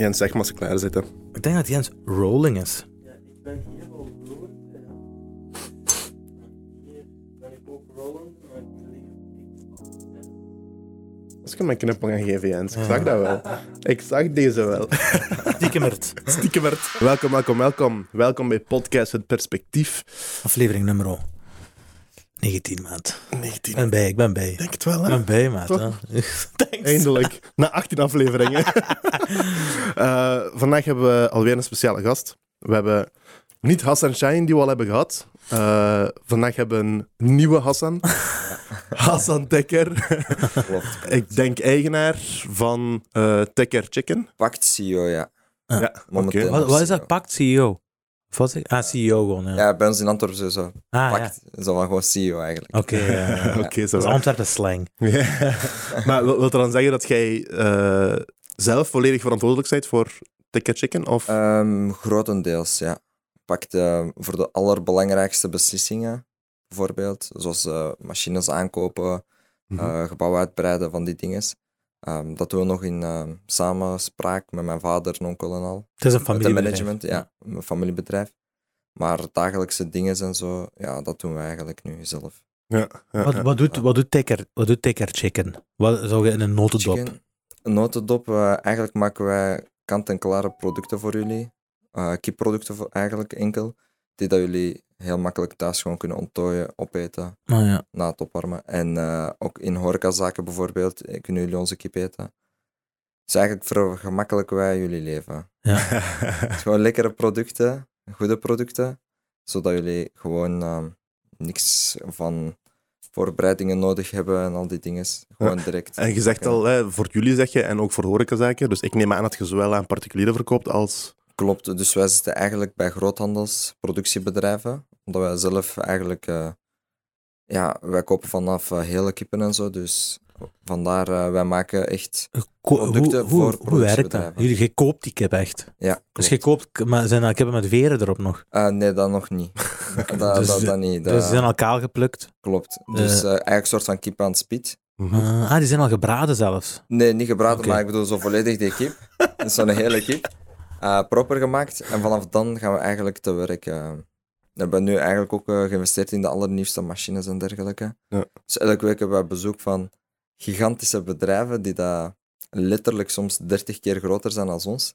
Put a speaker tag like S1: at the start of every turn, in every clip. S1: Jens, zeg maar als ze klaar zitten.
S2: Ik denk dat Jens rolling is.
S3: Ja, ik ben hier wel rollend. Ja. Hier ben ik ook rollend, maar ik
S1: Als ik hem een knuppel gaan geven, Jens. Ik
S2: Ja.
S1: zag dat wel. Ik zag deze wel.
S2: Diekemert.
S1: Stiekemert. Welkom, welkom, welkom. Welkom bij Podcast Het Perspectief.
S2: Aflevering nummer 19, maat.
S1: 19.
S2: Ik ben bij, ik ben bij. Ik
S1: denk het wel, hè?
S2: ben bij, maat. hè. Thanks.
S1: Eindelijk. Na 18 afleveringen. Eh, vandaag hebben we alweer een speciale gast. We hebben niet Hassan Shine, die we al hebben gehad. Eh, vandaag hebben we een nieuwe Hassan. Hassan Tekker.
S4: Klopt.
S1: Ik denk eigenaar van eh Tekker Chicken.
S4: Pakt CEO, ja.
S2: Ah.
S1: Ja,
S4: Momenteel.
S1: oké.
S2: Wat, wat is dat? Pact CEO? Of Wat is Ah, CEO gewoon, ja.
S4: Ja, bij ons in Antwerpen is zo.
S2: ah, ja.
S4: Pakt is dan wel gewoon CEO eigenlijk.
S2: Oké, ja, ja.
S1: Oké, zo
S2: dat is
S1: wel.
S2: Antwerpen slang.
S1: Ja. maar wil, wil dat dan zeggen dat jij eh, zelf volledig verantwoordelijk bent voor Ticket Chicken? Of...
S4: Ehm, grotendeels, ja. Pakt eh, voor de allerbelangrijkste beslissingen, bijvoorbeeld, zoals eh, machines aankopen,
S1: Mhm.
S4: eh gebouwen uitbreiden, van die dingen. Ehm, dat doen we nog in ehm, samenspraak met mijn vader en onkel en al.
S2: Het is een
S4: Met de
S2: familiebedrijf.
S4: management, ja. Mijn familiebedrijf. Maar dagelijkse dingen en zo, ja, dat doen we eigenlijk nu zelf.
S1: ja, ja,
S2: Wat,
S1: ja.
S2: wat doet, wat doet Ticker, wat doet Ticker Chicken? Wat zou je in een notendop?
S4: Chicken. Een notendop. eh, eigenlijk maken wij kant-en-klare producten voor jullie. Eh kipproducten voor, eigenlijk enkel. Die dat jullie heel makkelijk thuis gewoon kunnen onttooien, opeten,
S2: Ah, ja.
S4: na het opwarmen. En eh, ook in horecazaken bijvoorbeeld eh, kunnen jullie onze kip eten. Dus eigenlijk vergemakkelijk wij jullie leven. Het is gewoon lekkere producten, goede producten. Zodat jullie gewoon ehm, niks van voorbereidingen nodig hebben en al die dingen. Gewoon direct.
S1: en je zegt
S4: maken.
S1: al, hè, voor jullie zeg je, en ook voor horecazaken. Dus ik neem aan dat je zowel aan particulieren verkoopt als...
S4: Klopt, dus wij zitten eigenlijk bij groothandels, productiebedrijven, omdat wij zelf eigenlijk, eh, ja, wij kopen vanaf eh, hele kippen en zo, dus vandaar, eh, wij maken echt,
S2: Ko- hoe,
S4: Producten
S2: hoe,
S4: voor
S2: hoe werkt dat?
S4: productiebedrijven.
S2: Jullie, je koopt die kip echt.
S4: ja,
S2: Dus
S4: klopt.
S2: je koopt, k- maar zijn dat kippen met veren erop nog?
S4: Eh, nee, dat nog niet. dat,
S2: Dus-
S4: dat, dat niet, dat
S2: Dus die zijn al kaal geplukt.
S4: klopt. Dus eh, eigenlijk een soort van kip aan het spit.
S2: Ah, ah, die zijn al gebraden zelfs.
S4: Nee, niet gebraden,
S2: Oké.
S4: maar ik bedoel zo volledig die kip, dus zo'n hele kip, eh, proper gemaakt, en vanaf dan gaan we eigenlijk te werk. eh. we hebben nu eigenlijk ook eh, geïnvesteerd in de allernieuwste machines en dergelijke.
S1: Ja.
S4: Dus elke week hebben we bezoek van gigantische bedrijven die dat letterlijk soms 30 keer groter zijn dan ons.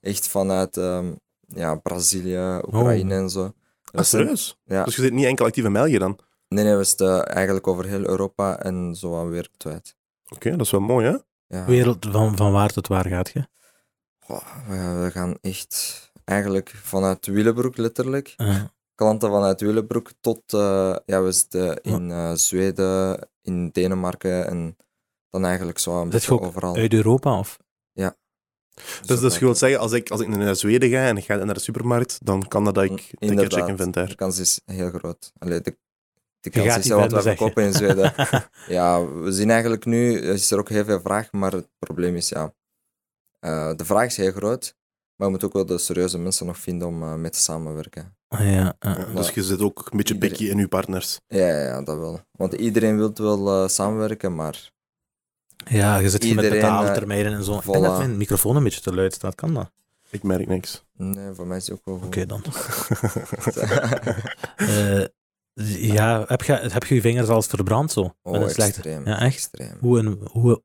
S4: Echt vanuit ehm, ja, Brazilië, Oekraïne en zo.
S1: Oh. Ah,
S4: We zijn-
S1: serieus?
S4: Eh, Ja.
S1: Dus je zit niet enkel actief in België dan? Oké,
S4: Nee, nee, we zitten eigenlijk over heel Europa en zo aan wereldwijd.
S1: dat is wel mooi, hè?
S4: Ja.
S2: Wereld van, van waar tot waar gaat je?
S4: Goh, we- we gaan echt eigenlijk vanuit Willebroek letterlijk.
S2: Ah,
S4: Klanten vanuit Willebroek tot, eh, ja, we zitten in eh, Zweden, in Denemarken en dan eigenlijk zo een
S2: Dat
S4: beetje
S2: je ook
S4: overal.
S2: uit Europa of?
S1: Dus, dus je wilt zeggen, als ik, als ik naar Zweden ga en ik ga naar de supermarkt, dan kan dat dat
S4: Mm,
S1: ik Ticket
S4: inderdaad.
S1: Chicken vind
S4: De
S1: daar.
S4: kans is heel groot. Allee, de,
S2: Je
S4: de kans
S2: gaat
S4: is
S2: die
S4: wel wat wij
S2: verder
S4: verkopen in Zweden. ja, we zien eigenlijk nu, er is er ook heel veel vraag, maar het probleem is, ja, eh, de vraag is heel groot, maar we moeten ook wel de serieuze mensen nog vinden om eh, mee te samenwerken.
S2: Ah, ja, ah.
S1: Ja, dus je zit ook een beetje
S4: Iedereen-
S1: pikkie in je partners.
S4: Ja, ja, ja, dat wel. Want iedereen wil wel eh, samenwerken, maar
S2: ja, je zit hier met
S4: Iedereen, eh,
S2: betaaltermijnen en zo. Ik denk
S4: voilà.
S2: dat mijn microfoon een beetje te luid staat, kan dat?
S1: Ik merk niks.
S4: nee, voor mij is het ook wel goed.
S2: Oké dan. Eh, ja, heb je, heb je je vingers al eens verbrand zo?
S4: Oh,
S2: Met een slechte-
S4: extreem.
S2: Ja, echt?
S4: Extreem.
S2: Hoe en, hoe,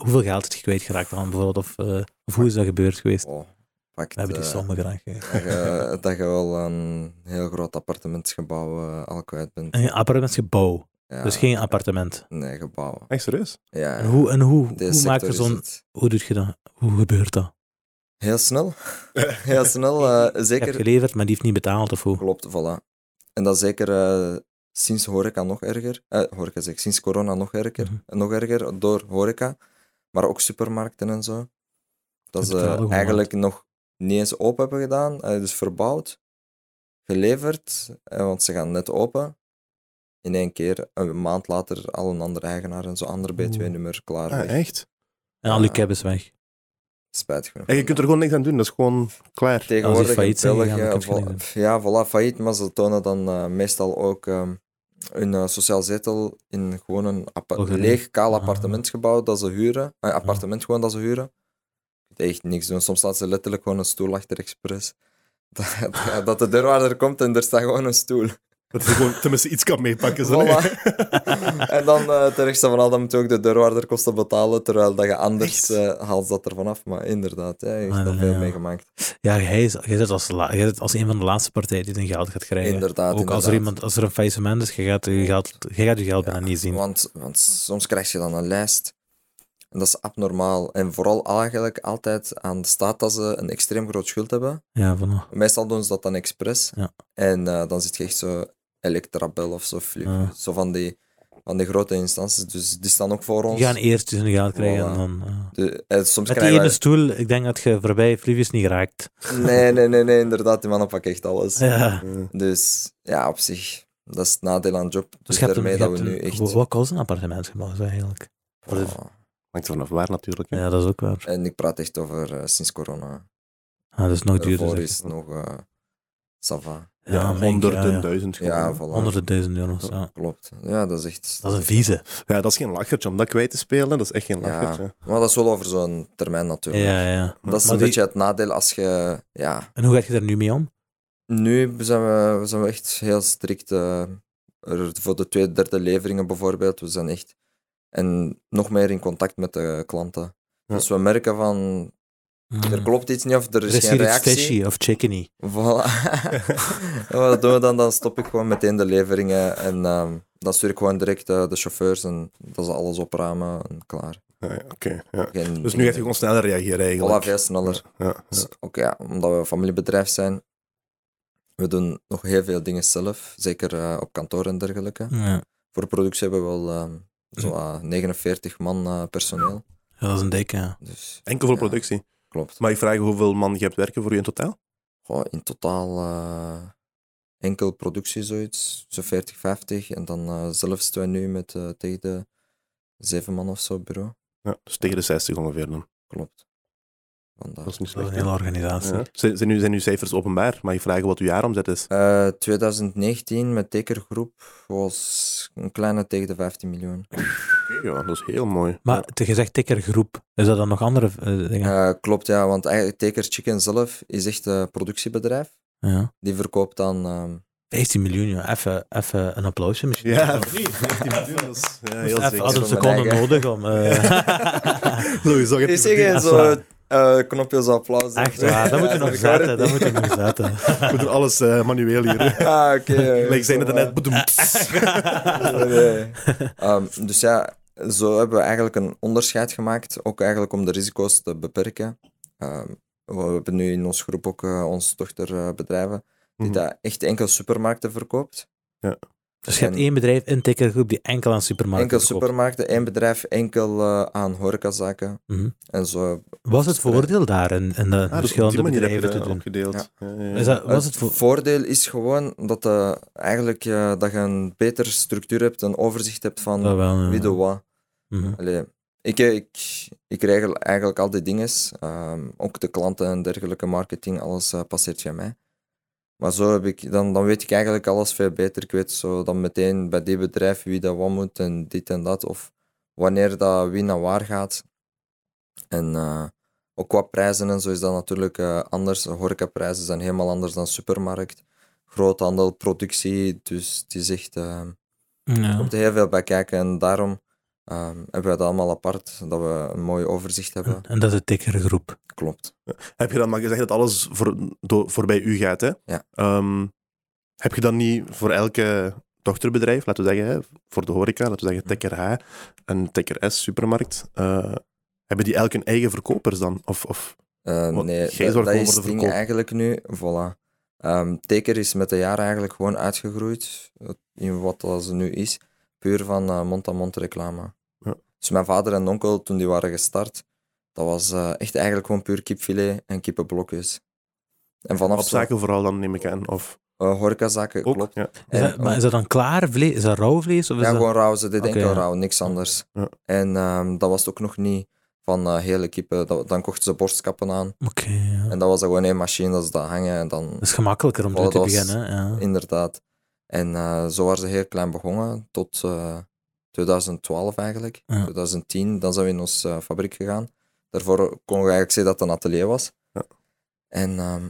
S2: hoeveel geld is je kwijtgeraakt dan bijvoorbeeld? Of, eh, of hoe is dat gebeurd geweest?
S4: Oh, pakt,
S2: We hebben die
S4: eh,
S2: sommen graag. eh.
S4: dat, je, dat je wel een heel groot appartementsgebouw eh, al kwijt bent.
S2: Een appartementsgebouw,
S4: Ah, Ja,
S2: dus geen appartement.
S4: Nee, gebouw.
S1: Echt serieus?
S4: Ja,
S2: En hoe, en hoe,
S4: deze
S2: hoe maak
S4: sector
S2: je
S4: is
S2: zo'n...
S4: het
S2: Hoe doet je dat? Hoe gebeurt dat?
S4: Heel snel. heel snel, eh,
S2: Ik heb
S4: zeker.
S2: geleverd, maar die heeft niet betaald of hoe?
S4: Klopt, voilà. En dat zeker eh, sinds horeca nog erger. Eh, horeca zeg, sinds corona nog erger.
S2: Mhm.
S4: En Nog erger door horeca, maar ook supermarkten en zo. Dat
S2: Het
S4: ze
S2: betalen gewoon
S4: eigenlijk nog niet eens open hebben gedaan, eh, dus verbouwd, geleverd, eh, want ze gaan net open. In één keer, een maand later, al een andere eigenaar en zo, ander B2-nummer klaar.
S1: Ah,
S4: weg.
S1: echt?
S2: En al je
S4: Ja.
S2: keb is weg.
S4: Spijt genoeg.
S1: En je kunt er gewoon niks aan doen, dat is gewoon klaar.
S4: Tegenwoordig
S2: Als die failliet
S4: in
S2: zijn
S4: België,
S2: gegaan, dan kun je
S4: vo-
S2: het
S4: ja, voilà, failliet, maar ze tonen dan eh, meestal ook ehm, hun eh, sociaal zetel in gewoon een appa-
S2: Algemeen.
S4: leeg, kaal
S2: Ah.
S4: Eh, appartementsgebouw dat ze huren. Een appartement gewoon dat ze huren. Ik echt niks doen. Soms staat ze letterlijk gewoon een stoel achter expres. Dat, dat- dat de deurwaarder komt en er staat gewoon een stoel.
S1: Dat je gewoon tenminste iets kan meepakken. zo, hè.
S4: Voilà. en dan eh terecht van al, dan moet je ook de deurwaarder kosten betalen, terwijl dat je anders
S1: Echt?
S4: eh haalt dat er vanaf. Maar inderdaad, ja, je hebt
S2: Maar,
S4: al veel
S2: Ah, ja.
S4: meegemaakt.
S2: Ja, jij, is- jij, zit als, la- jij zit als een van de laatste partijen die zijn geld gaat krijgen.
S4: Inderdaad,
S2: Ook als er,
S4: inderdaad.
S2: iemand, als er een faillissement is, je gaat je geld, je gaat je geld bijna niet zien.
S4: Want, want soms krijg je dan een lijst. En dat is abnormaal. En vooral eigenlijk altijd aan de staat dat ze een extreem groot schuld hebben.
S2: Ja, voilà.
S4: Meestal doen ze dat dan expres.
S2: Ja.
S4: En eh, dan zit je echt zo Electrabel of zo, Flip.
S2: Ja.
S4: Zo van die, van die grote instanties. Dus die staan ook voor
S2: Je
S4: ons.
S2: gaat eerst dus een geld krijgen
S4: Voilà.
S2: en dan... eh.
S4: De- eh, soms
S2: Met die
S4: krijgen
S2: ene
S4: wij-
S2: stoel, ik denk dat je voorbij Flivius niet geraakt.
S4: Nee, nee, nee, nee, inderdaad. Die mannen pakken echt alles.
S2: Ja.
S4: Dus ja, op zich, dat is het nadeel aan job. Dus
S2: Dus je hebt een-
S4: daarmee
S2: je
S4: dat we
S2: hebt
S4: nu
S2: een-
S4: echt...
S2: wa- Wat kost een appartementsgebouw zo eigenlijk? Wat is-
S4: Ah,
S1: Hangt er vanaf waar natuurlijk. hè.
S2: Ja, dat is ook waar.
S4: En ik praat echt over eh, sinds corona.
S2: Ah, dat is nog duurder.
S4: Daarvoor
S2: zeg.
S4: is het nog eh Sava.
S2: Ja, mijn-
S1: honderden,
S2: ja, ja.
S1: duizend.
S4: Ja,
S1: gewoon.
S4: voilà.
S2: Honderden duizend euro's, ja.
S4: Klopt. Ja, dat is echt...
S2: Dat is een vieze.
S1: Ja, dat is geen lachertje om dat kwijt te spelen. Dat is echt geen
S4: ja.
S1: lachertje.
S4: Maar dat is wel over zo'n termijn natuurlijk.
S2: Ja, ja.
S4: Dat is
S2: Maar
S4: een
S2: die-
S4: beetje het nadeel als je... Ja,
S2: En hoe gaat je daar nu mee om?
S4: nu zijn we, zijn we echt heel strikt. eh, er- voor de tweede, derde leveringen bijvoorbeeld. We zijn echt... En nog meer in contact met de klanten.
S1: Ja.
S4: Dus we merken van... Er
S2: Mm.
S4: klopt iets niet of er
S2: Er
S4: is,
S2: is
S4: geen
S2: hier iets
S4: reactie.
S2: fishy of chickeny.
S4: Voilà. En Wat doen we dan? Dan stop ik gewoon meteen de leveringen en ehm, dan stuur ik gewoon direct eh, de chauffeurs en dat ze alles opruimen en klaar.
S1: Ja, ja, Oké, ja.
S4: Geen,
S1: Dus nu gaat je gewoon sneller reageren
S4: Voilà,
S1: eigenlijk.
S4: veel sneller.
S1: Ja,
S4: Dus
S1: ja.
S4: ook ja, omdat we een familiebedrijf zijn, we doen nog heel veel dingen zelf, zeker eh, op kantoor en dergelijke.
S1: Mm.
S2: Ja.
S4: Voor de productie hebben we wel ehm, zo, eh, 49 man eh, personeel.
S2: Ja, dat is een dikke. ja.
S4: Dus
S1: Enkel voor
S4: Ja.
S1: productie.
S4: klopt.
S1: Maar ik vraag hoeveel man je hebt werken voor je in totaal?
S4: Goh, in totaal eh, enkel productie zoiets, zo 40, 50. En dan eh zelf staan we nu met eh, tegen de zeven man of zo bureau.
S1: Ja, dus tegen de 60 ongeveer dan.
S4: Klopt. Vandaar.
S1: Dat is niet
S2: Dat
S1: slecht.
S2: is een
S1: hè?
S2: hele organisatie.
S1: Ja. Zijn, zijn, nu, zijn nu cijfers openbaar? Maar je vraagt wat uw jaaromzet is.
S4: Eh, 2019 met tekergroep was een kleine tegen de 15 miljoen.
S1: Ja, dat is heel mooi.
S2: Maar te- je zegt tikkergroep. Is dat dan nog andere eh, dingen? Ja.
S4: Eh, klopt, ja, want eigenlijk Teker Chicken zelf is echt een productiebedrijf. Die verkoopt dan. ehm,
S2: 15 miljoen, joh. Even, even een applausje misschien.
S1: Ja,
S2: Of-
S1: dat is ja, heel
S2: Even
S1: zeker.
S2: had een
S4: Van mijn
S2: seconde
S4: eigen.
S2: nodig om... eh,
S1: Sowieso
S4: Ik
S1: gaat
S4: zeg
S1: het
S4: eh, zo eh, knopjes applaus.
S2: Echt waar, dat moet je nog zetten. Dat moet je nog zetten.
S1: We doen alles eh, manueel hier.
S4: Ah, oké.
S1: Leek zijn het
S4: Kom,
S1: net.
S4: eh.
S1: bedoemd.
S4: Nee, nee. Ehm, dus ja, zo hebben we eigenlijk een onderscheid gemaakt, ook eigenlijk om de risico's te beperken. Ehm, we hebben nu in onze groep ook eh, onze dochterbedrijven, die
S1: Mhm.
S4: daar echt enkel supermarkten verkoopt.
S2: Dus je hebt
S4: En-
S2: één bedrijf in tikkergroep die enkel aan supermarkten
S4: enkel
S2: verkoopt.
S4: supermarkten, één bedrijf, enkel eh, aan horecazaken.
S2: Mhm.
S4: En zo.
S2: Was het voordeel daar in, in de
S4: Ah, dus
S2: verschillende bedrijven te doen?
S1: Opgedeeld.
S2: Is dat, was het voor...
S4: voordeel is gewoon dat, eh, eigenlijk, eh, dat je een betere structuur hebt, een overzicht hebt van
S2: Ah, wel, ja.
S4: wie doet wat.
S2: Mhm.
S4: Allee, ik, ik, ik regel eigenlijk al die dingen. ook de klanten en dergelijke, marketing, alles eh, passeert via mij. Maar zo heb ik, dan, dan weet ik eigenlijk alles veel beter. Ik weet zo dan meteen bij dit bedrijf wie dat wat moet en dit en dat. Of wanneer dat wie naar waar gaat. En eh, ook qua prijzen en zo is dat natuurlijk eh, anders. Horecaprijzen zijn helemaal anders dan supermarkt. Groothandel, productie, dus het is echt... eh,
S2: Ja.
S4: komt er heel veel bij kijken en daarom ehm, hebben we dat allemaal apart, dat we een mooi overzicht hebben.
S1: Hm.
S2: En dat is de tikkergroep.
S4: Klopt.
S1: Heb je dan maar gezegd dat alles voor, do- voorbij u gaat, hè?
S4: Ja.
S1: Ehm, heb je dan niet voor elke dochterbedrijf, laten we zeggen, hè, voor de horeca, laten we zeggen Tekker H en Tekker S, supermarkt, eh, hebben die elk hun eigen verkopers dan? Of, of
S4: Eh,
S1: Want
S4: nee,
S1: jij
S4: dat,
S1: zorgt
S4: dat
S1: gewoon
S4: is
S1: voor de
S4: het ding
S1: verkoop.
S4: eigenlijk nu. Voilà. Ehm, Teker is met de jaren eigenlijk gewoon uitgegroeid eh, in wat dat ze nu is. Puur van eh, mond-aan-mond reclame.
S1: Ja.
S4: Dus mijn vader en onkel, toen die waren gestart, dat was eh, echt eigenlijk gewoon puur kipfilet en kippenblokjes. En vanaf zo-
S1: afzaken vooral dan, neem ik aan? Of
S4: eh, horecazaken,
S1: ook?
S4: klopt.
S1: Ja.
S2: Is
S4: En
S2: dat, maar is dat dan klaar vlees? Is dat rauw vlees? Of is
S4: ja,
S2: dat...
S4: gewoon rauw. Ze deden
S2: Dus, eh, Oké,
S4: enkel
S2: ja.
S4: rauw, niks anders.
S1: Ja.
S4: En ehm, dat was het ook nog niet van eh, hele kippen. Dat- dan kochten ze borstkappen aan.
S2: Oké, ja. Dus-
S4: En dat was dan gewoon één machine dat ze dat hangen. En dan,
S2: Dat is gemakkelijker om
S4: Oh,
S2: mee te
S4: dat was-
S2: beginnen. hè, Ja.
S4: inderdaad. En eh, zo waren ze heel klein begonnen, tot eh, 2012 eigenlijk.
S2: Ja.
S4: 2010, dan zijn we in onze eh, fabriek gegaan. Daarvoor konden we eigenlijk zeggen dat het een atelier was.
S1: Ja.
S4: En ehm,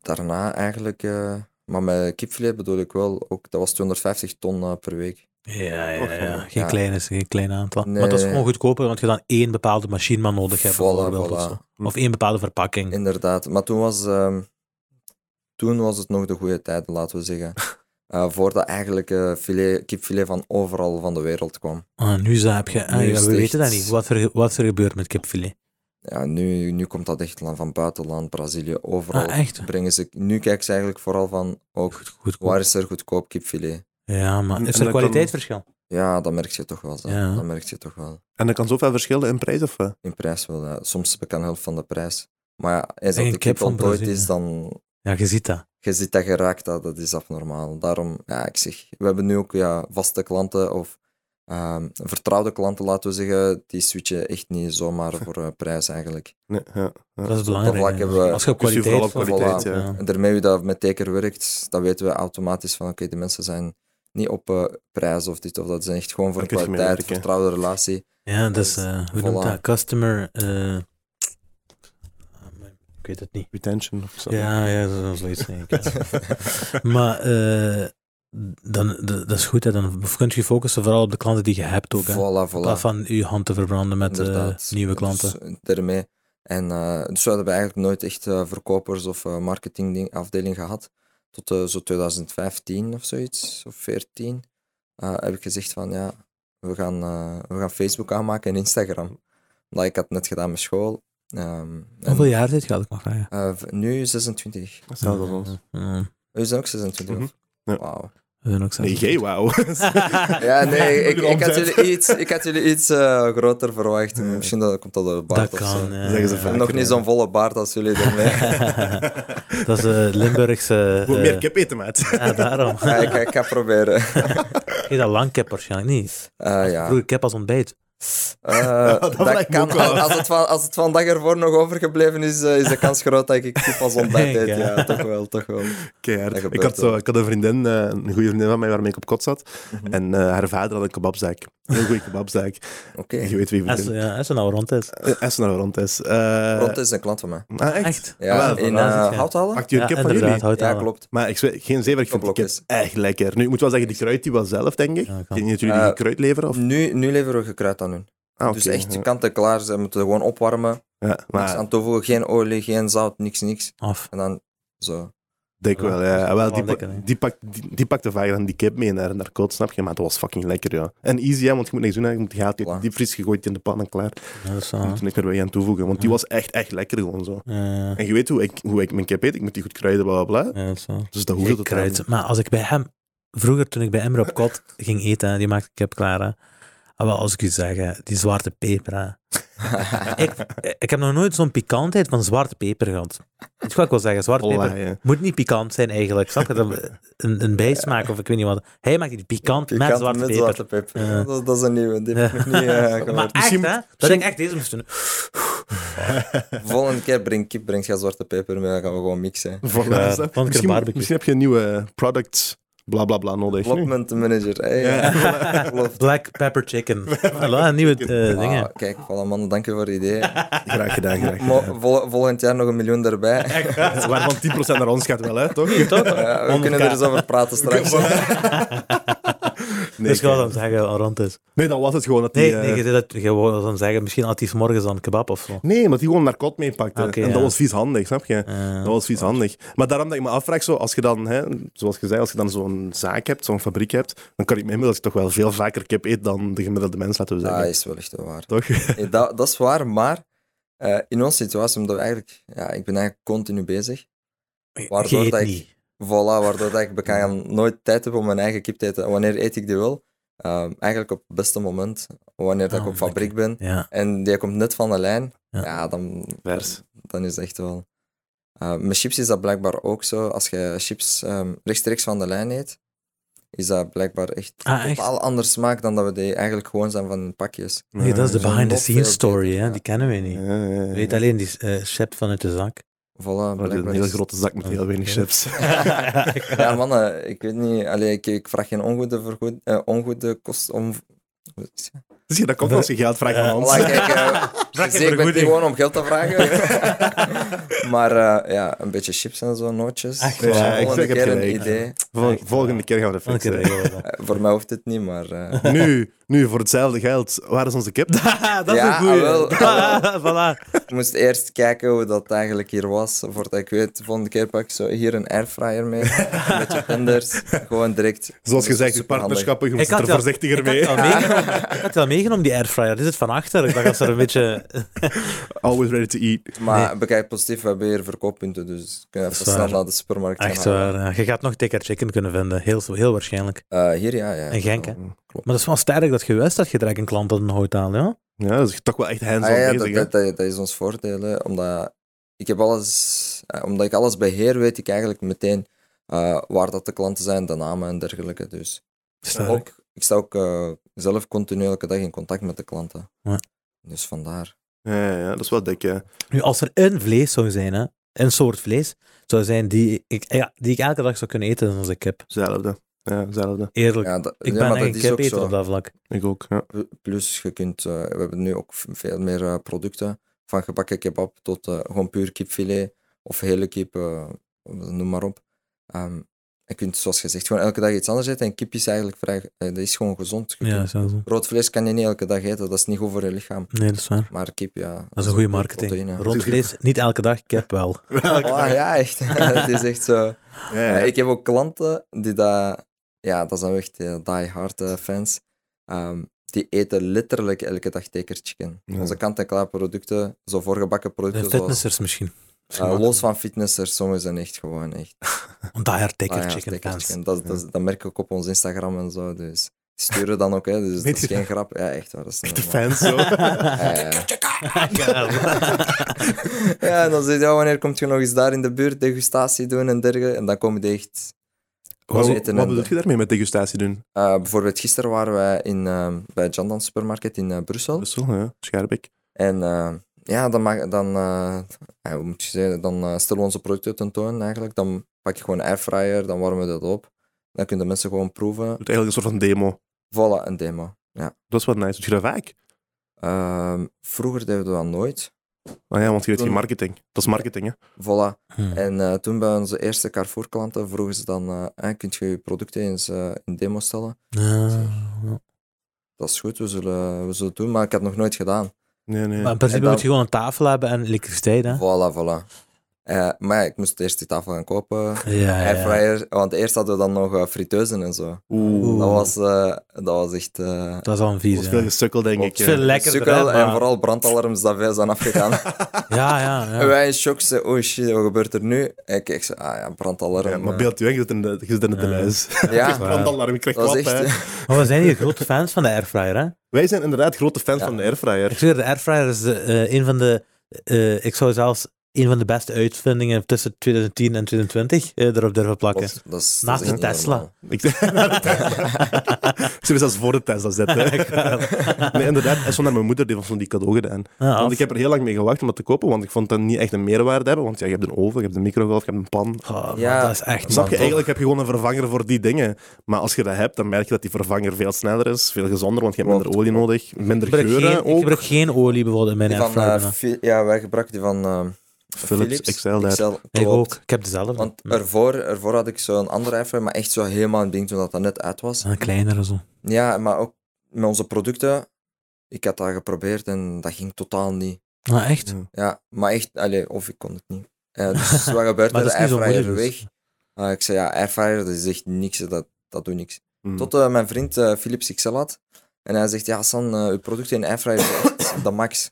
S4: daarna eigenlijk... eh, maar met kipfilet bedoel ik wel, ook, dat was 250 ton eh, per week.
S2: Ja,
S1: Och,
S2: ja, ja.
S1: ja.
S2: Geen,
S4: Ja.
S2: Klein, is, geen klein aantal.
S4: Nee.
S2: Maar dat is gewoon goedkoper, want je dan één bepaalde machine maar nodig hebt.
S4: Voilà,
S2: bijvoorbeeld,
S4: voilà.
S2: Of, zo. Of één bepaalde verpakking.
S4: Inderdaad, maar toen was, ehm, toen was het nog de goede tijd, laten we zeggen. Eh, voordat eigenlijk eh, filet, kipfilet van overal van de wereld kwam.
S2: Ah, nu zaap je. Ah,
S4: Nu
S2: ja,
S4: is
S2: we
S4: het
S2: weten dat
S4: echt-
S2: niet, wat er, wat er gebeurt met kipfilet.
S4: Ja, nu, nu komt dat echt van buitenland, Brazilië, overal.
S2: Ah, echt?
S4: brengen ze, nu kijken ze eigenlijk vooral van, ook,
S2: Goed, goed, goed.
S4: waar is er goedkoop kipfilet?
S2: Ja, maar
S1: En-
S2: is
S1: en
S2: er
S1: dan kan-
S2: kwaliteitsverschil?
S4: Ja, dat merk je toch wel. Dat,
S2: Ja.
S4: dat merk je toch wel.
S1: En dat kan zoveel verschillen in prijs, of... eh?
S4: In prijs wel. ja. Soms kan helft van de prijs. Maar ja, als
S2: En
S4: dat de
S2: kip
S4: kip
S2: van
S4: ontdooid
S2: Brazilië.
S4: is, dan
S2: Ja, je ziet dat.
S4: je ziet dat geraakt, dat, dat is abnormaal. Daarom, ja, ik zeg, we hebben nu ook ja, vaste klanten of ehm, vertrouwde klanten, laten we zeggen, die switchen echt niet zomaar voor eh, prijs eigenlijk.
S1: Nee, ja.
S2: Dat is
S4: vlak
S2: belangrijk. hè.
S4: hebben we-
S2: Als je op
S1: Dus je
S2: kwaliteit...
S1: vooral op
S2: focust-
S1: kwaliteit,
S4: Voilà.
S1: ja.
S2: Ja.
S4: En daarmee wie dat met teker werkt, dan weten we automatisch van, oké, de mensen zijn niet op eh, prijs of dit of dat, ze zijn echt gewoon voor
S1: Dan kun je ermee
S4: kwaliteit,
S1: werken.
S4: vertrouwde relatie.
S2: Ja, dat is,
S4: Dus,
S2: eh, hoe
S4: voilà.
S2: noemt dat? Customer. eh, ah, ik weet het niet.
S1: Retention of zo.
S2: Ja, ja, dat is zoiets, denk ik. ja. maar eh, dan, d- dat is goed, hè. dan kun je je focussen vooral op de klanten die je hebt ook. Hè. In
S4: Voilà, voilà.
S2: plaats van je hand te verbranden met eh,
S4: Inderdaad.
S2: nieuwe klanten.
S4: Dus, eh, daarmee. En eh, dus we hebben eigenlijk nooit echt eh, verkopers of eh, marketingafdeling gehad. Tot eh, zo 2015 of zoiets, of 14, eh, heb ik gezegd van ja, we gaan, eh, we gaan Facebook aanmaken en Instagram. Omdat ik had net gedaan met school. Ehm, en,
S2: Oh, Hoeveel jaar zit je, als ik mag vragen?
S4: eh, v- nu 26.
S1: Hetzelfde als ons.
S2: Mm,
S4: U zijn ook 26?
S1: Mhm.
S4: of?
S1: Ja.
S4: Wauw.
S2: we zijn ook
S1: Nee,
S2: zelf-
S1: jij, wauw.
S4: Ja, nee, ik,
S1: Moet je
S4: ik, had
S1: omzetten.
S4: jullie iets, ik had jullie iets eh, groter verwacht.
S1: Ja.
S4: Misschien dat, komt dat door de baard
S2: Dat
S4: of zo.
S2: kan. eh,
S1: Zeggen ze
S4: En
S1: vaak.
S4: nog niet zo'n volle baard als jullie ermee.
S2: dat is eh, Limburgse.
S1: Moet meer
S2: eh,
S1: kip eten, maat.
S2: Ja, daarom.
S4: Ja, ik, ik ga proberen.
S2: Heet dat lang kip waarschijnlijk niet.
S4: Eh, ja.
S2: Vroeger kip als ontbijt.
S4: Eh,
S1: dat
S4: dat
S1: lijkt me
S4: kan.
S1: ook wel.
S4: Als het, van, als het van dag ervoor nog overgebleven is, eh, is de kans groot dat ik kip als ontbijt eet.
S2: Ja.
S4: Ja, toch wel, toch wel.
S1: Keihard.
S4: Dat
S1: Ik
S4: gebeurt
S1: had, zo,
S4: wel.
S1: ik had een vriendin, eh, een goede vriendin van mij waarmee ik op kot zat.
S4: Mhm.
S1: En eh, haar vader had een kebabzaak. Een heel goede kebabzaak.
S4: Oké.
S1: Je weet wie
S2: Als,
S1: vriendin
S2: ja, als het nou rond is.
S1: eh, Essen naar rond is. Eh,
S4: Rond is een klant van mij.
S1: ah, echt?
S2: Echt?
S4: Ja,
S1: Ah, wel,
S4: in
S2: voilà,
S4: eh
S2: zit je.
S4: Houthalen?
S1: Acht uur
S2: Ja,
S1: kip van
S2: inderdaad,
S1: jullie?
S2: houdt
S4: Ja,
S2: aan.
S4: klopt.
S1: Maar ik zweer, geen zeven, ik vind die kip
S4: Koplokjes.
S1: echt lekker. Nu, ik moet wel zeggen, die kruid die was zelf, denk ik.
S2: Ja,
S1: Ik
S2: kan.
S1: weet niet dat jullie
S4: Eh,
S1: die kruid leveren? Of?
S4: Nu, nu leveren we gekruid aan hun.
S1: Ah, oké,
S4: Dus echt
S1: ja.
S4: kant-en-klaar. Ze moeten gewoon opwarmen.
S1: Ja,
S4: Niks
S1: maar
S4: aan toevoegen. Geen olie, geen zout, niks, niks.
S2: Af.
S4: En dan zo.
S1: dik wel, ja.
S2: Ja,
S1: Wel,
S2: wel
S1: die,
S2: lekker,
S1: pak-
S2: hè.
S1: die, pakt, die, die pakte vaak dan die kip mee naar, naar kot, snap je? Maar dat was fucking lekker, ja. En easy, hè, want je moet niks doen. hè. Je moet gaat die
S4: Voilà.
S1: diepvries gegooid in de pan en klaar.
S2: Ja, dat is
S1: Je
S2: wel-
S1: moet er niks meer bij aan toevoegen, want die
S2: Ja.
S1: was echt, echt lekker gewoon zo.
S2: Ja,
S1: En je weet hoe ik, hoe ik mijn kip eet. Ik moet die goed kruiden, bla, bla, bla.
S2: ja, dat is wel-
S1: Dus dat hoeft
S2: Ik
S1: het
S2: kruid. Maar als ik bij hem, vroeger toen ik bij Emre op kot ging eten, hè, die maakte kip klaar. hè. Ah, wel, als ik u zeg, hè, die zwarte peper. hè. ik, ik heb nog nooit zo'n pikantheid van zwarte peper gehad. Dat is wat ik wil zeggen. Zwarte peper moet niet pikant zijn eigenlijk. Snap je? Dat, een, een bijsmaak of ik weet niet wat. Hij maakt die pikant met
S4: Pikant
S2: zwarte
S4: met
S2: peper.
S4: zwarte peper.
S2: Ja.
S4: Dat, dat is een nieuwe. Die heb ik nog
S2: Ja.
S4: niet eh, gehoord.
S2: Maar echt,
S1: Misschien-
S2: hè? Dat ik echt deze moest doen.
S4: Volgende keer breng kip, breng jij zwarte peper mee. Dan gaan we gewoon mixen.
S2: Ja, van een
S1: misschien,
S2: barbecue.
S1: misschien heb je een nieuwe product, bla, bla, bla, nodig. nu.
S4: Development manager. Hey,
S1: Ja.
S4: Klopt.
S2: Black pepper chicken. Voilà, een nieuwe eh,
S4: Ah,
S2: dingen.
S4: kijk, voilà mannen, dank u voor het idee.
S1: Graag gedaan, graag
S4: Mo-
S1: gedaan.
S4: vol- volgend jaar nog een miljoen erbij.
S1: Waarvan 10% naar ons gaat wel, hè, toch? Nee,
S2: Toch?
S4: Ja, we kunnen er eens over praten straks.
S2: Dus ik
S1: kijk.
S2: wou dan zeggen, al rond is.
S1: nee, dan was het gewoon dat die...
S2: Nee,
S1: eh,
S2: nee, je zei dat je wou dan zeggen, misschien had hij 's morgens dan kebab of zo.
S1: nee, maar die gewoon naar kot meepakte.
S2: Oké,
S1: en dat
S2: ja.
S1: was vies handig, snap je?
S2: Eh,
S1: Dat was vies handig. Maar daarom dat ik me afvraag, zo, als je dan, hè, zoals je zei, als je dan zo'n zaak hebt, zo'n fabriek hebt, dan kan ik me inbeelden dat je toch wel veel vaker kip eet dan de gemiddelde mens, laten we
S2: Ah,
S1: zeggen.
S4: Dat is wel echt wel waar.
S1: Toch?
S4: Ja, dat, dat is waar, maar eh, in onze situatie, omdat we eigenlijk, ja, ik ben eigenlijk continu bezig.
S2: je
S4: Waardoor
S2: eet
S4: dat ik-
S2: niet.
S4: Voilà, waardoor dat ik bekend nooit tijd heb om mijn eigen kip te eten. Wanneer eet ik die wel? Ehm, eigenlijk op het beste moment, wanneer dat
S2: Ah,
S4: ik op fabriek ben.
S2: Ja.
S4: En die komt net van de lijn.
S2: Ja.
S4: Ja, dan,
S1: Vers.
S4: dan is het echt wel. Eh, met chips is dat blijkbaar ook zo. Als je chips ehm, rechtstreeks van de lijn eet, is dat blijkbaar echt
S2: Ah, echt?
S4: totaal anders smaak dan dat we die eigenlijk gewoon zijn van pakjes.
S2: Nee, dat is de
S4: Ja,
S2: behind the
S4: nog
S2: scenes
S4: veel
S2: story,
S4: beter,
S2: hè?
S4: ja.
S2: die kennen we niet.
S1: Ja, ja, ja, ja.
S2: Je weet alleen die eh chef vanuit de zak.
S4: Voilà,
S1: Maar Een
S4: blijkbaar
S1: hele
S4: is-
S1: grote zak met heel weinig
S2: Ja.
S1: chips.
S4: Ja, mannen, ik weet niet. Allee, ik, ik vraag geen ongoede, vergoed, eh, ongoede kost om. hoe zeg je?
S1: Zie je, dat komt als je geld vraagt van ons.
S4: Voilà, kijk, eh,
S2: Vraag je
S4: zie, ik ben hier
S2: vergoeding.
S4: gewoon om geld te vragen. maar eh, ja, een beetje chips en zo, nootjes.
S2: Echt
S1: waar? Ja, ik
S4: Volgende
S1: zeg, ik heb
S4: keer een
S1: gelijk.
S4: idee.
S1: Vol- volgende keer gaan we dat
S2: Volgende keer
S1: fixen.
S2: regelen we dat.
S4: Eh, voor mij hoeft het niet, maar... eh,
S1: Nu, nu, voor hetzelfde geld, waar is onze kip?
S2: Ah, dat is
S4: Ja,
S2: een goeie.
S4: ah, wel,
S2: voilà.
S4: Ik moest eerst kijken hoe dat eigenlijk hier was, voordat ik weet, de volgende keer pak ik zo hier een airfryer mee, een beetje tenders, gewoon direct.
S1: Zoals gezegd, je
S4: Superhandig.
S1: partnerschappen, je
S2: Ik
S1: moet
S2: had
S1: er
S2: wel-
S1: voorzichtiger
S2: Ik had,
S1: mee.
S2: het al meegenomen, ik had het al meegenomen, die airfryer. Dit is het van achter. Ik dacht dat ze er een beetje...
S1: Always ready to eat.
S4: Maar bekijk positief, we hebben hier verkooppunten, dus kun je even
S2: Dat is waar.
S4: snel naar de supermarkt gaan
S2: Echt
S4: halen.
S2: waar. ja. Je gaat nog dikker chicken kunnen vinden. Heel, heel waarschijnlijk.
S4: Eh, hier, ja. ja
S2: In Genk, hè?
S4: Klopt.
S2: Maar dat is wel sterk dat je wist dat je direct een klant had in hotel, ja?
S1: Ja, dat is toch wel echt hands-on
S4: Ah, ja,
S1: bezig,
S4: dat,
S1: hè?
S4: dat, dat, dat is ons voordeel, hè, omdat ik heb alles, eh, omdat ik alles beheer, weet ik eigenlijk meteen eh, waar dat de klanten zijn, de namen en dergelijke, dus...
S2: Sterk.
S4: Ook, ik sta ook eh, zelf continu elke dag in contact met de klanten.
S2: Ja.
S4: Dus vandaar.
S1: Ja, ja, ja, dat is wel dik, hè.
S2: Nu, als er een vlees zou zijn, hè, een soort vlees zou zijn die ik, ja, die ik elke dag zou kunnen eten, dan is de kip.
S1: Zelfde. Ja, zelfde.
S2: Eerlijk.
S4: Ja, dat,
S2: ik
S4: ja,
S2: ben
S4: maar
S2: echt
S4: dat
S2: een
S4: is ook
S2: kipeter
S4: zo.
S2: op dat vlak.
S1: Ik ook, ja.
S4: P- Plus, je kunt, eh, we hebben nu ook v- veel meer eh, producten. Van gebakken kebab tot eh, gewoon puur kipfilet of hele kip, eh, noem maar op. Ehm, je kunt, zoals gezegd, gewoon elke dag iets anders eten. En kip is eigenlijk vrij, eh, dat is gewoon gezond. Je
S2: Ja,
S4: kunt-
S2: zo. zo.
S4: Rood vlees kan je niet elke dag eten, dat is niet goed voor je lichaam.
S2: Nee, dat is waar.
S4: Maar kip, ja.
S2: Dat is een goede
S4: ook
S2: marketing.
S4: proteïne.
S2: Rond vlees, niet elke dag, kip wel.
S4: Ah, ja, echt. Het is echt zo.
S1: Ja, ja.
S4: Ja, Eh, ik heb ook klanten die dat... Ja, dat zijn echt eh, die-hard eh, fans. Ehm, die eten letterlijk elke dag teker chicken.
S1: Ja.
S4: Onze kant-en-klaar producten, zo voorgebakken
S2: De
S4: producten, zoals...
S2: fitnessers misschien.
S4: eh, los van fitnessers, sommigen zijn echt gewoon echt
S2: Want daar tikker
S4: die-hard
S2: chicken
S4: taker
S2: fans.
S4: Ah, chicken. Dat, dat, dat merk ik op ons Instagram en zo, dus... Sturen dan ook, hè, dus dat is
S1: je
S4: geen grap. Ja, echt waar, dat is niet
S1: De
S4: normaal.
S1: fans, zo.
S4: Ja, ja, ja.
S2: Ah, Ja.
S4: Ja, en dan zegt ja, wanneer komt je nog eens daar in de buurt degustatie doen en dergelijke? En dan komen die echt
S1: Wat,
S4: Ze
S1: wat
S4: eten en-
S1: bedoel je daarmee met degustatie doen?
S4: Eh, bijvoorbeeld gisteren waren wij in, ehm, bij Jandan Supermarket in eh, Brussel.
S1: Brussel, ja. Schaarbeek.
S4: En eh, ja, dan, mag, dan, eh, ja, hoe moet je zeggen, dan eh, stellen we onze producten tentoon eigenlijk. Dan pak je gewoon een airfryer, dan warmen we dat op. Dan kunnen de mensen gewoon proeven.
S1: doet eigenlijk een soort van demo.
S4: Voilà, een demo.
S1: Dat is wel nice. Doet je dat vaak?
S4: Ehm, vroeger deden we dat nooit.
S1: Ah ja, want je weet geen
S4: Doen-
S1: marketing. Dat is marketing, hè.
S4: Voilà.
S2: Hmm.
S4: En eh, toen bij onze eerste Carrefour-klanten vroegen ze dan, eh, eh, kunt je je producten eens eh, in demo stellen?
S2: Ah.
S4: Dat is goed, we zullen, we zullen het doen, maar ik had het nog nooit gedaan.
S1: Nee, nee.
S2: Maar in principe
S4: En dan-
S2: moet je gewoon een tafel hebben en elektriciteit, hè?
S4: Voilà, voilà. Eh, maar ja, ik moest eerst die tafel gaan kopen.
S2: Ja, ja.
S4: Airfryer, want eerst hadden we dan nog eh, friteuzen en zo.
S1: Oeh.
S4: Dat was, eh, dat was echt... eh,
S2: Dat is al een
S1: Dat
S2: vieze.
S1: is veel gesukkel, denk
S4: Klopt.
S1: ik.
S2: Het is veel
S1: eh.
S2: lekkerder, hè,
S4: sukkel en
S2: maar-
S4: vooral brandalarms dat veel zijn afgegaan.
S2: Ja, ja,
S4: En
S2: ja.
S4: wij in shock, ze, oh shit, wat gebeurt er nu? En ik zei, ah ja, brandalarm.
S1: Ja, maar
S4: eh.
S1: beeld je weg, je zit in de, je zit in het
S2: Ja.
S1: tenuis.
S4: Ja,
S2: waar.
S1: Brandalarm, je krijgt
S4: dat was
S1: klap, hè.
S4: echt...
S2: Maar we zijn hier grote fans van de airfryer, hè?
S1: Wij zijn inderdaad grote fans
S4: Ja.
S1: van de
S2: Ik
S1: airfryer.
S2: zweer, de airfryer is de, eh, een van de, eh, ik zou zelfs een van de beste uitvindingen tussen 2010 en 2020 eh, erop durven
S4: dat
S2: plakken.
S4: is- dat is-
S2: Naast
S4: dat is
S2: de
S4: echt
S2: Tesla.
S4: normaal.
S1: Ik Ze zelfs voor de Tesla zitten. nee, inderdaad. En zo naar mijn moeder, die was van die cadeau gedaan.
S2: Ja,
S1: Want
S2: Ah, af-
S1: ik heb er heel lang mee gewacht om dat te kopen, want ik vond dat niet echt een meerwaarde hebben. Want ja, je hebt een oven, je hebt een microgolf, je hebt een pan.
S2: Oh, man,
S4: Ja,
S2: dat is echt
S4: dat
S1: Snap
S2: niet.
S1: je,
S4: toch?
S1: eigenlijk heb je gewoon een vervanger voor die dingen. Maar als je dat hebt, dan merk je dat die vervanger veel sneller is, veel gezonder, want je hebt minder
S4: Klopt.
S1: olie nodig, minder
S2: Ik gebruik,
S1: geuren
S2: geen, ik
S1: ook.
S2: gebruik geen olie bijvoorbeeld in mijn
S4: Die van, eh,
S2: airfryer.
S4: Fi- ja, wij gebruikten die van eh,
S1: Philips, Excel daar.
S2: ik
S4: klopt.
S2: ook. Ik heb dezelfde.
S4: Want
S2: Mm.
S4: ervoor, ervoor had ik zo'n andere airfryer, maar echt zo helemaal een ding toen dat, dat net uit was.
S2: Een kleinere zo.
S4: Ja, maar ook met onze producten. Ik had dat geprobeerd en dat ging totaal niet.
S2: Ah, echt?
S1: Ja.
S4: Ja, maar echt, allee, of ik kon het niet. Eh, dus wat gebeurt
S2: Maar
S4: er?
S2: dat is
S4: De
S2: niet zo
S4: airfryer
S2: moeilijk,
S4: weg.
S2: dus.
S4: Eh, ik zei ja, airfryer, dat is echt niks, hè, dat, dat doet niks.
S1: Mm.
S4: Tot eh, mijn vriend eh, Philips XL had. En hij zegt, ja Hassan, eh, uw producten in airfryer is echt de max.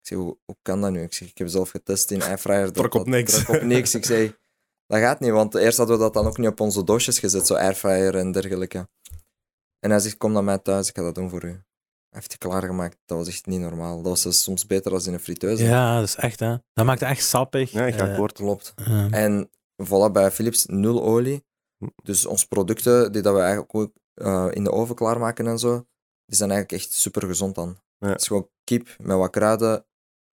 S4: Ik zeg, hoe, hoe kan dat nu? Ik zeg, ik heb zelf getest in airfryer. Dat,
S1: Trok op
S4: dat
S1: niks.
S4: trok op niks. Ik zeg, dat gaat niet, want eerst hadden we dat dan ook niet op onze doosjes gezet, zo airfryer en dergelijke. En hij zegt, kom naar mij thuis, ik ga dat doen voor u. Hij heeft die klaargemaakt, dat was echt niet normaal. Dat was zelfs soms beter als in een friteuse.
S2: Ja, dat is echt, hè. Dat maakt het echt sappig.
S1: Ja, ik ga
S2: Eh,
S1: akkoord.
S4: Klopt.
S2: eh,
S4: En voilà, bij Philips nul olie.
S1: Hm.
S4: Dus onze producten, die dat we eigenlijk ook eh, in de oven klaarmaken en zo, die zijn eigenlijk echt super gezond dan.
S1: Ja.
S4: Het is gewoon kip met wat kruiden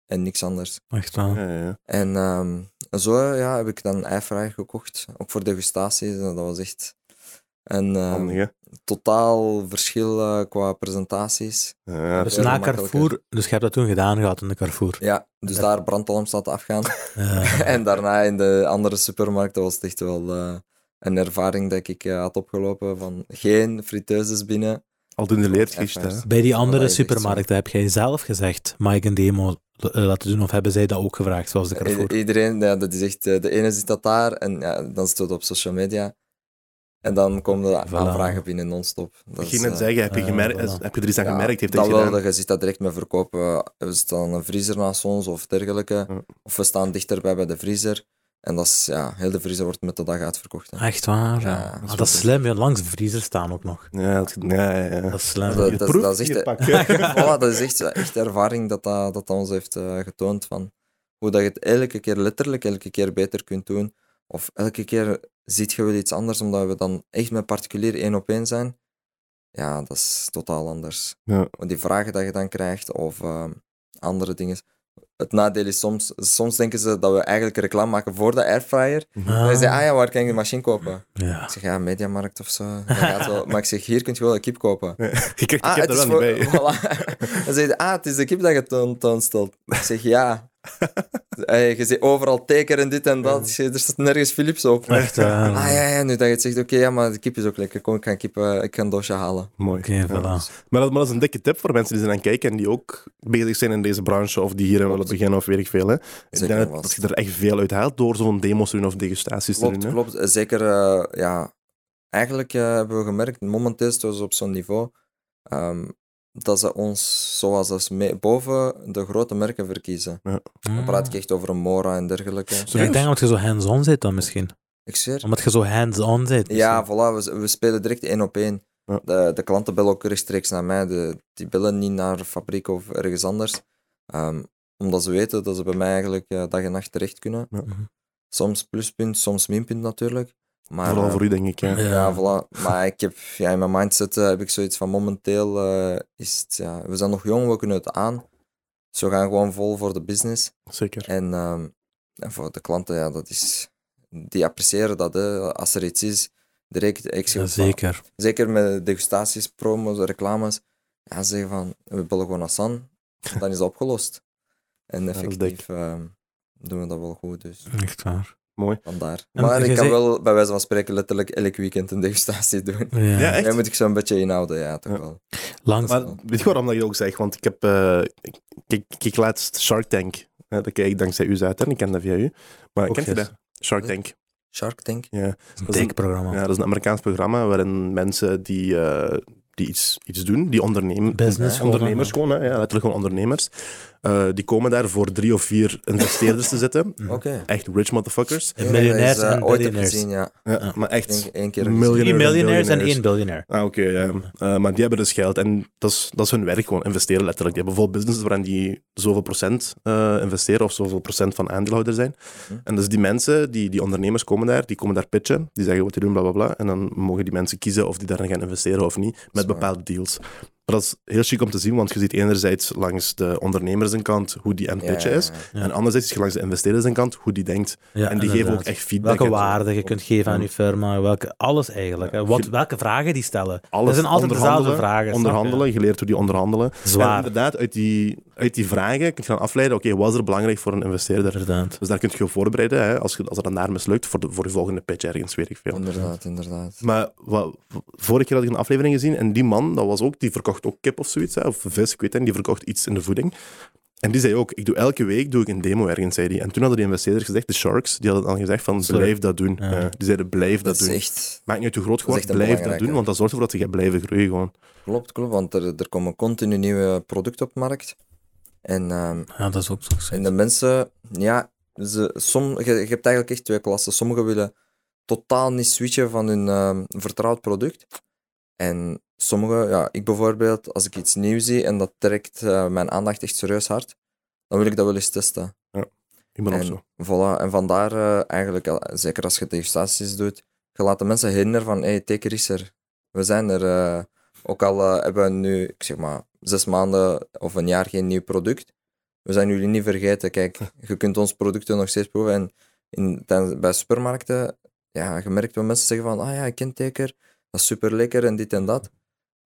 S4: en niks anders.
S2: Echt wel.
S1: Ja, ja, ja.
S4: En ehm, zo ja, heb ik dan airfryer gekocht, ook voor degustaties. En dat was echt... En eh,
S1: Handig, hè?
S4: totaal verschil eh, qua presentaties.
S1: Ja.
S2: Dus
S4: veel
S2: na
S4: gemakkelijker.
S2: Carrefour, dus je hebt dat toen gedaan gehad in de Carrefour.
S4: Ja, dus
S2: Ja.
S4: daar brandalarm staat afgaan.
S2: Eh,
S4: en daarna in de andere supermarkten was het echt wel eh, een ervaring dat ik eh, had opgelopen van geen friteuses binnen.
S1: Al toen de leertgist, hè.
S4: Echt waar.
S2: bij die
S4: dat
S2: andere
S4: is echt zo.
S2: supermarkten heb jij zelf gezegd, mag ik een demo eh, laten doen? Of hebben zij dat ook gevraagd, zoals de Carrefour?
S4: I- iedereen, ja, dat is echt, eh, de ene zit dat daar en ja, dan zit het op social media. En dan komen er
S2: Voilà.
S4: aanvragen binnen non-stop. Dat
S1: Ik
S4: is,
S1: ging net
S4: eh,
S1: zeggen, heb je,
S2: eh,
S1: gemerkt,
S2: voilà.
S1: heb je er iets aan
S4: ja,
S1: gemerkt? Heeft hij
S4: dat
S1: gedaan?
S4: wel, dat je ziet dat direct met verkopen. We staan een vriezer naast ons of dergelijke.
S1: Ja.
S4: Of we staan dichterbij bij de vriezer. En dat is, ja, heel de vriezer wordt met de dag uitverkocht. hè.
S2: Echt waar?
S4: Ja,
S2: Ja,
S4: dat
S2: Ah,
S4: is wel
S2: dat is
S4: goed.
S2: slim, ja, langs de vriezer staan ook nog.
S1: Ja, dat, ja, ja, ja.
S2: Dat is slim.
S4: Dat-
S1: Je
S4: dat-
S1: proeft,
S4: dat is
S1: je
S4: echt-
S1: pakt.
S4: Voilà, dat is echt, echt de ervaring dat dat, dat dat ons heeft eh, getoond. Van hoe dat je het elke keer letterlijk elke keer beter kunt doen. Of elke keer ziet je wel iets anders, omdat we dan echt met particulier één op één zijn. Ja, dat is totaal anders.
S1: Ja.
S4: Want Die vragen dat je dan krijgt of ehm, andere dingen. Het nadeel is soms, soms denken ze dat we eigenlijk reclame maken voor de airfryer. En
S2: Ah,
S4: dan zeggen ah ja, waar kan ik de machine kopen?
S2: ja.
S4: Ik zeg ja, Mediamarkt of zo. Dat gaat wel. Maar ik zeg, hier kun je wel een kip kopen.
S1: Je krijgt
S4: Ah,
S1: ik heb
S4: het
S1: er
S4: is
S1: wel niet bij.
S4: voor- voilà. Dan zeg je, ah, het is de kip dat je toon, toonstelt. Ik zeg, ja. Hey, je ziet overal teken en dit en dat. Ik zeg, er staat nergens Philips op.
S2: Echt waar.
S4: Ah, ja, ja, nu dat je het zegt, oké, ja, maar de kip is ook lekker. Kom, ik ga een, kip, eh, ik ga een doosje halen.
S1: Mooi.
S2: Oké,
S1: Ja.
S2: voilà. Hmm.
S1: Maar, dat, maar dat is een dikke tip voor mensen die zijn aan het kijken en die ook bezig zijn in deze branche of die hier aan willen beginnen of weet ik veel. Hè. Ik
S4: Zeker
S1: denk dat,
S4: wel.
S1: dat je er echt veel uit haalt door zo'n demo's te doen of degustaties te
S4: Klopt,
S1: doen. hè.
S4: klopt. Eh, Zeker, eh, ja. Eigenlijk eh, hebben we gemerkt, momenteel staan ze op zo'n niveau, ehm, dat ze ons, zoals dat ze mee, boven de grote merken verkiezen. Dan praat
S1: Ah.
S4: ik echt over een Mora en dergelijke.
S2: Ja, ik
S1: Serieus?
S2: denk dat je zo hands-on zit dan misschien.
S4: Ik zweer.
S2: Omdat je zo hands-on zit. dus
S4: Ja,
S2: misschien.
S4: voilà, we, we spelen direct één op één.
S1: Dus, eh, Ja.
S4: De, de klanten bellen ook rechtstreeks naar mij. De, die bellen niet naar de fabriek of ergens anders. Ehm, omdat ze weten dat ze bij mij eigenlijk eh, dag en nacht terecht kunnen.
S1: Ja.
S2: Mhm.
S4: Soms pluspunt, soms minpunt natuurlijk. Maar,
S1: Vooral
S4: eh,
S1: voor u, denk ik. hè.
S2: Ja.
S4: ja, voilà. Maar ik heb, ja, in mijn mindset eh, heb ik zoiets van momenteel eh, is het, ja, we zijn nog jong, we kunnen het aan. Dus we gaan gewoon vol voor de business.
S1: Zeker.
S4: En, ehm, en voor de klanten, ja, dat is, die appreciëren dat. Hè. Als er iets is, direct, ik zeg
S2: Ja,
S4: ook van,
S2: zeker.
S4: zeker met degustaties, promos, reclames. Ja, zeggen van, we bellen gewoon Hassan, dan is dat opgelost. En
S1: is
S4: effectief ehm, doen we dat wel goed, dus
S2: Echt waar.
S4: vandaar.
S2: En
S4: Maar
S2: je
S4: ik kan
S2: zei-
S4: wel, bij wijze van spreken, letterlijk elk weekend een degustatie doen.
S2: Ja.
S1: Ja, echt?
S4: Daar moet ik zo'n beetje inhouden, ja, toch
S1: Ja.
S4: wel.
S2: Langs.
S1: Maar weet je waarom dat je dat ook zegt? Want ik heb... eh, ik ik keek laatst Shark Tank. Hè, dat kijk ik dankzij u uit en ik ken dat via u. Maar
S2: Ook
S1: kent je
S2: yes.
S1: dat? Shark Tank.
S4: Shark Tank?
S2: Een dik programma.
S1: Ja, dat is een Amerikaans programma waarin mensen die, eh, die iets, iets doen, die ondernemen,
S2: Business
S1: Ja,
S2: gewoon,
S1: ondernemers
S2: hè.
S1: gewoon, hè, ja, letterlijk gewoon ondernemers. Eh, die komen daar voor drie of vier investeerders te zitten.
S2: Mhm.
S4: Oké.
S1: Echt rich motherfuckers.
S4: Ja, dat
S2: Miljonairs
S4: is, eh,
S2: en
S4: ooit heb
S2: billionaires.
S4: gezien, ja.
S1: Ja, Maar
S4: Ik denk
S1: echt.
S4: één keer
S1: miljoen-
S4: gezien.
S2: Drie miljonairs en
S1: Billionaires.
S2: één biljonair.
S1: Ah, oké. ja. Eh, maar die hebben dus geld en dat is, dat is hun werk gewoon, investeren letterlijk. Die hebben bijvoorbeeld businesses waarin die zoveel procent eh, investeren of zoveel procent van aandeelhouder zijn.
S4: Mhm.
S1: En dus die mensen, die, die ondernemers komen daar, die komen daar pitchen, die zeggen wat die doen, bla bla bla. En dan mogen die mensen kiezen of die daarin gaan investeren of niet, met
S4: Smart.
S1: bepaalde deals. Maar dat is heel chic om te zien, want je ziet enerzijds langs de ondernemers een kant hoe die aan het
S4: Ja,
S1: pitchen
S4: ja,
S1: is.
S4: ja.
S2: Ja.
S1: En anderzijds is je langs de investeerders een kant hoe die denkt.
S2: Ja,
S1: en die geven
S2: inderdaad.
S1: ook echt feedback.
S2: Welke
S1: en zo.
S2: waarde je kunt geven aan je firma, welke, alles eigenlijk. hè. Wat,
S1: Ge-
S2: welke vragen die stellen.
S1: Alles
S2: dat zijn altijd dezelfde
S1: onderhandelen,
S2: vragen. snap je?
S1: Onderhandelen, je leert hoe die onderhandelen. En
S2: Zwaar.
S1: inderdaad, uit die, uit die vragen kun je gaan afleiden, oké, wat is er belangrijk voor een investeerder?
S2: Inderdaad.
S1: Dus daar kun je je voorbereiden, hè, als, je, als het dan daar mislukt, voor de, voor de volgende pitch ergens, weet ik veel.
S4: Inderdaad, inderdaad.
S1: Maar wa- vorige keer had ik een aflevering gezien en die man, dat was ook, die verkocht ook kip of zoiets, hè, of vis, ik weet het, en die verkocht iets in de voeding. En die zei ook, ik doe elke week doe ik een demo ergens, zei die. En toen hadden die investeerders gezegd, de sharks, die hadden dan gezegd van,
S2: Sorry.
S1: blijf dat doen.
S2: Ja.
S1: Ja, die zeiden, blijf dat,
S4: Dat is
S1: doen.
S4: echt...
S1: Maakt niet uit hoe groot
S4: is
S1: gewoon,
S4: echt een
S1: blijf dat
S4: belangrijke.
S1: doen, want dat zorgt ervoor dat je gaat blijven groeien gewoon.
S4: Klopt, klopt, want er, er komen continu nieuwe producten op de markt. En, ehm,
S1: Ah,
S2: Ja, dat is ook zo.
S4: en de mensen, ja, ze, som, je, je hebt eigenlijk echt twee klassen. Sommigen willen totaal niet switchen van hun ehm, vertrouwd product. En sommigen, ja, ik bijvoorbeeld, als ik iets nieuws zie en dat trekt eh, mijn aandacht echt serieus hard, dan wil ik dat wel eens testen.
S1: Ik ben ook
S4: En-
S1: zo.
S4: Voilà, en vandaar eh, eigenlijk, eh, zeker als je degustaties doet, je laat de mensen herinneren van, hey, teken is er. We zijn er. eh. ook al eh, hebben we nu, ik zeg maar, zes maanden of een jaar geen nieuw product, we zijn jullie niet vergeten. Kijk, je kunt ons producten nog steeds proeven. En in, tijdens- bij supermarkten, ja, je merkt wel mensen zeggen van, ah ja, ik ken teker. dat is super lekker en dit en dat.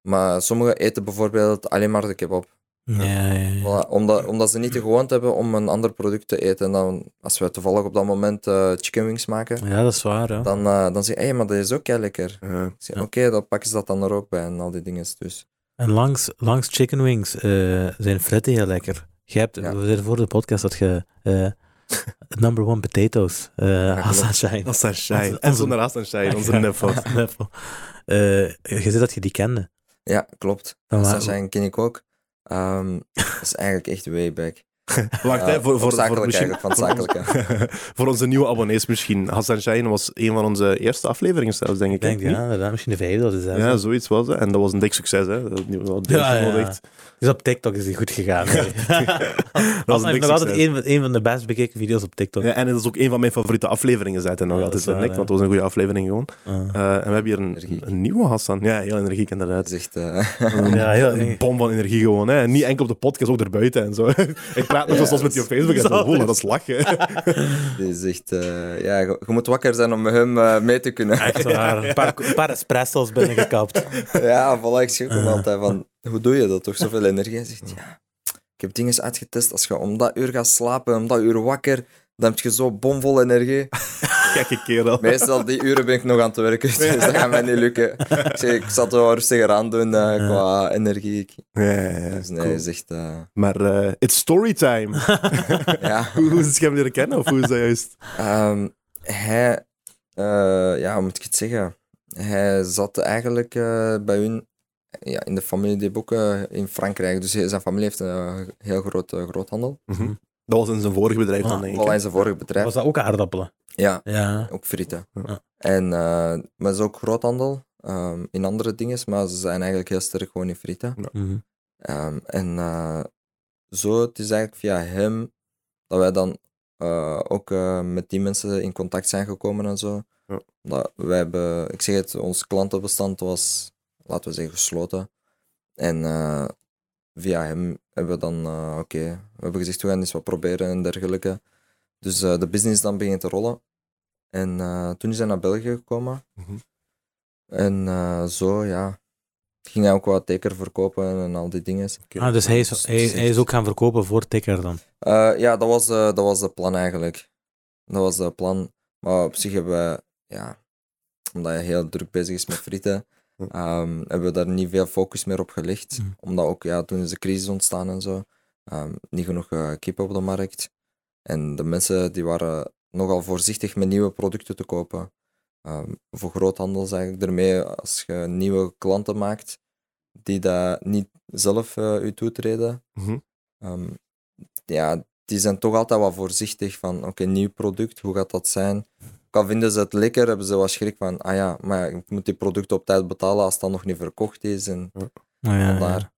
S4: Maar sommigen eten bijvoorbeeld alleen maar de kebab.
S2: Ja, ja, ja.
S4: Voilà, omdat, omdat ze niet de gewoonte hebben om een ander product te eten. En dan, als we toevallig op dat moment eh, chicken wings maken,
S2: Ja, dat is waar. Ja.
S4: dan, eh, dan zeg je, hé, maar dat is ook heel lekker.
S1: Eh,
S4: Ik zeg,
S2: Ja.
S4: Oké, dan pakken ze dat dan er ook bij en al die dingen. Dus
S2: En langs, langs chicken wings eh, zijn fretten heel lekker. Jij hebt,
S4: Ja.
S2: We zeiden voor de podcast dat je eh, number one potatoes eh
S4: klopt.
S2: Hassan zijn.
S1: dat is Sunshine.
S2: Onze-
S1: En zonder haast Sunshine, onze neffel.
S2: Eh, je zei dat je die kende.
S4: ja, klopt. Dus
S2: Dan wa-
S4: Dat zijn ken ik ook. Ehm, dat is eigenlijk echt way back.
S1: Wacht, hè,
S4: Ja,
S1: voor, voor, voor,
S4: zakelijk
S1: misschien,
S4: eigenlijk, van zakelijke.
S1: voor onze nieuwe abonnees misschien. Hassan Shine was een van onze eerste afleveringen zelfs, denk ik.
S2: Ik denk,
S1: hè?
S2: ja, inderdaad, misschien de vijfde of de zesde.
S1: Ja, zoiets was het. En dat was een dik succes, hè. Dat, dat,
S2: Ja, ja, ja.
S1: dat
S2: Dus op TikTok is die goed gegaan.
S1: was
S2: Dat
S1: een
S2: is
S1: dik
S2: nog altijd
S1: succes.
S2: een, van- een van de best bekeken video's op TikTok.
S1: Ja, en dat is ook een van mijn favoriete afleveringen, zei hij nog
S2: Ja,
S1: altijd.
S2: dat is
S1: Dat
S2: waar,
S1: Nick,
S2: ja.
S1: want het was een goede aflevering gewoon.
S2: Ah.
S1: Eh, en we hebben hier
S4: Energiek.
S1: een, een nieuwe Hassan. Ja, heel energiek
S4: Dat
S1: inderdaad.
S4: is echt... eh,
S1: Een,
S2: Ja, heel
S1: een
S2: energiek.
S1: bom van energie gewoon. Hè. En niet enkel op de podcast, ook erbuiten en zo. Ik praat nog
S4: Ja,
S1: zoals met je op Facebook. En
S2: dat is
S1: zo, wow,
S2: altijd-
S1: dat is lachen.
S4: die is echt eh, ja, je, je moet wakker zijn om met hem eh, mee te kunnen.
S2: Echt waar. Een paar, een paar espresso's binnengekapt.
S4: Ja, voilà, ik schrik hem altijd van, hoe doe je dat toch, zoveel energie? Hij zegt, ja, ik heb dingen uitgetest, als je om dat uur gaat slapen, om dat uur wakker, dan heb je zo bomvol energie.
S1: Gekke kerel.
S4: Meestal die uren ben ik nog aan het werken, dus dat gaat mij niet lukken. Ik, zeg, ik zal het wel rustiger aan doen eh, qua energie. Ik-
S1: Ja, ja, ja,
S4: Dus nee,
S1: cool.
S4: is echt, eh,
S1: Maar eh it's storytime.
S4: ja.
S1: hoe, hoe is het je hem leren kennen? Of hoe is dat juist?
S4: Ehm, hij, eh, ja, hoe moet ik het zeggen? Hij zat eigenlijk eh, bij hun ja, in de familie die boeken in Frankrijk. Dus hij- zijn familie heeft een eh, heel groot eh, groothandel.
S1: Dat was in zijn vorige bedrijf dan,
S2: Mhm. Ah,
S1: denk ik.
S4: Al in zijn vorige bedrijf.
S2: Was dat ook aardappelen?
S4: Ja,
S2: Ja.
S4: ook frieten.
S2: Ja.
S4: En, eh, maar ze is ook groothandel ehm, in andere dingen, maar ze zijn eigenlijk heel sterk gewoon in frieten.
S2: Mhm.
S4: Ehm, en eh, zo, het is eigenlijk via hem dat wij dan eh, ook eh, met die mensen in contact zijn gekomen en zo.
S1: Ja.
S4: Dat wij hebben, ik zeg het, ons klantenbestand was, laten we zeggen, gesloten. En eh, via hem hebben we dan, eh, oké, we hebben gezegd, we gaan eens wat proberen en dergelijke. Dus eh, de business dan begint te rollen. En eh, toen is hij naar België gekomen.
S1: Mhm.
S4: En eh, zo, ja. Ging hij ook wat teker verkopen en al die dingen.
S2: Ah, dus hij is,
S4: Dus-
S2: hij,
S4: dus
S2: hij is ook gaan verkopen voor Tikker dan.
S4: Eh, ja, dat was, eh dat was de plan eigenlijk. Dat was de plan. Maar op zich hebben we, ja, omdat hij heel druk bezig is met frieten,
S1: Hm.
S4: ehm, hebben we daar niet veel focus meer op gelegd.
S2: Hm.
S4: Omdat ook, ja, toen is de crisis ontstaan en zo, ehm, niet genoeg eh kip op de markt. En de mensen die waren nogal voorzichtig met nieuwe producten te kopen. Ehm, voor groothandel zeg ik ermee, als je nieuwe klanten maakt, die dat niet zelf eh u toetreden,
S1: Mhm.
S4: ehm, ja, die zijn toch altijd wat voorzichtig van, oké, nieuw product, hoe gaat dat zijn? Ook al vinden ze het lekker, hebben ze wat schrik van, ah ja, maar ja, ik moet die producten op tijd betalen als dat nog niet verkocht is en
S2: Ja, Ah, ja,
S4: vandaar.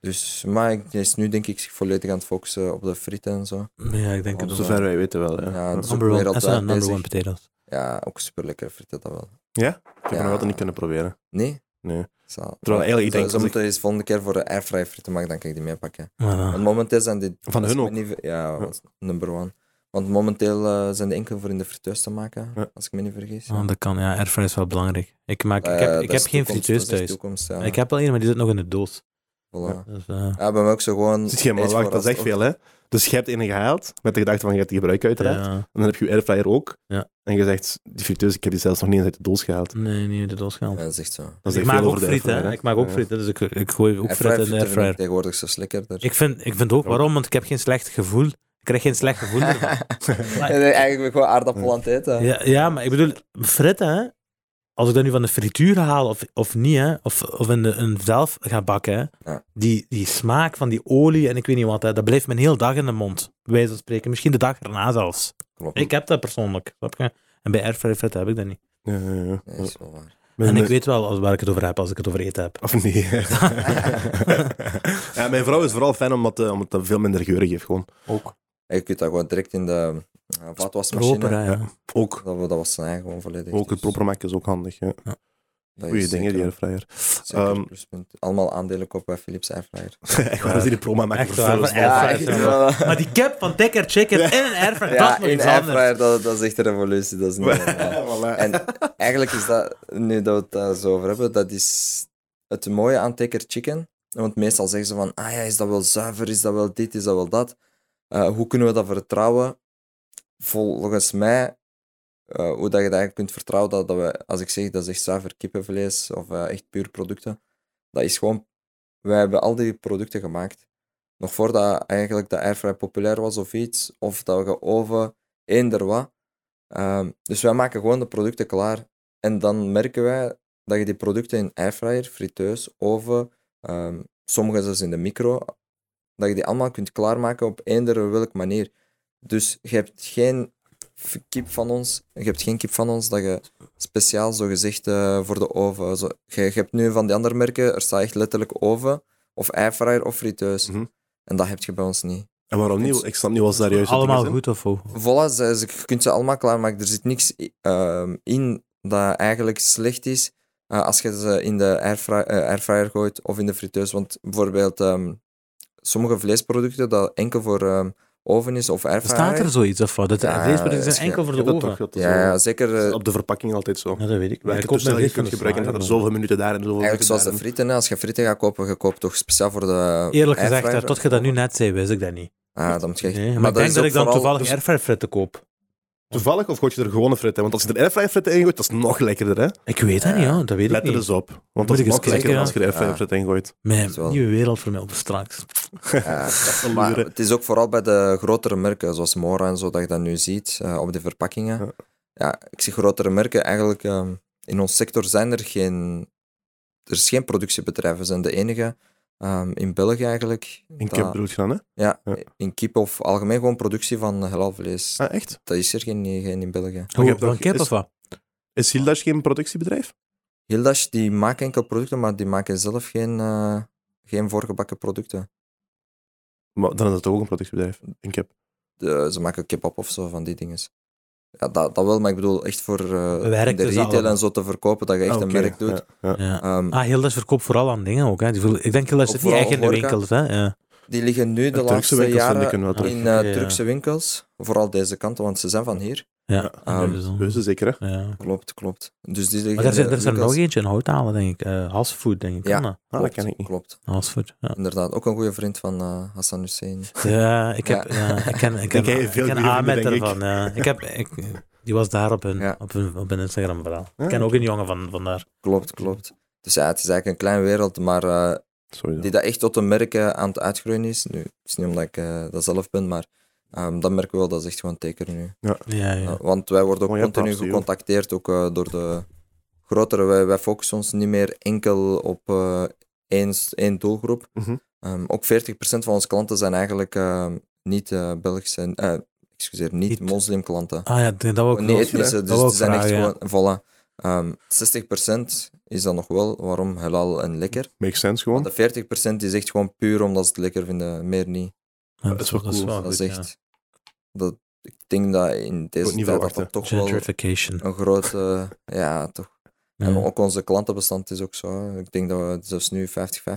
S4: Dus, maar ik- hij is nu denk ik zich volledig aan het focussen op de frieten en zo.
S2: ja, ik denk
S4: Want
S2: het
S4: ze
S2: ook.
S1: Zover wij weten wel, ja.
S4: Ja,
S1: ja
S4: dat is
S2: Number one,
S4: wereldwijd
S2: dat zijn number
S4: bezig.
S2: one potatoes.
S4: Ja, ook super lekker frieten dat wel.
S1: Ik heb nog
S4: ja.
S1: altijd niet kunnen proberen.
S4: Nee?
S1: Nee.
S4: Zal.
S1: Terwijl eigenlijk, ik
S4: Zo-
S1: denk
S4: Ze
S1: als
S4: moeten eens volgende keer voor de airfryer frieten maken, dan kan ik die meepakken. Want
S2: Voilà.
S4: Ah. momenteel zijn die...
S1: Van
S4: als
S1: hun
S4: ik me
S1: ook?
S4: niet ver- ja,
S1: Ja.
S4: was number one. Want momenteel eh, zijn die enkel voor in de friteus te maken,
S1: Ja.
S4: als ik me niet vergis.
S2: Ah, dat kan, ja. Airfryer is wel belangrijk. Ik, maak, ik
S4: Eh,
S2: heb,
S4: dat
S2: ik
S4: is
S2: heb geen
S4: toekomst,
S2: frituurs
S4: dat is echt
S2: thuis.
S4: toekomst, ja.
S2: Ik heb wel één, maar die zit nog in de doos.
S4: Voilà.
S2: Dus, eh,
S4: Ja, bij mij ook zo gewoon...
S1: Zit je, maar
S4: eet
S1: wacht,
S4: voor
S1: dat is echt
S4: als-
S1: veel, hè. Dus je hebt een gehaald, met de gedachte van je gaat die gebruiken uiteraard.
S2: ja.
S1: En dan heb je je airfryer ook.
S2: Ja.
S1: En je zegt, die friteus, ik heb die zelfs nog niet eens uit de doos gehaald.
S2: Nee, niet in de doos gehaald.
S4: Ja, dat is echt zo.
S1: Dat is
S2: ik
S1: echt
S2: maak
S1: veel
S2: ook
S1: over de
S2: friet, hè.
S1: airfryer,
S2: Ik maak ook
S1: Ja.
S2: frites, dus ik, ik gooi ook frieten
S4: Airfryer
S2: in de
S4: frieten vind ik
S2: airfryer.
S4: tegenwoordig zo dus- lekkerder.
S2: Ik vind, ik vind ook, waarom? Want ik heb geen slecht gevoel. Ik krijg geen slecht gevoel ervan. Maar-
S4: Nee, eigenlijk ben ik gewoon aardappel aan het eten.
S2: Ja, ja, maar ik bedoel, fritten, hè, als ik dat nu van de frituur haal of, of niet, hè, of, of in de, een zelf ga bakken, hè,
S4: Ja.
S2: die, die smaak van die olie en ik weet niet wat, hè, dat blijft mijn heel dag in de mond, bij wijze van spreken. Misschien de dag erna zelfs.
S4: Klopt.
S2: Ik heb dat persoonlijk, snap je? En bij airfryer fritten heb ik dat niet.
S1: Ja, ja, ja.
S4: Nee, dat is wel waar.
S1: Mijn-
S2: en ik weet wel als- waar ik het over heb als ik het over eten heb.
S1: Of nee. ja, mijn vrouw is vooral fan omdat, eh, omdat dat veel minder geuren geeft. Gewoon.
S2: Ook.
S4: Je kunt dat gewoon direct in de eh,
S2: Proper,
S4: vaatwasmachine.
S2: hè, ja.
S1: Ook,
S4: Dat, dat was zijn eigen gewoon volledig.
S1: ook het
S4: dus-
S1: proper maken is ook handig. Ja.
S2: Ja.
S4: Dat
S1: Goeie
S4: is
S1: dingen, die
S4: zeker-
S1: airfryer.
S4: zeker
S1: Ehm,
S4: pluspunt. Allemaal aandelen kopen bij Philips Airfryer.
S1: Echt waar, als die de promo maken
S2: Echt
S1: voor
S2: waar,
S1: Philips.
S2: van Airfryer.
S1: Ja, echt.
S2: ja. Maar die cap van Tech Air Chicken in een airfryer, dat
S4: Ja,
S2: is nog
S4: in
S2: iets anders.
S4: Airfryer, dat, dat is echt een revolutie. Dat is niet normaal.
S1: Voilà.
S4: En eigenlijk is dat, nu dat we het daar zo over hebben, dat is het mooie aan Taker Chicken. Want meestal zeggen ze van, ah ja, is dat wel zuiver, is dat wel dit, is dat wel dat. Eh, hoe kunnen we dat vertrouwen? Volgens mij, eh, hoe dat je dat eigenlijk kunt vertrouwen, dat, dat we, als ik zeg dat is echt zuiver kippenvlees of eh, echt puur producten, dat is gewoon, wij hebben al die producten gemaakt. Nog voordat eigenlijk de airfryer populair was of iets, of dat we oven, eender wat. Ehm, dus wij maken gewoon de producten klaar. En dan merken wij dat je die producten in airfryer, friteus, oven, ehm sommige zelfs in de micro, dat je die allemaal kunt klaarmaken op eender welke manier. Dus je hebt geen f- kip van ons, je hebt geen kip van ons dat je speciaal zo gezegd eh, voor de oven. Zo, je, je hebt nu van die andere merken, er staat echt letterlijk oven of airfryer of friteus.
S1: Mhm.
S4: En dat heb je bij ons niet.
S1: En waarom niet? Ik snap niet wat daar juist
S2: Allemaal goed of hoe?
S4: Voilà, ze, ze- je kunt ze allemaal klaarmaken. Er zit niks i- ehm, in dat eigenlijk slecht is eh, als je ze in de airfryer, airfryer gooit of in de friteus. Want bijvoorbeeld ehm, sommige vleesproducten dat enkel voor ehm, oven is of airfryer.
S2: Bestaat er zoiets of wat? Dat
S4: Ja,
S2: deze producten
S4: is
S2: zijn enkel voor de
S1: Ja, dat toch,
S2: oven.
S1: dat is
S4: Ja,
S1: zo.
S4: ja, zeker. eh,
S1: Dat is op de verpakking altijd zo.
S2: Ja, dat weet ik. Maar
S1: Welke
S2: koop mijn
S1: toestellen je
S2: vlees van
S1: kunt
S2: de
S1: gebruiken, dat er
S2: slager,
S1: zoveel minuten daar en zoveel minuten
S4: eigenlijk zoals de
S1: daar.
S4: frieten. hè. Als je frieten gaat kopen, je koopt toch speciaal voor de
S2: man. Eerlijk gezegd,
S4: airfryer
S2: hè, tot je dat nu net zei, wist ik dat niet.
S4: Ah, dan moet je echt-
S2: Nee, maar, ik
S4: dat
S2: denk
S4: is
S2: dat
S4: ook
S2: ik dan
S4: vooral-
S2: toevallig
S4: dus-
S2: airfryer fritten koop.
S1: Toevallig of gooi je er gewone fritten? Want als je er airfryer fritten in gooit, dat is nog lekkerder, hè?
S2: Ik weet dat niet, hoor. dat weet ik
S1: Let er
S2: niet.
S1: eens op. Want
S2: Moet
S1: dat
S2: ik
S1: is nog
S2: eens
S1: lekkerder
S2: kijken, Ah,
S1: als je er airfryer
S4: ja.
S1: fritten in gooit.
S2: Mijn
S4: Dat is dus wel-
S2: nieuwe wereld voor mij op straks.
S4: Ja,
S1: wel
S4: maar
S1: luren.
S4: het is ook vooral bij de grotere merken, zoals Mora en zo, dat je dat nu ziet eh, op de verpakkingen.
S1: Ja.
S4: Ja. ik zie grotere merken eigenlijk. ehm, in ons sector zijn er geen. Er is geen productiebedrijf. We zijn de enige ehm, in België eigenlijk.
S1: In
S4: dat-
S1: kip bedoel je dan, hè?
S4: Ja,
S1: Ja.
S4: in kip of algemeen gewoon productie van halal vlees.
S1: Ah, echt?
S4: Dat is er geen, geen in België.
S1: je
S2: Hoe,
S1: hebt
S2: van
S1: ook-
S2: kip
S1: is-
S2: of wat?
S1: Is Hildash geen productiebedrijf?
S4: Hildash die maken enkel producten, maar die maken zelf geen, eh, geen voorgebakken producten.
S1: Maar dan is dat toch ook een productiebedrijf. In kip.
S4: De- ze maken kebab of zo van die dingen. Ja, dat, dat wel, maar ik bedoel echt voor eh,
S2: Werk
S4: in de
S2: dus
S4: retail
S2: allemaal.
S4: en zo te verkopen dat je echt
S1: Ah,
S4: een
S1: oké,
S4: merk doet.
S1: ja, ja.
S2: Ja.
S4: Ehm,
S2: Ah, Hildes verkoopt vooral aan dingen ook. Hè. Die voel- ik denk Hildes zit
S4: Ook
S2: niet
S4: vooral
S2: echt in de
S4: horeca.
S2: winkels. Hè. Ja.
S4: die liggen nu
S1: De
S4: de
S1: Turkse
S4: laatste
S1: winkels vind ik
S4: jaren
S1: een wel
S2: Ah.
S1: terug.
S4: in
S2: Ja,
S4: eh,
S2: ja.
S4: Turkse winkels. Vooral deze kant, want ze zijn van hier.
S2: Ja.
S4: Ja, Ah, dus-
S2: dat is zo.
S1: Heuze zeker, hè? Ah,
S2: Ja.
S4: Klopt, klopt. Dus die liggen
S2: Maar daar
S4: in
S2: zit-
S4: de
S2: er is er nog
S4: winkels.
S2: eentje in Houthalen, denk ik. eh Hasfood, denk ik.
S4: Ja.
S2: kan dat?
S1: Ah, dat
S4: Klopt,
S1: ken ik niet.
S4: Klopt,
S2: Hasfood, ja.
S4: inderdaad. Ook een goede vriend van eh, Hassan Hussein.
S2: Ja, ik, heb,
S4: Ja.
S2: ja, ik ken, ik
S1: ken
S2: ken,
S1: je
S2: ik
S1: veel
S2: ken
S1: goede
S2: Ahmed
S1: vrienden, denk ik.
S2: ervan. Ja. Ik heb, ik, die was daar op hun,
S4: Ja.
S2: op hun, op hun Instagram verhaal.
S1: Ja,
S2: Ik ken ook een jongen van, van daar.
S4: Klopt, klopt. Dus ja, het is eigenlijk een klein wereld, maar eh,
S1: Sorry.
S4: die dat echt tot een merk eh, aan het uitgroeien is. Nu, het is niet omdat ik eh, dat zelf ben, maar ehm, dat merk ik wel, dat is echt gewoon teker nu.
S2: Ja, ja.
S4: Ja, Eh, want wij worden ook
S1: Mooie
S4: continu
S1: props, joh.
S4: gecontacteerd, ook eh, door de grotere. Wij, wij focussen ons niet meer enkel op eh, één, s- één doelgroep.
S1: Mhm.
S4: Ehm, ook 40% van onze klanten zijn eigenlijk ehm, niet eh Belgische, eh, excuseer, niet,
S2: Niet-
S4: moslimklanten.
S2: Ah ja, dat wou ik
S4: niet
S2: nog-
S1: eh,
S4: etnische,
S2: dat
S4: dus
S2: wou
S4: ze
S2: ik
S4: zijn echt
S2: vragen, ja.
S4: gewoon, voilà. Ehm, 60% is dan nog wel, waarom halal en lekker.
S1: Makes sense
S4: Maar
S1: gewoon.
S4: de 40% is echt gewoon puur omdat ze het lekker vinden, meer niet.
S2: Ja,
S1: dat is wel cool.
S4: Dat is
S2: goed,
S4: echt... Dat, ik denk dat in deze
S1: niet
S4: tijd dat
S1: verwachten.
S4: dat toch
S2: ja.
S4: wel
S2: Gentrification.
S4: een grote, ja, toch.
S2: Ja.
S4: En ook onze klantenbestand is ook zo. hè. Ik denk dat we zelfs nu 50-50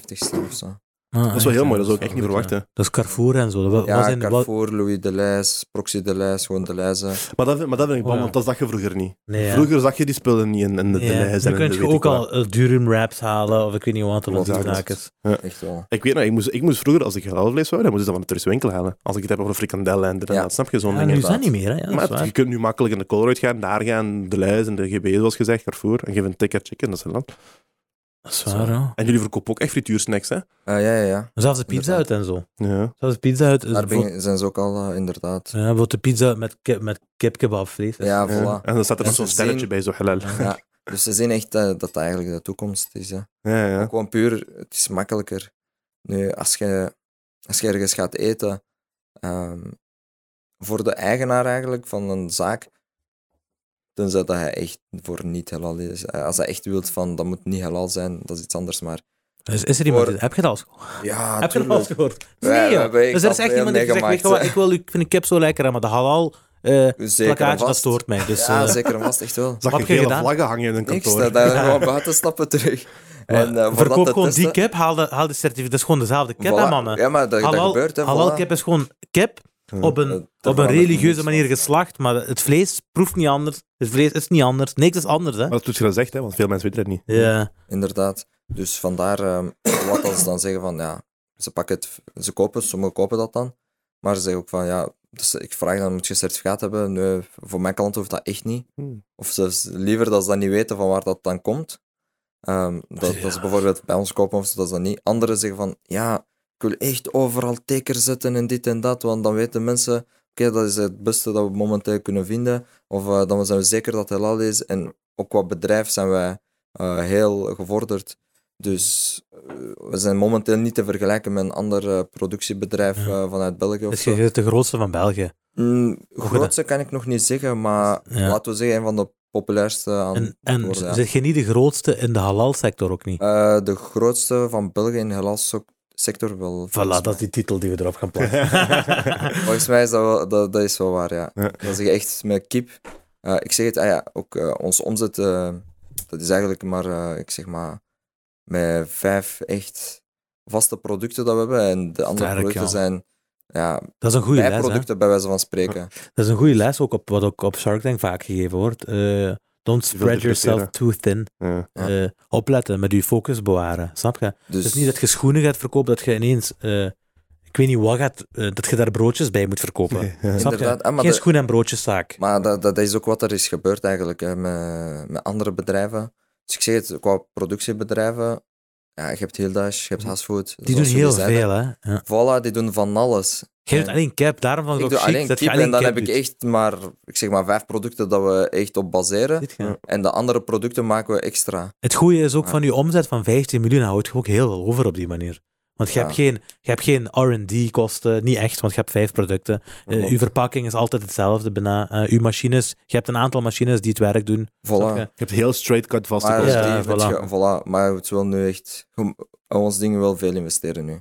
S4: staan of zo.
S2: Ah,
S1: Dat is wel heel mooi, dat zou
S2: is
S1: ik echt
S2: wel
S1: niet
S2: goed, ja.
S1: verwachten.
S2: Dat is Carrefour en zo. Dat wa- was
S4: Ja,
S2: in, wat,
S4: Carrefour, Louis de Lijs, Proxy de Lijs, gewoon de Lijzen.
S1: Maar dat, vind- maar dat vind ik bang,
S2: Oh, ja.
S1: want dat zag je vroeger niet.
S2: nee, ja.
S1: Vroeger zag je die spullen niet in, in de
S2: Ja,
S1: lijst. en
S2: Dan
S1: in
S2: kun
S1: de
S2: je
S1: weet ik
S2: ook
S1: wat.
S2: al eh, Durum wraps halen, of ik weet niet wat, of
S4: Klopt,
S2: die
S4: ja, klopt.
S2: knakkers.
S4: Echt wel.
S1: Ik weet nog, ik moest, ik moest vroeger, als ik halal vlees wou, dan moest ik dat van de Turkse winkel halen. Als ik het heb over frikandellen en dit en
S4: Ja.
S1: dat, snap je zo'n
S2: Ja,
S1: ding.
S2: nu is dat
S4: inderdaad.
S2: niet meer, hè. Ja, dat is
S1: maar
S2: waar.
S1: je kunt nu makkelijk in de Colruyt gaan, daar gaan, de Luis en de GB, zoals gezegd, Carrefour. En geef een ticker chicken, dat is een land.
S2: Dat is waar, ja.
S1: En jullie verkopen ook echt frituursnacks, hè?
S4: Eh, ja, ja, ja.
S2: Zelfs de pizza uit
S4: Inderdaad.
S2: en zo.
S1: Ja.
S2: Zelfs Dus de pizza uit is
S4: Daar
S2: bijvoorbeeld-
S4: ben- zijn ze ook al, eh, inderdaad.
S2: Ja, bijvoorbeeld de pizza met, kip, met kipkebabvlees. Dat is-
S4: Ja,
S1: Ja.
S4: voilà.
S1: En dan staat er
S4: En
S1: nog zo'n
S4: ze
S1: sterretje
S4: zien-
S1: bij, zo halal.
S2: Ja.
S4: Ja. Dus ze zien echt eh, dat dat eigenlijk de toekomst is. Hè.
S1: Ja, ja.
S4: Gewoon puur, het is makkelijker. Nu, als je, als je ergens gaat eten, ehm, voor de eigenaar eigenlijk van een zaak, tenzij dat hij echt voor niet halal is. Eh, Als hij echt wilt van, dat moet niet halal zijn, dat is iets anders, maar...
S2: Is, is er iemand?
S4: Voor-
S2: Heb je dat al gehoord?
S4: Ja,
S2: Heb je dat al
S4: tuurlijk.
S2: gehoord?
S4: Wij-
S2: Nee,
S4: wij
S2: joh.
S4: hebben echt
S2: Dus er is
S4: al
S2: echt
S4: veel
S2: iemand die zegt, weet
S4: meegemaakt,
S2: je wat,
S4: hè.
S2: ik, wil, ik vind de kip zo lekker, hè, maar de halal eh
S4: Zeker en
S2: plakkaatje, dat
S4: vast.
S2: stoort mij. Dus,
S4: ja,
S2: eh,
S4: zeker en vast, echt wel.
S1: Zag
S2: Wat
S1: je
S2: heb je
S1: gele
S2: gedaan?
S1: vlaggen hangen in een
S4: Ik
S1: kantoor?
S4: sta daar gewoon buiten stappen terug. En, eh, voor dat
S2: verkoop
S4: te
S2: gewoon die
S4: testen-
S2: cap, haal de, haal de certificaat. Dat is gewoon dezelfde cap, hè,
S4: Voilà.
S2: mannen.
S4: Ja, maar dat, dat
S2: halal,
S4: gebeurt, hè.
S2: halal
S4: voilà.
S2: cap is gewoon cap op
S4: Eh,
S2: een,
S4: daar
S2: op een
S4: verandert
S2: religieuze
S4: niks
S2: manier
S4: van.
S2: geslacht, maar het vlees proeft niet anders. Het vlees is niet anders. Niks is anders, hè.
S1: Maar dat doet je gezegd, hè, want veel mensen weten het niet.
S2: Ja.
S4: Inderdaad. Dus vandaar ehm, wat als ze dan zeggen van ja, ze pakken het, ze kopen, sommigen kopen dat dan. Maar ze zeggen ook van ja, dus ik vraag dan moet je een certificaat hebben. Nee, voor mijn klant hoeft dat echt niet.
S1: Hmm.
S4: Of zelfs liever dat ze dan niet weten van waar dat dan komt. Ehm, dat, dat ze bijvoorbeeld bij ons kopen of ze dat ze dat niet. Anderen zeggen van ja, ik wil echt overal tekens zetten en dit en dat, want dan weten mensen, oké, dat is het beste dat we momenteel kunnen vinden. Of eh, dan zijn we zeker dat het halal is. En ook qua bedrijf zijn wij eh, heel gevorderd. Dus eh, we zijn momenteel niet te vergelijken met een ander eh, productiebedrijf
S2: Ja.
S4: eh, vanuit België. Of
S2: Dus
S4: zo.
S2: je bent de grootste van België.
S4: Mm,
S2: Goed,
S4: grootste kan ik nog niet zeggen, maar
S2: Ja.
S4: laten we zeggen, een van de populairste aan
S2: En, en
S4: worden, ja.
S2: zit je niet de grootste in de halal-sector ook niet?
S4: Eh, de grootste van België in de halalsector wel.
S2: Voilà,
S4: volgens
S2: dat is die titel die we erop gaan plakken.
S4: Volgens mij is dat wel, dat, dat is wel waar, ja.
S1: Ja.
S4: Dat is echt met kip. Eh, ik zeg het, ah ja, ook eh, onze omzet, eh, dat is eigenlijk maar, eh, ik zeg maar, met vijf echt vaste producten dat we hebben. En de andere
S2: Sterk,
S4: producten
S2: ja.
S4: zijn ja,
S2: Dat is een goede les, hè.
S4: bijproducten, bij wijze van spreken.
S2: Dat is een goede les, ook op, wat ook op Shark Tank vaak gegeven wordt. Eh, don't spread yourself
S1: diversifieren.
S2: too thin.
S1: Ja.
S4: Ja.
S2: Eh, opletten, met je focus bewaren. Snap je?
S4: Dus,
S2: Het is niet dat je schoenen gaat verkopen, dat je ineens, eh, ik weet niet wat gaat, eh, dat je daar broodjes bij moet verkopen. Snap je?
S4: Inderdaad, ah, maar
S2: Geen
S4: de-
S2: schoen- en broodjeszaak.
S4: Maar dat, dat is ook wat er is gebeurd eigenlijk hè, met, met andere bedrijven. Dus ik zeg het, qua productiebedrijven, ja, je hebt Hildash, je hebt Hasfood.
S2: Die doen
S4: zoals
S2: heel
S4: jullie zeiden.
S2: veel, hè. Ja.
S4: Voilà, die doen van alles.
S2: Je doet
S4: Ja.
S2: alleen cap, daarom van
S4: Ik
S2: het
S4: doe
S2: ook chic
S4: alleen
S2: dat
S4: kip
S2: je alleen
S4: en dan
S2: cap
S4: heb ik
S2: doet.
S4: echt maar, ik zeg maar vijf producten dat we echt op baseren.
S2: Ziet je?
S4: En de andere producten maken we extra.
S2: Het goede is ook
S4: Ja.
S2: van je omzet van 15 miljoen houdt je ook heel veel over op die manier. Want je
S4: Ja.
S2: hebt geen, je hebt geen R&D-kosten, niet echt, want je hebt vijf producten. Eh,
S4: Klopt.
S2: uw verpakking is altijd hetzelfde bijna. Eh, uw machines, je hebt een aantal machines die het werk doen. Snap je?
S4: Voilà.
S1: Je hebt heel straight cut vaste
S4: Maar,
S1: kosten.
S2: Ja.
S1: Ja.
S4: die met
S2: voilà.
S4: ge- voilà. maar het wil nu echt, in ons dingen wel veel investeren nu.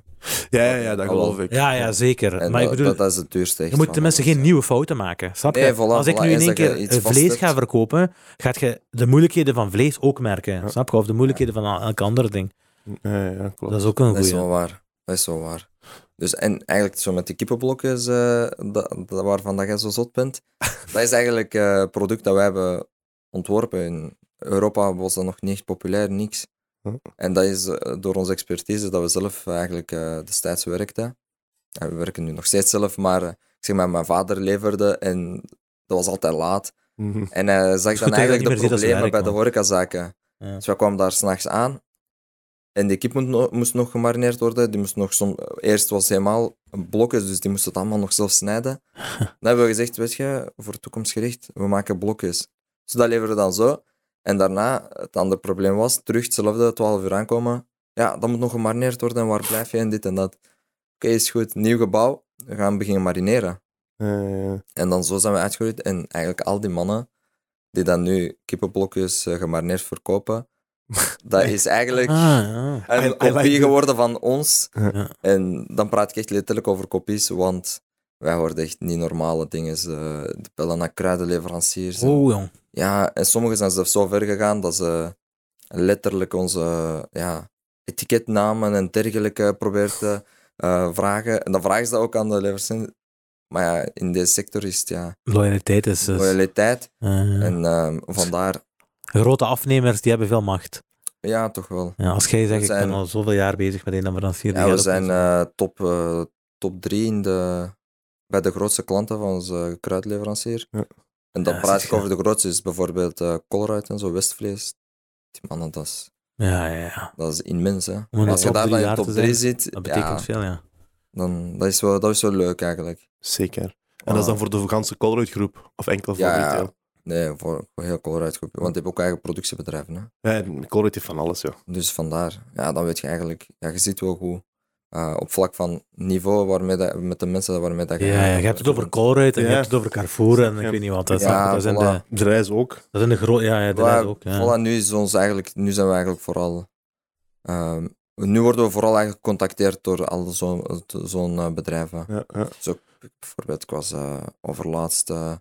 S1: Ja, ja, dat geloof ik.
S2: Ah, Ja, ja, zeker.
S4: En
S2: maar ik
S4: dat,
S2: bedoel,
S4: dat is het duurste. echt
S2: je moet
S4: van
S2: tenminste
S4: alles.
S2: geen nieuwe fouten maken. Snap je?
S4: Nee, voilà,
S2: Als ik
S4: voilà,
S2: nu in
S4: eens
S2: één
S4: dat je
S2: keer
S4: iets
S2: eh, vlees
S4: vast
S2: ga
S4: hebt.
S2: verkopen, gaat je de moeilijkheden van vlees ook merken.
S1: Ja.
S2: Snap je? Of de moeilijkheden van elk ander ding.
S1: Ja, ja, klopt.
S2: Dat is ook een
S4: Dat is
S2: goede.
S4: wel waar. Dat is wel waar. Dus, en eigenlijk zo met die kippenblokjes, eh, dat, dat waarvan dat jij zo zot bent, dat is eigenlijk eh, een product dat wij hebben ontworpen. In Europa was dat nog niet echt populair, niks.
S1: Hm.
S4: En dat is eh, door onze expertise dat we zelf eigenlijk eh, destijds werkten. En we werken nu nog steeds zelf, maar eh, ik zeg maar, mijn vader leverde en dat was altijd laat.
S1: Mhm.
S4: En hij zag
S2: goed dat je
S4: dan
S2: dat niet
S4: eigenlijk
S2: meer
S4: de
S2: ziet als
S4: problemen
S2: werk,
S4: bij de
S2: man.
S4: horecazaken.
S2: Ja.
S4: Dus wij kwamen daar s'nachts aan. En die kip moet no- moest nog gemarineerd worden. Die moest nog som, eerst was het helemaal een blokjes, dus die moest het allemaal nog zelf snijden. dan hebben we gezegd, weet je, voor toekomstgericht, we maken blokjes. Dus dat leveren we dan zo. En daarna, het andere probleem was, terug hetzelfde, 12 uur aankomen. Ja, dat moet nog gemarineerd worden, waar blijf je en dit en dat. Oké, is goed, nieuw gebouw, we gaan beginnen marineren.
S1: Ja, ja, ja.
S4: En dan zo zijn we uitgegroeid. En eigenlijk al die mannen die dan nu kippenblokjes eh, gemarineerd verkopen, dat is eigenlijk
S2: Ah, ja.
S1: I- I
S4: een
S1: like
S4: kopie
S1: the-
S4: geworden van ons.
S2: Ja.
S4: En dan praat ik echt letterlijk over kopies, want wij hoorden echt niet normale eh, dingen. Ze die bellen naar kruidenleveranciers. en-
S2: Oh, jong.
S4: Ja, en sommigen zijn zelfs zo ver gegaan dat ze letterlijk onze ja, etiketnamen en dergelijke probeert te eh, vragen. En dan vragen ze dat ook aan de leveranciers. Maar ja, in deze sector is het ja,
S2: Loyaliteit is... is-
S4: loyaliteit.
S2: eh,
S4: En ehm, vandaar,
S2: Grote afnemers, die hebben veel macht.
S4: ja, toch wel.
S2: Ja, als jij zegt, ik
S4: zijn-
S2: ben al zoveel jaar bezig met een leverancier. die
S4: Ja, we
S2: gaat ook
S4: zijn
S2: eens-
S4: eh, top, eh, top drie in de, bij de grootste klanten van onze kruidleverancier.
S1: Ja.
S4: En dan
S2: Ja,
S4: praat
S2: zie
S4: ik
S2: je.
S4: over de grootste, is bijvoorbeeld eh Colruyt en zo, Westvlees. Die mannen, dat is,
S2: Ja, ja, ja.
S4: dat is immens, hè.
S2: Om in de
S4: Als je
S2: top
S4: daar
S2: drie
S4: dan in
S2: jaar
S4: top
S2: te
S4: 3
S2: zijn,
S4: zit,
S2: Dat betekent
S4: ja,
S2: veel, ja.
S4: dan, dat, is wel, dat is wel leuk eigenlijk.
S1: Zeker. En dat is dan voor de ganse Colruyt groep of enkel voor
S4: Ah. Ja, ja.
S1: retail?
S4: Nee, voor, voor heel Colruyt groep. Want die hebben ook eigen productiebedrijven, hè.
S1: Ja, en Colruyt heeft van alles, ja.
S4: Dus vandaar, ja, dan weet je eigenlijk, ja, je ziet wel hoe, eh, op vlak van niveau, waarmee dat, met de mensen waarmee dat je...
S2: Ja, ja, je hebt het over Colruyt en je
S1: Ja.
S2: hebt het over Carrefour en
S1: Ja.
S2: ik weet niet wat. Dat,
S4: Ja,
S2: dat zijn de,
S4: voilà.
S1: Bedrijf ook.
S2: dat zijn de grote... Ja, ja, dat is
S4: Voilà,
S2: ook. Ja.
S4: voilà, nu, is ons eigenlijk, nu zijn we eigenlijk vooral... ehm, nu worden we vooral eigenlijk gecontacteerd door al zo'n zo'n, eh, bedrijven.
S1: Ja, ja.
S4: Bijvoorbeeld, ik was eh, overlaatst eh,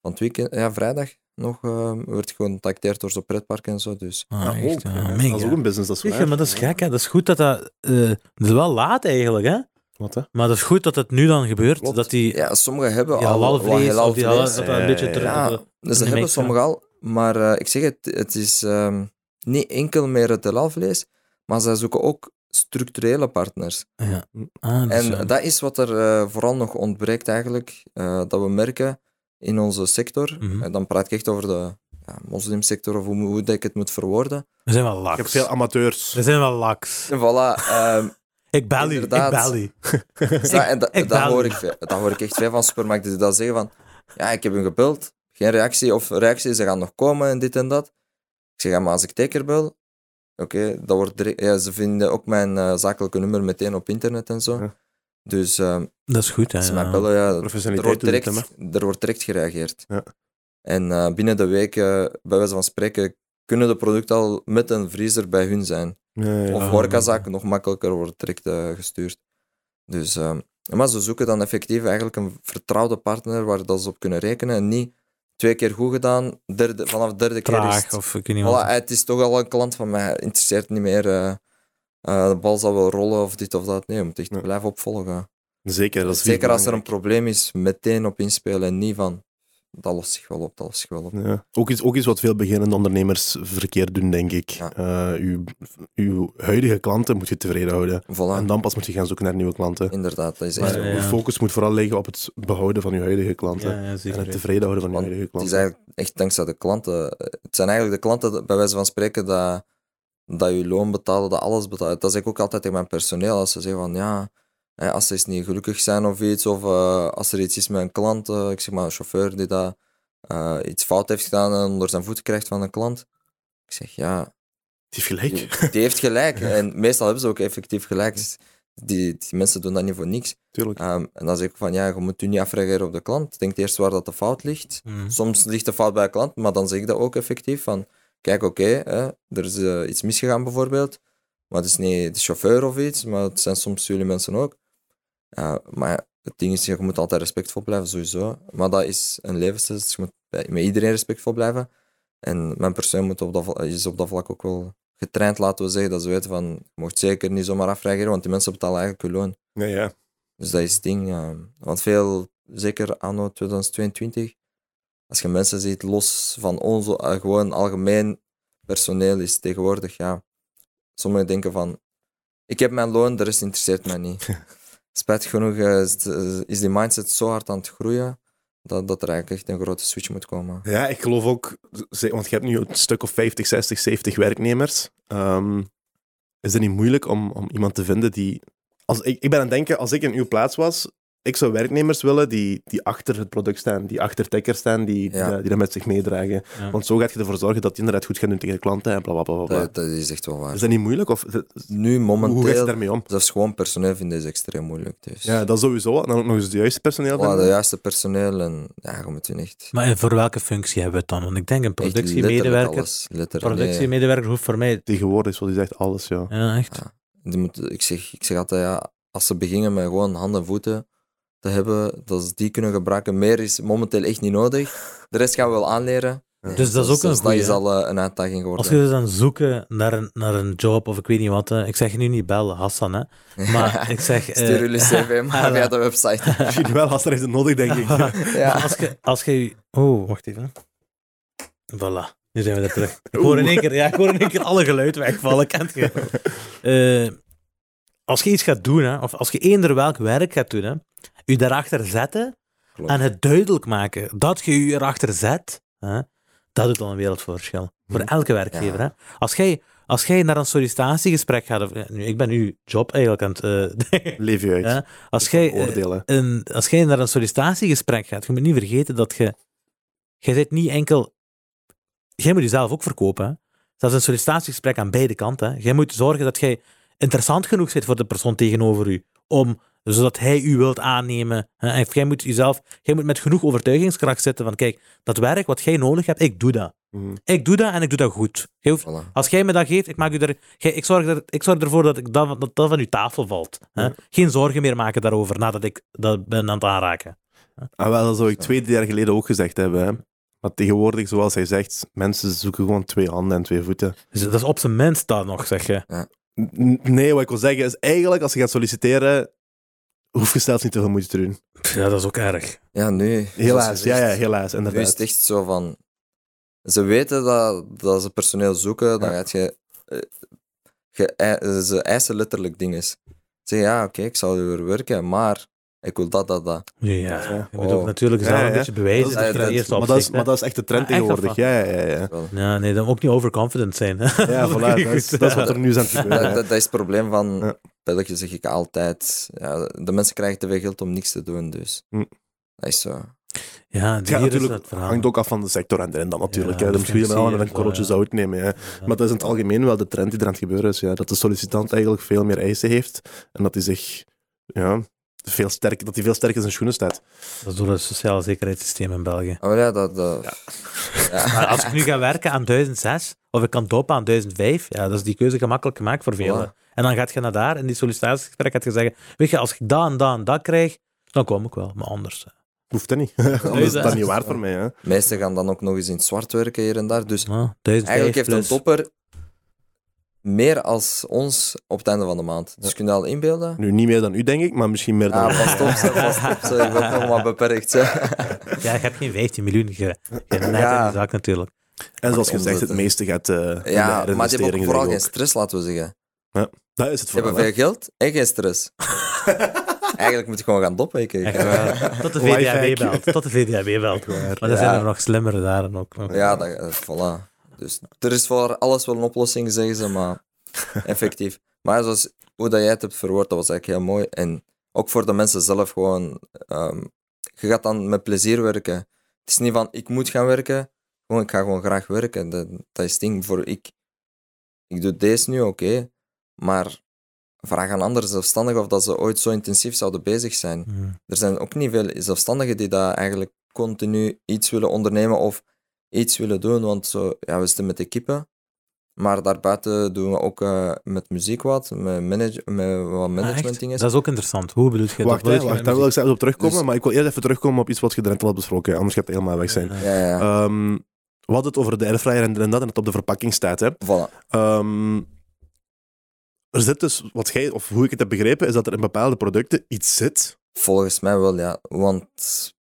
S4: Van het weekend, ja, vrijdag nog, eh werd ik gewoon getacteerd door zo'n pretpark en zo. Dus
S2: Ah,
S1: Ah,
S2: echt,
S1: ook,
S2: ah,
S1: hè.
S2: mega.
S1: dat is ook een business, dat is
S2: Zeg,
S1: waar.
S2: maar dat is gek, hè. Dat is goed dat dat... eh, het is wel laat eigenlijk, hè.
S1: Wat, hè?
S2: Maar dat is goed dat het nu dan gebeurt,
S1: Klopt.
S2: dat die
S4: ja, sommigen hebben
S2: die
S4: al wat
S2: halalvlees, of die halal,
S4: halalvlees.
S2: dat dat een beetje...
S1: Ja,
S2: terug-
S4: ja,
S2: dat-
S4: Dus
S2: een
S4: dat hebben
S2: mix, ja.
S4: sommigen al. Maar eh, ik zeg het, het is ehm, niet enkel meer het halalvlees, maar zij zoeken ook structurele partners.
S2: ja. Ah, dus,
S4: en
S2: ja.
S4: dat is wat er eh, vooral nog ontbreekt eigenlijk, eh, dat we merken in onze sector.
S2: Mhm.
S4: En dan praat ik echt over de ja, moslimsector of hoe, moet- hoe dat ik het moet verwoorden.
S2: We zijn wel
S1: Ik heb
S2: laks.
S1: veel amateurs.
S2: We zijn wel laks.
S4: En voilà, ehm,
S2: Ik bel u, ik
S4: Inderdaad.
S2: bel u.
S4: Ja, en da-
S2: ik
S4: dat,
S2: baal
S4: hoor
S2: niet.
S4: ik, veel- dat hoor ik echt veel van supermarkten die dat zeggen van ja, ik heb hem gebeld, geen reactie of reactie, ze gaan nog komen en dit en dat. Ik zeg, ja, maar als ik teker bel, oké, dat wordt direct- ja, ze vinden ook mijn eh, zakelijke nummer meteen op internet en zo.
S1: Ja.
S4: Dus ehm
S2: Dat is goed, hè.
S4: ze
S2: ja.
S4: mij bellen, ja, er,
S1: Professionaliteit
S4: wordt
S1: doet het,
S4: direct,
S1: hè, maar.
S4: er wordt direct gereageerd.
S1: Ja.
S4: En eh, binnen de week, eh, bij wijze van spreken, kunnen de producten al met een vriezer bij hun zijn.
S1: Ja, ja.
S4: Of
S2: Ja.
S4: horecazaken nog makkelijker wordt direct eh, gestuurd. Dus, ehm, maar ze zoeken dan effectief eigenlijk een vertrouwde partner waar dat ze op kunnen rekenen. En niet twee keer goed gedaan, derde, vanaf de derde keer is
S2: Traag,
S4: het,
S2: of ik weet niet
S4: voilà, eh,
S2: wat.
S4: het is toch al een klant van mij. Interesseert niet meer, eh, eh, de bal zal wel rollen of dit of dat. Nee, je moet echt
S1: Ja.
S4: blijven opvolgen.
S1: Zeker, dat is
S4: Zeker als er een
S1: belangrijk.
S4: probleem is, meteen op inspelen en niet van, dat lost zich wel op, dat lost zich wel op.
S1: Ja. Ook, iets, ook iets wat veel beginnende ondernemers verkeerd doen, denk ik.
S4: Ja.
S1: Eh, uw, uw huidige klanten moet je tevreden houden. En
S4: Voilà,
S1: dan pas moet je gaan zoeken naar nieuwe klanten.
S4: inderdaad, dat is
S2: Maar,
S4: echt
S1: Dus
S4: zo.
S2: ja,
S1: uw focus moet vooral liggen op het behouden van uw huidige klanten.
S2: Ja, ja,
S1: En
S2: zeker.
S1: het tevreden houden van uw
S4: Want
S1: huidige
S4: Het is
S1: klanten.
S4: eigenlijk echt dankzij de klanten. Eh, Het zijn eigenlijk de klanten, dat- bij wijze van spreken, dat, dat je loon betalen, dat alles betalen. Dat zeg ik ook altijd tegen mijn personeel. Als ze zeggen van ja, hè, als ze eens niet gelukkig zijn of iets, of eh, als er iets is met een klant, eh, ik zeg maar een chauffeur die dat, eh, iets fout heeft gedaan en onder zijn voeten krijgt van een klant. Ik zeg ja,
S1: Het heeft
S4: die,
S1: gelijk.
S4: die heeft gelijk. En meestal hebben ze ook effectief gelijk. Dus die, die mensen doen dat niet voor niks.
S1: Tuurlijk.
S4: Ehm, en dan zeg ik van ja, je moet je niet afreageren op de klant. Denk eerst waar dat de fout ligt.
S2: Mhm.
S4: Soms ligt de fout bij de klant, maar dan zeg ik dat ook effectief. Van, kijk, oké, hè, er is eh, iets misgegaan bijvoorbeeld. Maar het is niet de chauffeur of iets, maar het zijn soms jullie mensen ook. Ja, maar het ding is, je moet altijd respectvol blijven, sowieso. Maar dat is een levensles, dus je moet bij- met iedereen respectvol blijven. En mijn persoon moet op dat, vla- is op dat vlak ook wel getraind, laten we zeggen. Dat ze weten van, je mocht zeker niet zomaar afreageren, want die mensen betalen eigenlijk hun loon.
S1: Ja, ja.
S4: Dus dat is het ding. ja. want veel, zeker anno 2022, als je mensen ziet los van ons, eh, gewoon algemeen personeel is tegenwoordig, ja. Sommigen denken van, ik heb mijn loon, de rest interesseert mij niet. Spijtig genoeg eh, is, de- is die mindset zo hard aan het groeien, dat, dat er eigenlijk echt een grote switch moet komen.
S1: ja, ik geloof ook, ze- want je hebt nu een stuk of 50, 60, 70 werknemers. Ehm, is het niet moeilijk om, om iemand te vinden die. Als, ik, ik ben aan het denken, als ik in uw plaats was, ik zou werknemers willen die, die achter het product staan, die achter tickers staan, die,
S4: Ja.
S1: die, dat- die dat met zich meedragen.
S2: Ja.
S1: Want zo gaat je ervoor zorgen dat die inderdaad goed gaan doen tegen de klanten en bla bla bla. bla, bla.
S4: Dat, dat is echt wel waar.
S1: Is dat niet moeilijk? Of,
S4: Nu
S1: hoe gaat je
S4: momenteel,
S1: daarmee om?
S4: zelfs gewoon personeel vinden is extreem moeilijk. Dus.
S1: Ja, dat sowieso. En dan ook nog eens de juiste personeel.
S4: Voilà, de
S1: vinden.
S4: juiste personeel en ja, je moet je echt...
S2: Maar en voor welke functie hebben we het dan? Want ik denk een
S4: echt letterlijk
S2: productiemedewerker.
S4: alles, letterlijk, nee.
S2: Productiemedewerker hoeft voor mij. Ah,
S1: Tegenwoordig, zoals je zegt, alles, ja.
S2: Ja, echt.
S4: Die moet, ik, zeg, ik zeg altijd, ja, als ze beginnen met gewoon handen en voeten te hebben, dat ze die kunnen gebruiken. Meer is momenteel echt niet nodig. De rest gaan we wel aanleren.
S2: Dus dat is ook een
S4: Zelfs Dat
S2: goeie,
S4: is
S2: hè?
S4: al eh, een uitdaging
S2: Als
S4: geworden.
S2: je dus aan het zoeken naar een, naar een job of ik weet niet wat. hè. Ik zeg je nu niet bellen, Hassan, hè. Maar ik zeg... eh,
S4: Stuur jullie cv maar
S2: ah,
S4: via de website.
S1: Misschien wel, als er is het nodig, denk ik.
S4: ja.
S2: Als je... Als je oh, wacht even. Voilà. Nu zijn we er terug. Ik hoor in één keer, ja, ik hoor in één keer alle geluid wegvallen. Kent je? Eh, als je iets gaat doen, hè, of als je eender welk werk gaat doen, hè, je daarachter zetten
S4: Klopt.
S2: en het duidelijk maken dat je je erachter zet, hè, dat doet al een wereldverschil. Voor elke werkgever.
S4: Hm. Ja.
S2: Hè. Als, jij, als jij naar een sollicitatiegesprek gaat, of, eh, nu, ik ben uw job eigenlijk aan het... eh,
S1: Leef je uit.
S2: Ja, als, jij, eh,
S1: Oordelen.
S2: een, als jij naar een sollicitatiegesprek gaat, je moet niet vergeten dat je... Jij zit niet enkel... Jij moet jezelf ook verkopen. Hè? Dat is een sollicitatiegesprek aan beide kanten. Hè? Jij moet zorgen dat jij interessant genoeg zit voor de persoon tegenover u. Om, zodat hij u wilt aannemen. Hè? En jij moet jezelf... Jij moet met genoeg overtuigingskracht zitten van, kijk, dat werk wat jij nodig hebt, ik doe dat.
S1: Mhm.
S2: Ik doe dat en ik doe dat goed. Jij hoeft
S4: Voilà.
S2: als jij me dat geeft, ik, maak u er, jij- ik, zorg, er, ik zorg ervoor dat, ik dat, dat dat van uw tafel valt. Hè? Geen zorgen meer maken daarover nadat ik dat ben aan het aanraken.
S1: Ah, wel, dat zou ik
S4: Zo.
S1: twee, drie jaar geleden ook gezegd hebben. Hè. Maar tegenwoordig, zoals hij zegt, mensen zoeken gewoon twee handen en twee voeten.
S2: Dus dat is op zijn minst dat nog, zeg je.
S1: N- Nee, wat ik wil zeggen is eigenlijk, als je gaat solliciteren, hoef je zelfs niet te veel moeite te doen.
S2: Pff, Ja, dat is ook erg.
S4: Ja, nu. zoals
S1: Helaas,
S4: je
S1: ja, ja,
S4: zegt.
S1: helaas,
S4: Nu is
S1: inderdaad.
S4: het echt zo van... Ze weten dat, dat ze personeel zoeken, dan
S1: Ja.
S4: gaat je... eh, je ei- ze eisen letterlijk dingen. Ze zeggen, ja, oké, ik zou er werken, maar ik wil dat, dat, dat.
S2: Ja,
S1: Ja.
S2: je moet
S4: Oh.
S2: ook natuurlijk zelf
S1: Ja,
S2: een
S1: ja.
S2: beetje bewijzen.
S1: Dat
S4: is
S2: dat je
S4: echt-
S2: de eerste
S1: maar, dat is,
S2: opzicht, hè.
S1: maar dat is echt de trend
S2: Ah, echt
S1: tegenwoordig. Ja, ja, ja. ja.
S4: Wel,
S2: Ja, nee, dan ook niet overconfident zijn. hè.
S1: Ja, voilà, dat is, dat is wat er nu is aan het gebeuren.
S4: Dat,
S1: hè.
S4: dat, dat is het probleem van
S1: Ja.
S4: België, zeg ik altijd. Ja, de mensen krijgen te veel geld om niks te doen, dus.
S1: Hm.
S4: Dat is zo.
S2: Ja,
S1: Het
S2: hier
S1: gaat
S2: is
S1: natuurlijk,
S2: het verhaal.
S1: hangt ook af van de sector en erin dan natuurlijk.
S2: Ja,
S1: hè.
S2: de
S1: Dan Misschien je wel
S2: financier,
S1: met een korreltje
S2: ja.
S1: zout nemen. Hè.
S2: Ja.
S1: Maar dat is in het algemeen wel de trend die er aan het gebeuren is. Ja. Dat de sollicitant eigenlijk veel meer eisen heeft. En dat hij zich ja, veel sterker, dat hij veel sterker in zijn schoenen staat.
S2: Dat is door het sociale zekerheidssysteem in België.
S4: Oh ja, dat... dat ja.
S2: Maar als ik nu ga werken aan 1006, of ik kan dopen aan 1005, ja, dat is die keuze gemakkelijk gemaakt voor velen.
S4: Voilà.
S2: En dan gaat je naar daar, in die sollicitatiegesprek, gaat je zeggen, weet je, als ik dat en dat en dat krijg, dan kom ik wel, maar anders. hè.
S1: Hoeft dat niet. Anders is
S2: dat-
S1: dat niet waar voor mij. Hè.
S4: Meesten gaan dan ook nog eens in het zwart werken hier en daar, dus...
S2: Ja, 1005
S4: Eigenlijk heeft
S2: plus.
S4: een topper meer als ons op het einde van de maand. Dus kun je al inbeelden?
S1: Nu niet meer dan u, denk ik, maar misschien meer dan.
S4: Ah, pas op, zeg, pas op. zeg. Ik ben nog maar beperkt. zeg.
S2: Ja, je hebt geen 15 miljoen, je, je hebt net in
S4: Ja.
S2: de zak natuurlijk.
S1: en zoals gezegd,
S4: omzetten.
S1: het meeste gaat. eh
S4: Ja, maar die hebben ook
S1: investeringen
S4: vooral
S1: denk
S4: geen
S1: ik ook.
S4: stress, laten we zeggen.
S1: Dat is het
S4: Ze
S1: vooral.
S4: hebben veel geld en geen stress. Eigenlijk moet je gewoon gaan doppen. Ik.
S2: Echt waar. Tot de
S1: Lifehack.
S2: VDAB belt. Tot de VDAB belt. Maar dan
S4: Ja.
S2: zijn er nog slimmere daar dan ook. nog.
S4: Ja, dat, eh, voilà. Dus er is voor alles wel een oplossing, zeggen ze, maar effectief. Maar zoals hoe dat jij het hebt verwoord, dat was eigenlijk heel mooi. En ook voor de mensen zelf gewoon, ehm, je gaat dan met plezier werken. Het is niet van, ik moet gaan werken, gewoon, ik ga gewoon graag werken. Dat, dat is het ding voor, ik, ik doe deze nu, oké, maar vraag aan andere zelfstandigen of dat ze ooit zo intensief zouden bezig zijn
S2: Hmm.
S4: er zijn ook niet veel zelfstandigen die daar eigenlijk continu iets willen ondernemen of iets willen doen, want zo, ja, we zitten met de kippen. Maar daarbuiten doen we ook eh, met muziek wat, met, manage, met wat
S2: Ah,
S4: management
S2: echt?
S4: dingen.
S2: dat is ook interessant. Hoe bedoel je dat?
S1: Wacht,
S2: Bedoel
S1: hè,
S2: je
S1: wacht,
S2: met
S1: daar wil ik zelfs op terugkomen.
S4: Dus-
S1: Maar ik wil eerst even terugkomen op iets wat je er net al hebt besproken. Anders gaat het helemaal weg zijn.
S2: muziek?
S4: Ja, ja, ja.
S1: Ehm, we hadden het over de airfryer en dit en dat, en het op de verpakking staat. Hè.
S4: voilà.
S1: Ehm, er zit dus, wat jij, of hoe ik het heb begrepen, is dat er in bepaalde producten iets zit.
S4: Volgens mij wel, ja. Want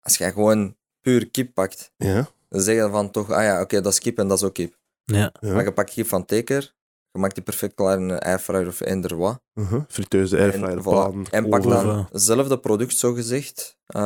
S4: als jij gewoon puur kip pakt,
S1: Ja.
S4: dan zeg je van toch, ah ja, oké, dat is kip en dat is ook kip.
S2: Ja.
S1: Ja.
S4: Maar je pakt kip van teker, je maakt die perfect klaar in een airfryer of eender wat.
S1: Mhm. Friteuze, airfryer,
S4: en, voilà.
S1: pan,
S4: en pak
S1: oven.
S4: dan hetzelfde product, zogezegd, eh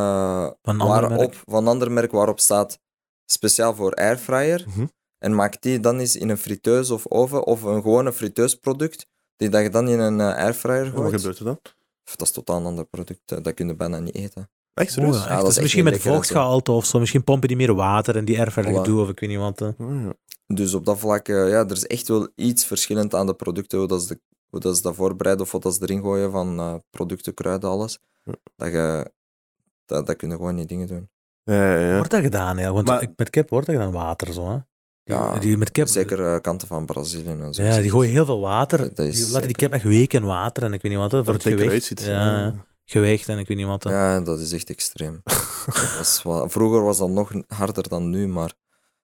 S2: Van een ander
S4: waarop,
S2: merk.
S4: van een ander merk waarop staat speciaal voor airfryer.
S1: Mhm.
S4: En maak die dan eens in een friteus of oven of een gewone friteusproduct, die dat je dan in een eh, airfryer
S2: Oh,
S1: En Wat
S4: gooit.
S1: gebeurt er dan?
S4: Pff, dat is totaal een ander product, eh, dat kun je bijna niet eten.
S1: Echt
S2: Oeh,
S1: serieus?
S2: echt,
S1: Ja.
S4: dat
S2: dus
S4: is echt
S2: misschien
S4: niet
S2: met
S4: lekker en zo.
S2: vochtgehalte of zo. Misschien pompen die meer water en die erfverder
S4: Voilà.
S2: gedoe of ik weet niet wat. eh. hè.
S1: Oh, ja.
S4: Dus op dat vlak, eh, ja, er is echt wel iets verschillend aan de producten, hoe dat ze, de- hoe dat, ze dat voorbereiden of wat dat ze erin gooien van eh, producten, kruiden, alles.
S1: Ja.
S4: Dat, je, dat, dat kunnen gewoon niet dingen doen.
S1: Ja, ja, ja.
S2: Wordt dat gedaan, ja? Want
S1: Maar-
S2: ik- met kip wordt dat gedaan water, zo. Hè? Die,
S4: Ja,
S2: die met kip,
S4: Zeker eh, kanten van Brazilië en zo.
S2: Ja, die gooien heel veel water.
S4: Dat is
S2: die laten
S4: zeker.
S2: die kip echt weken in water en ik weet niet wat. hè, Voor
S1: Dat
S2: het
S1: het lekker
S2: gewicht.
S1: uitziet.
S2: Ja, gewicht en ik weet niet wat. hè.
S4: Ja, dat is echt extreem. Dat is wel- Vroeger was dat nog harder dan nu, maar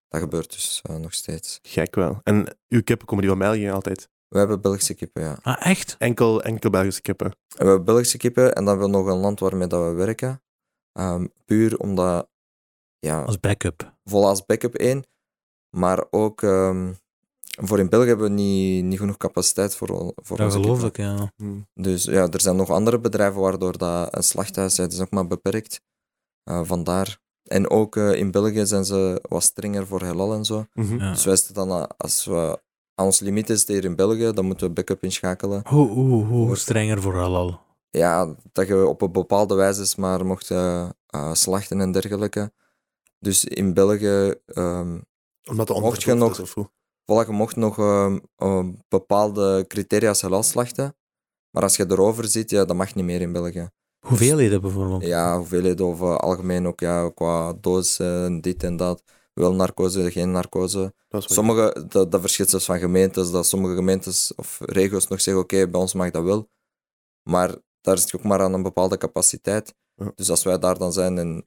S4: dat gebeurt dus eh, nog steeds.
S1: Gek wel. En uw kippen komen die van België altijd?
S4: We hebben Belgische kippen, ja.
S2: Ah, echt?
S1: Enkel, enkel Belgische kippen.
S4: We hebben Belgische kippen en dan hebben we nog een land waarmee dat we werken. Ehm, puur omdat, ja,
S2: Als backup.
S4: vol als backup één. Maar ook ehm, voor in België hebben we niet, niet genoeg capaciteit voor, on- voor
S2: Dat
S4: onze
S2: geloof
S4: kippen.
S2: ik, ja.
S1: Hm.
S4: Dus ja, er zijn nog andere bedrijven waardoor dat een slachthuis het is ook maar beperkt. Eh, vandaar. En ook eh, in België zijn ze wat strenger voor halal en zo.
S1: Mhm.
S2: ja.
S4: Dus wij zitten dan, eh, als we aan ons limiet is hier in België, dan moeten we backup inschakelen.
S2: Hoe, hoe, hoe, hoe strenger voor halal.
S4: Ja, dat je op een bepaalde wijze maar mocht eh, eh, slachten en dergelijke. Dus in België, ehm
S1: Omdat de
S4: Mocht
S1: onderhoofd
S4: je nog-
S1: is of hoe?
S4: voilà, je mocht nog ehm, ehm, bepaalde criteria als halal slachten. Maar als je erover zit, ja, dat mag niet meer in België.
S2: Hoeveelheden bijvoorbeeld.
S4: Ja, hoeveelheid of eh, algemeen ook ja, qua dozen, dit en dat. Wel narcose, geen narcose.
S1: Dat is wel-
S4: Sommige, dat, dat verschilt zelfs van gemeentes, dat sommige gemeentes of regio's nog zeggen, oké, bij ons mag dat wel. Maar daar zit je ook maar aan een bepaalde capaciteit.
S1: Ja.
S4: Dus als wij daar dan zijn en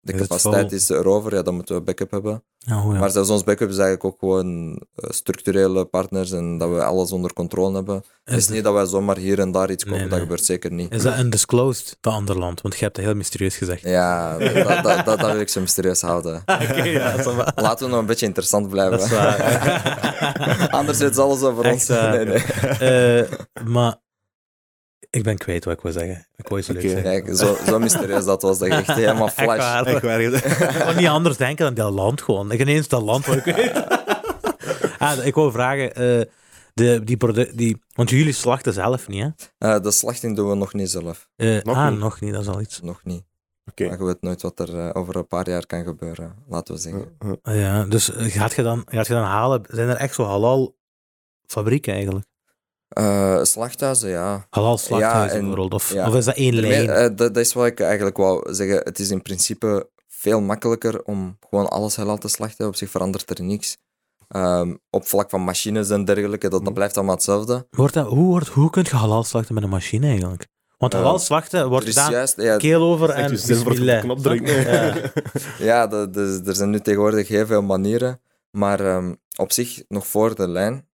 S4: de
S2: Is het
S4: capaciteit
S2: vol?
S4: is erover, ja, dan moeten we backup hebben.
S2: Ja, goed, ja.
S4: Maar zelfs ons backup is eigenlijk ook gewoon eh, structurele partners en dat we alles onder controle hebben. Het is
S2: dat-
S4: niet dat wij zomaar hier en daar iets kopen,
S2: nee.
S4: dat gebeurt zeker niet.
S2: Is dat undisclosed, dat ander land? Want je hebt dat heel mysterieus gezegd.
S4: Ja, dat, dat, dat, dat wil ik zo mysterieus houden.
S2: Ah, Oké, ja, ça va.
S4: Laten we nog een beetje interessant blijven.
S2: Dat is waar.
S4: Anders is alles over
S2: Echt
S4: ons.
S2: waar.
S4: Nee, nee.
S2: Eh, maar ik ben kwijt wat ik wil zeggen. Ik wou iets leuks
S1: Oké.
S2: zeggen.
S4: Kijk, zo, zo mysterieus dat was, dat je echt helemaal
S2: Echt
S4: flash.
S2: waar.
S1: Ik werk
S2: Ik kon niet anders denken dan dat land gewoon. Ik ineens dat land waar ik weet. ah, ik wou vragen, eh, de, die produ- die, want jullie slachten zelf niet, hè?
S4: Eh, de slachting doen we nog niet zelf.
S2: Eh,
S1: Nog
S2: ah,
S1: niet.
S2: nog niet, dat is al iets.
S4: Nog niet.
S1: Oké.
S4: Maar je weet nooit wat er eh, over een paar jaar kan gebeuren, laten we zeggen.
S2: Ah, ja, dus eh, gaat je, dan, gaat je dan halen, zijn er echt zo halal fabrieken eigenlijk?
S4: Eh, slachthuizen, ja.
S2: Halal slachthuizen
S4: Ja, en-
S2: bijvoorbeeld, of,
S4: ja.
S2: of is dat één
S4: Daarmee,
S2: lijn?
S4: eh, dat, dat is wat ik eigenlijk wou zeggen. Het is in principe veel makkelijker om gewoon alles halal te slachten. Op zich verandert er niks. Ehm, op vlak van machines en dergelijke,
S2: Mhm.
S4: dat, dat blijft allemaal hetzelfde.
S2: Wordt dat, hoe, wordt, hoe kun je halal slachten met een machine eigenlijk? Want
S4: Eh,
S2: halal slachten wordt
S4: Er is
S2: gedaan
S4: juist, ja,
S2: keel over en
S1: Echt, dus je zin voor het op de
S2: bismillah.
S1: knop drukken.
S2: Ja.
S4: Ja, dat- dus er zijn nu tegenwoordig heel veel manieren. Maar ehm, op zich nog voor de lijn.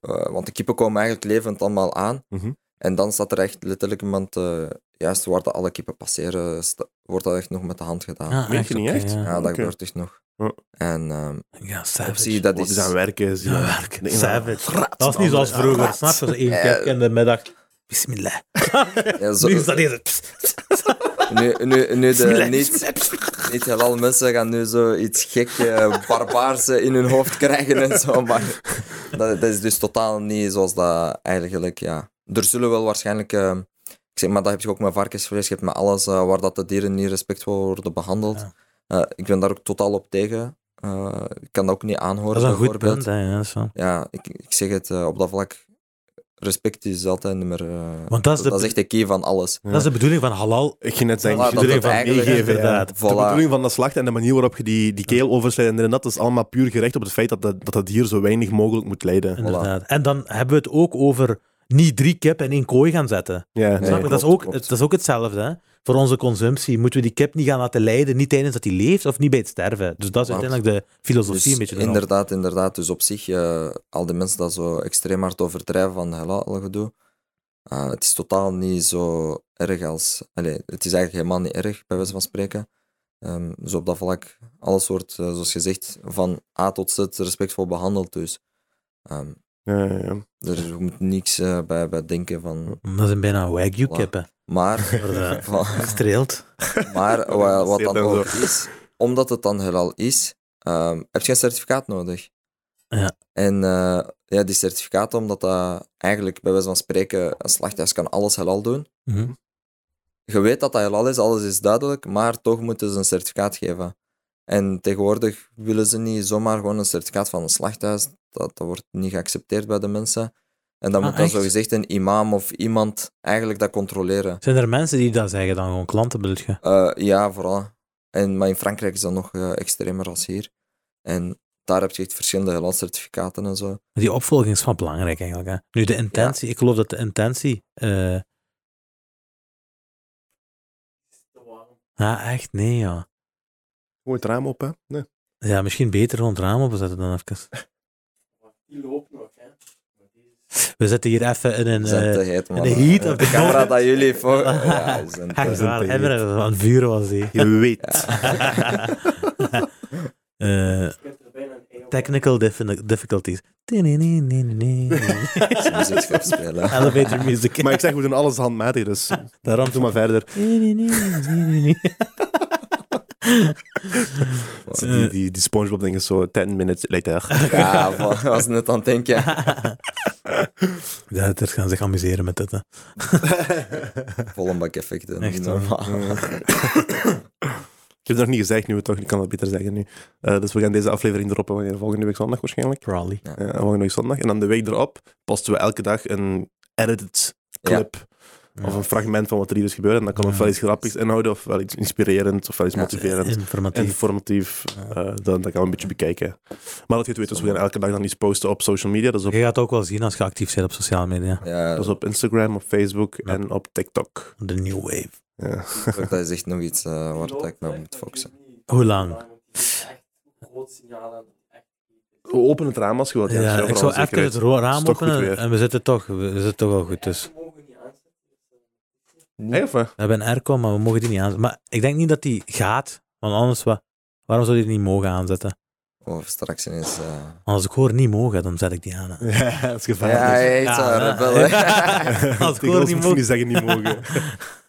S4: eh, want de kippen komen eigenlijk levend allemaal aan.
S1: Mhm.
S4: En dan staat er echt letterlijk iemand, eh, juist waar de alle kippen passeren, sta- wordt dat echt nog met de hand gedaan. Ja,
S2: Ah,
S1: Meen je niet
S2: oké,
S1: echt?
S2: Ja,
S4: dat
S1: oké. Oh.
S4: gebeurt echt nog.
S1: Ja.
S4: En ehm,
S2: ja
S4: op
S2: savage.
S4: zich, dat
S1: Wat
S4: is...
S1: is aan werken? Is
S2: Ja,
S1: werken.
S2: Savage. Dat was niet zoals vroeger. Snap je? Zo één
S4: Ja.
S2: keer in de middag. Bismillah.
S4: ja, zo-
S2: Nu is dat deze.
S4: nu, nu, nu de
S2: Bismillah,
S4: niet, niet halal mensen gaan nu zoiets gek eh, barbaars eh, in hun hoofd krijgen en zo, maar dat, dat is dus totaal niet zoals dat eigenlijk, ja. Er zullen wel waarschijnlijk, eh, ik zeg maar, dat heb je ook met varkensvlees, je hebt met alles eh, waar dat de dieren niet respectvol worden behandeld.
S2: Ja.
S4: Eh, ik ben daar ook totaal op tegen. Eh, ik kan dat ook niet aanhoren,
S2: Dat is een goed
S4: bijvoorbeeld.
S2: punt. Hè, ja, dat is wel-
S4: Ja, ik, ik zeg het eh, op dat vlak. Respect is altijd nummer. eh,
S2: Want dat is de-
S4: dat is echt de key van alles.
S2: Dat is de bedoeling van halal.
S1: Ik ging net
S4: Voilà,
S1: zeggen, je
S4: dat
S1: moet er
S4: het
S1: even
S4: eigenlijk-
S1: meegeven. ja.
S2: Inderdaad.
S1: De
S4: Voilà.
S1: bedoeling van dat slacht en de manier waarop je die, die keel overslijt en inderdaad, dat is allemaal puur gerecht op het feit dat dat, dat dat dier zo weinig mogelijk moet lijden.
S2: Inderdaad. En dan hebben we het ook over niet drie kip in één kooi gaan zetten.
S1: Ja, nee.
S2: Snap je? dat, is
S4: klopt,
S2: ook,
S4: klopt.
S2: het- dat is ook hetzelfde. Hè? Voor onze consumptie moeten we die kip niet gaan laten lijden, niet tijdens dat hij leeft of niet bij het sterven. Dus dat is
S4: Klopt.
S2: uiteindelijk de filosofie
S4: Dus
S2: een beetje erop.
S4: inderdaad, inderdaad. Dus op zich, eh, al die mensen dat zo extreem hard overdrijven van halal gedoe. eh, het is totaal niet zo erg als. Allee, het is eigenlijk helemaal niet erg, bij wijze van spreken. Ehm, dus op dat vlak, alles wordt, eh, zoals gezegd, van A tot Z respectvol behandeld. Dus ehm,
S1: Ja, ja, ja.
S4: er moet niks eh, bij, bij denken van.
S2: Mm, Dat zijn bijna wagyu
S4: Voilà.
S2: kippen.
S4: Maar.
S2: Worden eh,
S4: van-
S2: gestreeld.
S4: Maar wa- wat
S1: Zeer
S4: dan ook
S1: dank.
S4: is, omdat het dan halal is, ehm, heb je een certificaat nodig.
S2: Ja.
S4: En eh, ja, die certificaten, omdat dat eigenlijk bij wijze van spreken, een slachthuis kan alles halal doen.
S2: Mhm.
S4: Je weet dat dat halal is, alles is duidelijk, maar toch moeten ze een certificaat geven. En tegenwoordig willen ze niet zomaar gewoon een certificaat van een slachthuis. Dat, dat wordt niet geaccepteerd bij de mensen. En dan
S2: Ah,
S4: moet dan
S2: echt?
S4: zogezegd een imam of iemand eigenlijk dat controleren.
S2: Zijn er mensen die dat zeggen dan gewoon klanten bedoel je?
S4: Eh, ja, vooral. En, maar in Frankrijk is dat nog eh, extremer als hier. En daar heb je echt verschillende helalcertificaten en zo.
S2: Die opvolging is wel belangrijk eigenlijk. Hè? Nu, de intentie, ik geloof dat de intentie. eh, ah, echt? Nee, ja.
S1: Gooi het raam op, hè? Nee.
S2: Ja, misschien beter gewoon het raam opzetten dan even.
S3: Die loopt nog, hè. Maar die is-
S2: We zitten hier even in een.
S4: Ze zijn te
S2: eh,
S4: heet, man.
S2: de heat
S4: Eh,
S2: of the
S4: camera
S2: moment.
S4: dat jullie voor... Ja, ze zijn
S2: echt
S4: te-
S2: waar,
S1: een
S2: hebben we aan het vuren was die.
S1: Je weet.
S2: Eh,
S3: je kunt er bijna een ei op
S2: technical diffi- difficulties.
S4: ze muziek gaan
S2: Ah.
S4: spelen.
S2: Elevator music.
S1: Maar ik zeg, we doen alles handmatig, dus
S2: Daarom
S1: doe maar verder. Die, die, die Spongebob-ding is zo 10 minutes later.
S4: Ja, van, was net aan het denken.
S2: De editors gaan zich amuseren met dit. Hè.
S4: Volle bak effecten.
S2: Echt,
S4: Echt normaal.
S1: Ik heb het nog niet gezegd, nu we toch, ik kan het beter zeggen nu. Eh, dus we gaan deze aflevering droppen wanneer? volgende week zondag waarschijnlijk.
S2: Probably.
S1: Ja, volgende week zondag. En dan de week erop posten we elke dag een edited clip of een fragment van wat er hier is gebeurd. En dat kan
S2: Ja.
S1: ofwel iets grappigs inhouden, ofwel iets inspirerend, ofwel iets motiverend.
S2: Informatief.
S1: Informatief,
S2: Ja.
S1: Eh, dat, dat gaan we een beetje bekijken. Maar dat je het weet, dus we gaan elke dag dan iets posten op social media. Dus op,
S2: Je gaat het ook wel zien als je actief bent op sociale media.
S4: Ja,
S1: dus op Instagram, op Facebook
S2: Ja.
S1: en op TikTok.
S2: De new wave.
S1: Ja.
S4: Dat is echt nog iets eh, waar dat ik mee moet focussen.
S2: Hoe lang?
S3: Echt groot signaal aan echt
S1: Open het raam als je wilt.
S2: Ja,
S1: Jens, hè,
S2: ik
S1: voor
S2: zou
S1: alle
S2: even het
S1: zekerheid.
S2: ro- raam
S1: Is toch goed
S2: openen
S1: weer.
S2: en we zitten toch, we zitten toch wel goed dus. tussen.
S3: We mogen niet aanzetten.
S1: Hey, of wat?
S2: We hebben een airco, maar we mogen die niet aanzetten. Maar ik denk niet dat die gaat, want anders, wa- waarom zou je die niet mogen aanzetten?
S4: Of Oh, straks ineens... eh,
S2: Als ik hoor niet mogen, dan zet ik die aan. hè.
S1: Ja, dat is gevaarlijk.
S4: Ja, eh, hij heet
S2: Ja,
S4: zo'n
S2: hè.
S4: rebel, hè.
S2: Als ik
S1: Tegen
S2: hoor
S1: ons moet
S2: niet
S1: je
S2: mogen.
S1: niet zeggen niet mogen.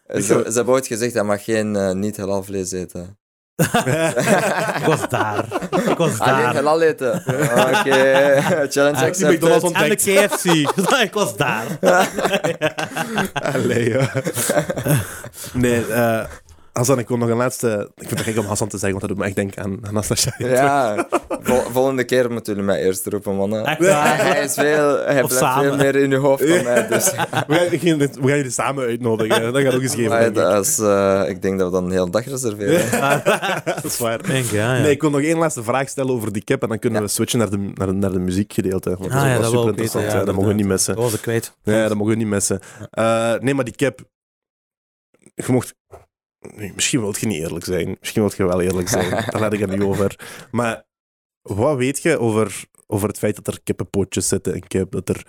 S4: ze, ze hebben ooit gezegd, hij mag geen eh, niet halal vlees eten.
S2: Ik was daar. Ik was
S4: Alleen
S2: daar.
S4: halal eten. Oké, challenge
S1: die McDonald's
S4: accepted.
S1: ont-
S2: En de KFC. ik was daar.
S1: Allee, ja. Nee, eh, Hassan, ik wil nog een laatste... Ik vind het gek om Hassan te zeggen, want dat doet me echt denken aan, aan Anastasia.
S4: Ja, vol- volgende keer moeten jullie mij eerst roepen, mannen.
S2: Echt waar?
S4: Hij, is veel, hij
S2: Of
S4: blijft veel
S2: samen.
S4: meer in je hoofd dan mij, dus...
S1: We gaan, ik ging dit- we gaan jullie samen uitnodigen. Dat gaat ook eens geven.
S4: Maar
S1: denk ik.
S4: dat is, eh, ik denk dat we dan een hele dag reserveren.
S1: Dat is waar.
S2: Denk, ja, ja.
S1: Nee, ik wil nog één laatste vraag stellen over die kip en dan kunnen we switchen naar de, naar de, naar de muziekgedeelte. Want dat is
S2: Ah,
S1: ook
S2: ja,
S1: wel
S2: dat wil
S1: super
S2: ik
S1: interessant.
S2: weten, ja,
S1: hè. dat mogen we niet
S2: Dat
S1: missen.
S2: was ik kwijt.
S1: Nee, dat mogen we niet missen. Eh, nee, maar die kip... Je mocht... nee, misschien wilt je niet eerlijk zijn. Misschien wilt je wel eerlijk zijn. Daar laat ik het niet over. Maar wat weet je over, over het feit dat er kippenpootjes zitten in kip? Dat er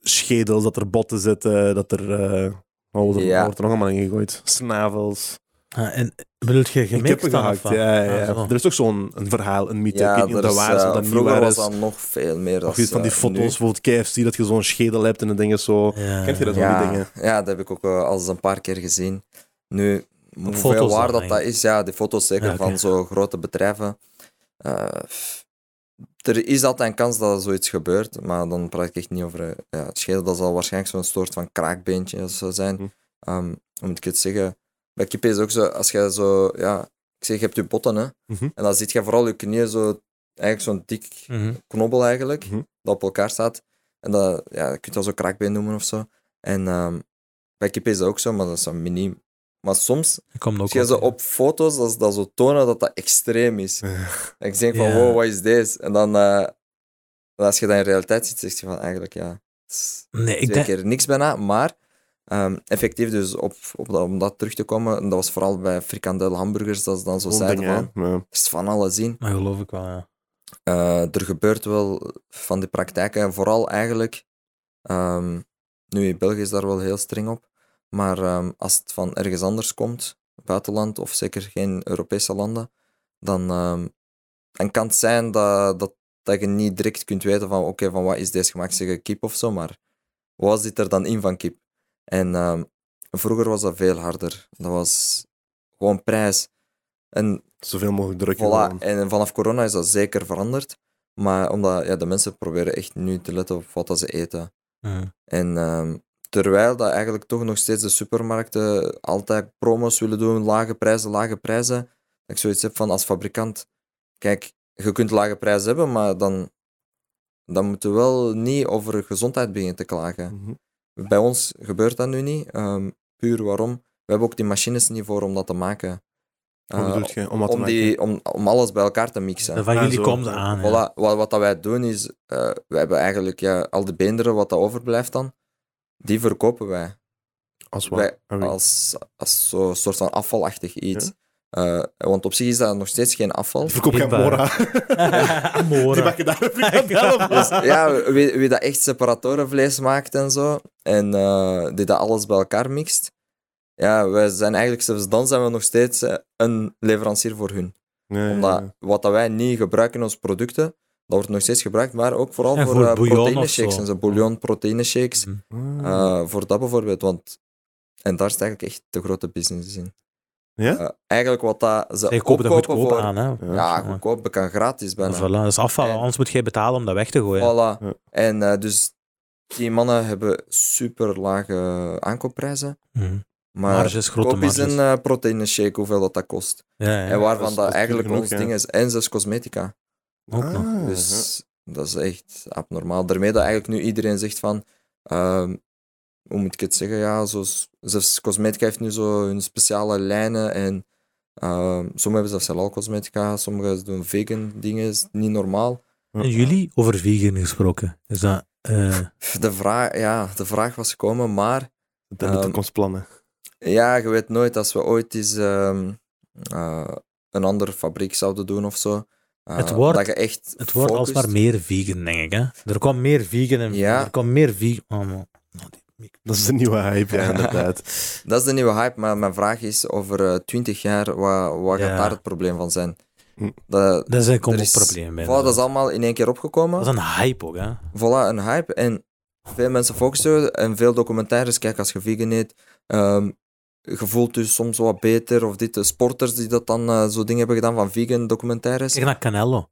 S1: schedels, dat er botten zitten, dat er... eh, wat wordt er,
S4: Ja.
S1: wat wordt er nog allemaal in gegooid? Snavels.
S2: Ah, en bedoel je
S1: Ik heb
S2: gemixt dan? of wat?
S1: Ja, ja, ja.
S2: Ah, zo.
S1: er is toch zo'n een verhaal, een mythe. ik weet niet of
S4: er
S1: dat
S4: is,
S1: waar is of
S4: eh,
S1: dat niet
S4: vroeger
S1: waar
S4: was
S1: is.
S4: dat nog veel meer dan
S1: Of iets van die
S4: eh,
S1: foto's,
S4: nu.
S1: bijvoorbeeld KFC, dat je zo'n schedel hebt en een ding is zo.
S2: Ja.
S1: Kent je dat? van die
S4: Ja,
S1: dingen.
S4: ja, dat heb ik ook eh, al eens een paar keer gezien. Nu, hoeveel
S2: foto's
S4: waar
S2: dan,
S4: dat dat
S2: eigenlijk.
S4: is, ja, die foto's zeker
S2: Ja, oké.
S4: van zo'n grote bedrijven. eh, f- er is altijd een kans dat er zoiets gebeurt, maar dan praat ik echt niet over... eh, Ja, het schedel, dat zal waarschijnlijk zo'n soort van kraakbeentje of zo zijn.
S1: Hm.
S4: Ehm, hoe moet ik het zeggen? Bij kip is het ook zo, als je zo... Ja, ik zeg, je hebt je botten, hè.
S1: Mhm.
S4: En dan zit je vooral je knieën zo... Eigenlijk zo'n dik
S2: Mhm.
S4: knobbel eigenlijk,
S1: Mhm.
S4: dat op elkaar staat. En dat, ja, je kunt dat zo kraakbeen noemen of zo. En ehm, bij kippen is dat ook zo, maar dat is een mini. Maar soms
S2: Dat komt ook
S4: zie je
S2: wel.
S4: ze op foto's dat ze dat zo tonen dat dat extreem is. En ik denk van,
S2: Ja.
S4: wow, wat is deze? En dan, eh, als je dat in realiteit ziet, zeg je van, eigenlijk ja, het is
S2: Nee, ik denk...
S4: twee keer niks bijna. Maar ehm, effectief, dus op, op dat, om dat terug te komen, dat was vooral bij frikandel hamburgers, dat ze dan zo
S1: Zo'n
S4: zeiden
S1: ding, hè.
S4: van,
S1: Ja.
S4: er is van alles in.
S2: Maar geloof ik wel, ja.
S4: Eh, er gebeurt wel van die praktijken. En vooral eigenlijk, ehm, nu in België is daar wel heel streng op, maar ehm, als het van ergens anders komt, buitenland of zeker geen Europese landen, dan, ehm, dan kan het zijn dat, dat, dat je niet direct kunt weten van oké, van wat is deze gemaakt? Zeggen kip of zo, maar wat zit er dan in van kip? En ehm, vroeger was dat veel harder. Dat was gewoon prijs. En
S1: Zoveel mogelijk drukken.
S4: Voilà,
S1: gewoon.
S4: en vanaf corona is dat zeker veranderd. Maar omdat ja, de mensen proberen echt nu te letten op wat dat ze eten.
S2: Mhm.
S4: En ehm, terwijl dat eigenlijk toch nog steeds de supermarkten altijd promos willen doen, lage prijzen, lage prijzen. Dat ik zoiets heb van als fabrikant, kijk, je kunt lage prijzen hebben, maar dan, dan moeten we wel niet over gezondheid beginnen te klagen.
S1: Mhm.
S4: Bij ons gebeurt dat nu niet. ehm, puur waarom? We hebben ook die machines niet voor om dat te maken.
S1: Hoe
S4: Eh,
S1: bedoel je? Om wat te
S4: om,
S1: maken?
S4: die, om, om alles bij elkaar te mixen.
S2: Dat Van
S1: Ah,
S2: jullie
S1: zo.
S2: komt ze aan. ja.
S4: Voilà, wat, wat dat wij doen is, eh we hebben eigenlijk ja, al de beenderen wat dat overblijft dan, die verkopen wij.
S1: Als wat?
S4: wij
S1: Ah, wie?
S4: als als zo'n soort van afvalachtig iets.
S1: Ja.
S4: Eh, want op zich is dat nog steeds geen afval.
S1: Die verkoop geen
S2: Eetbaar.
S1: Mora. Die
S2: Amora.
S1: bakken daar een frikandel op.
S4: Dus, ja, wie, wie dat echt separatorenvlees maakt en zo, en eh, die dat alles bij elkaar mixt, ja, wij zijn eigenlijk, zelfs dan zijn we nog steeds eh, een leverancier voor hun.
S1: Nee,
S4: Omdat
S1: ja.
S4: wat dat wij niet gebruiken in onze producten, dat wordt nog steeds gebruikt, maar ook vooral
S2: Ja,
S4: voor,
S2: voor
S4: eh,
S2: bouillon of
S4: proteïneshakes
S2: zo.
S4: en zo. Bouillon, proteïneshakes.
S2: Mhm.
S1: Ah.
S4: eh, voor dat bijvoorbeeld, want... En daar is het eigenlijk echt de grote business in.
S1: Ja?
S4: Eh, eigenlijk wat dat ze
S2: Zij kopen dat
S4: opkopen
S2: goedkoop
S4: voor...
S2: aan, hè.
S1: Ja.
S4: Ja, goedkoop, dat kan gratis bijna.
S2: Voilà, dat is afval,
S4: En-
S2: anders moet jij betalen om dat weg te gooien.
S4: Voilà.
S1: Ja.
S4: En eh, dus die mannen hebben super lage aankoopprijzen.
S2: Mhm.
S4: Maar
S2: Marges, grote
S4: koop eens een
S2: marges.
S4: eh proteïne shake, hoeveel dat, dat kost.
S2: Ja,
S4: en
S2: ja.
S4: waarvan
S1: dat is-
S4: dat,
S1: dat is
S4: eigenlijk
S1: genoeg,
S4: ons
S1: ja.
S4: ding is. En zelfs cosmetica.
S2: Ook nog.
S1: Ah,
S4: Dus
S2: Mhm.
S4: dat is echt abnormaal. Daarmee dat eigenlijk nu iedereen zegt van... ehm, hoe moet ik het zeggen? Ja, zoals, zelfs cosmetica heeft nu zo hun speciale lijnen. En ehm, sommigen hebben zelfs halal cosmetica. Sommigen doen vegan dingen. is niet normaal.
S1: Uh-huh.
S2: En jullie over vegan gesproken. Is dat... eh,
S4: De vraag, ja, de vraag was gekomen, maar...
S1: Dat zijn de
S4: Ehm,
S1: toekomstplannen.
S4: Ja, je weet nooit als we ooit eens ehm, eh, een andere fabriek zouden doen of zo. eh,
S2: Het wordt-
S4: dat je echt
S2: Het wordt
S4: focust-
S2: alsmaar meer vegan, denk ik. Hè? Er kwam meer vegan en
S4: Ja.
S2: er kwam meer vegan. Oh, man. Oh, die mic-
S1: Dat is de nieuwe hype, ja, inderdaad.
S4: Dat is de nieuwe hype, maar mijn vraag is: over eh, twintig jaar, wat, wat
S2: Ja.
S4: gaat daar het probleem van zijn?
S1: Hm.
S4: Dat,
S2: Dat is een complex
S4: is-
S2: probleem. Bij
S4: voilà, dat is allemaal in één keer opgekomen.
S2: dat is een hype ook. Hè?
S4: Voilà, een hype. En veel mensen focussen en veel documentaires. Kijk, als je vegan eet, ehm, je voelt je soms wat beter. Of dit, de sporters die dat dan eh, zo dingen hebben gedaan van vegan documentaires.
S2: Kijk naar Canelo.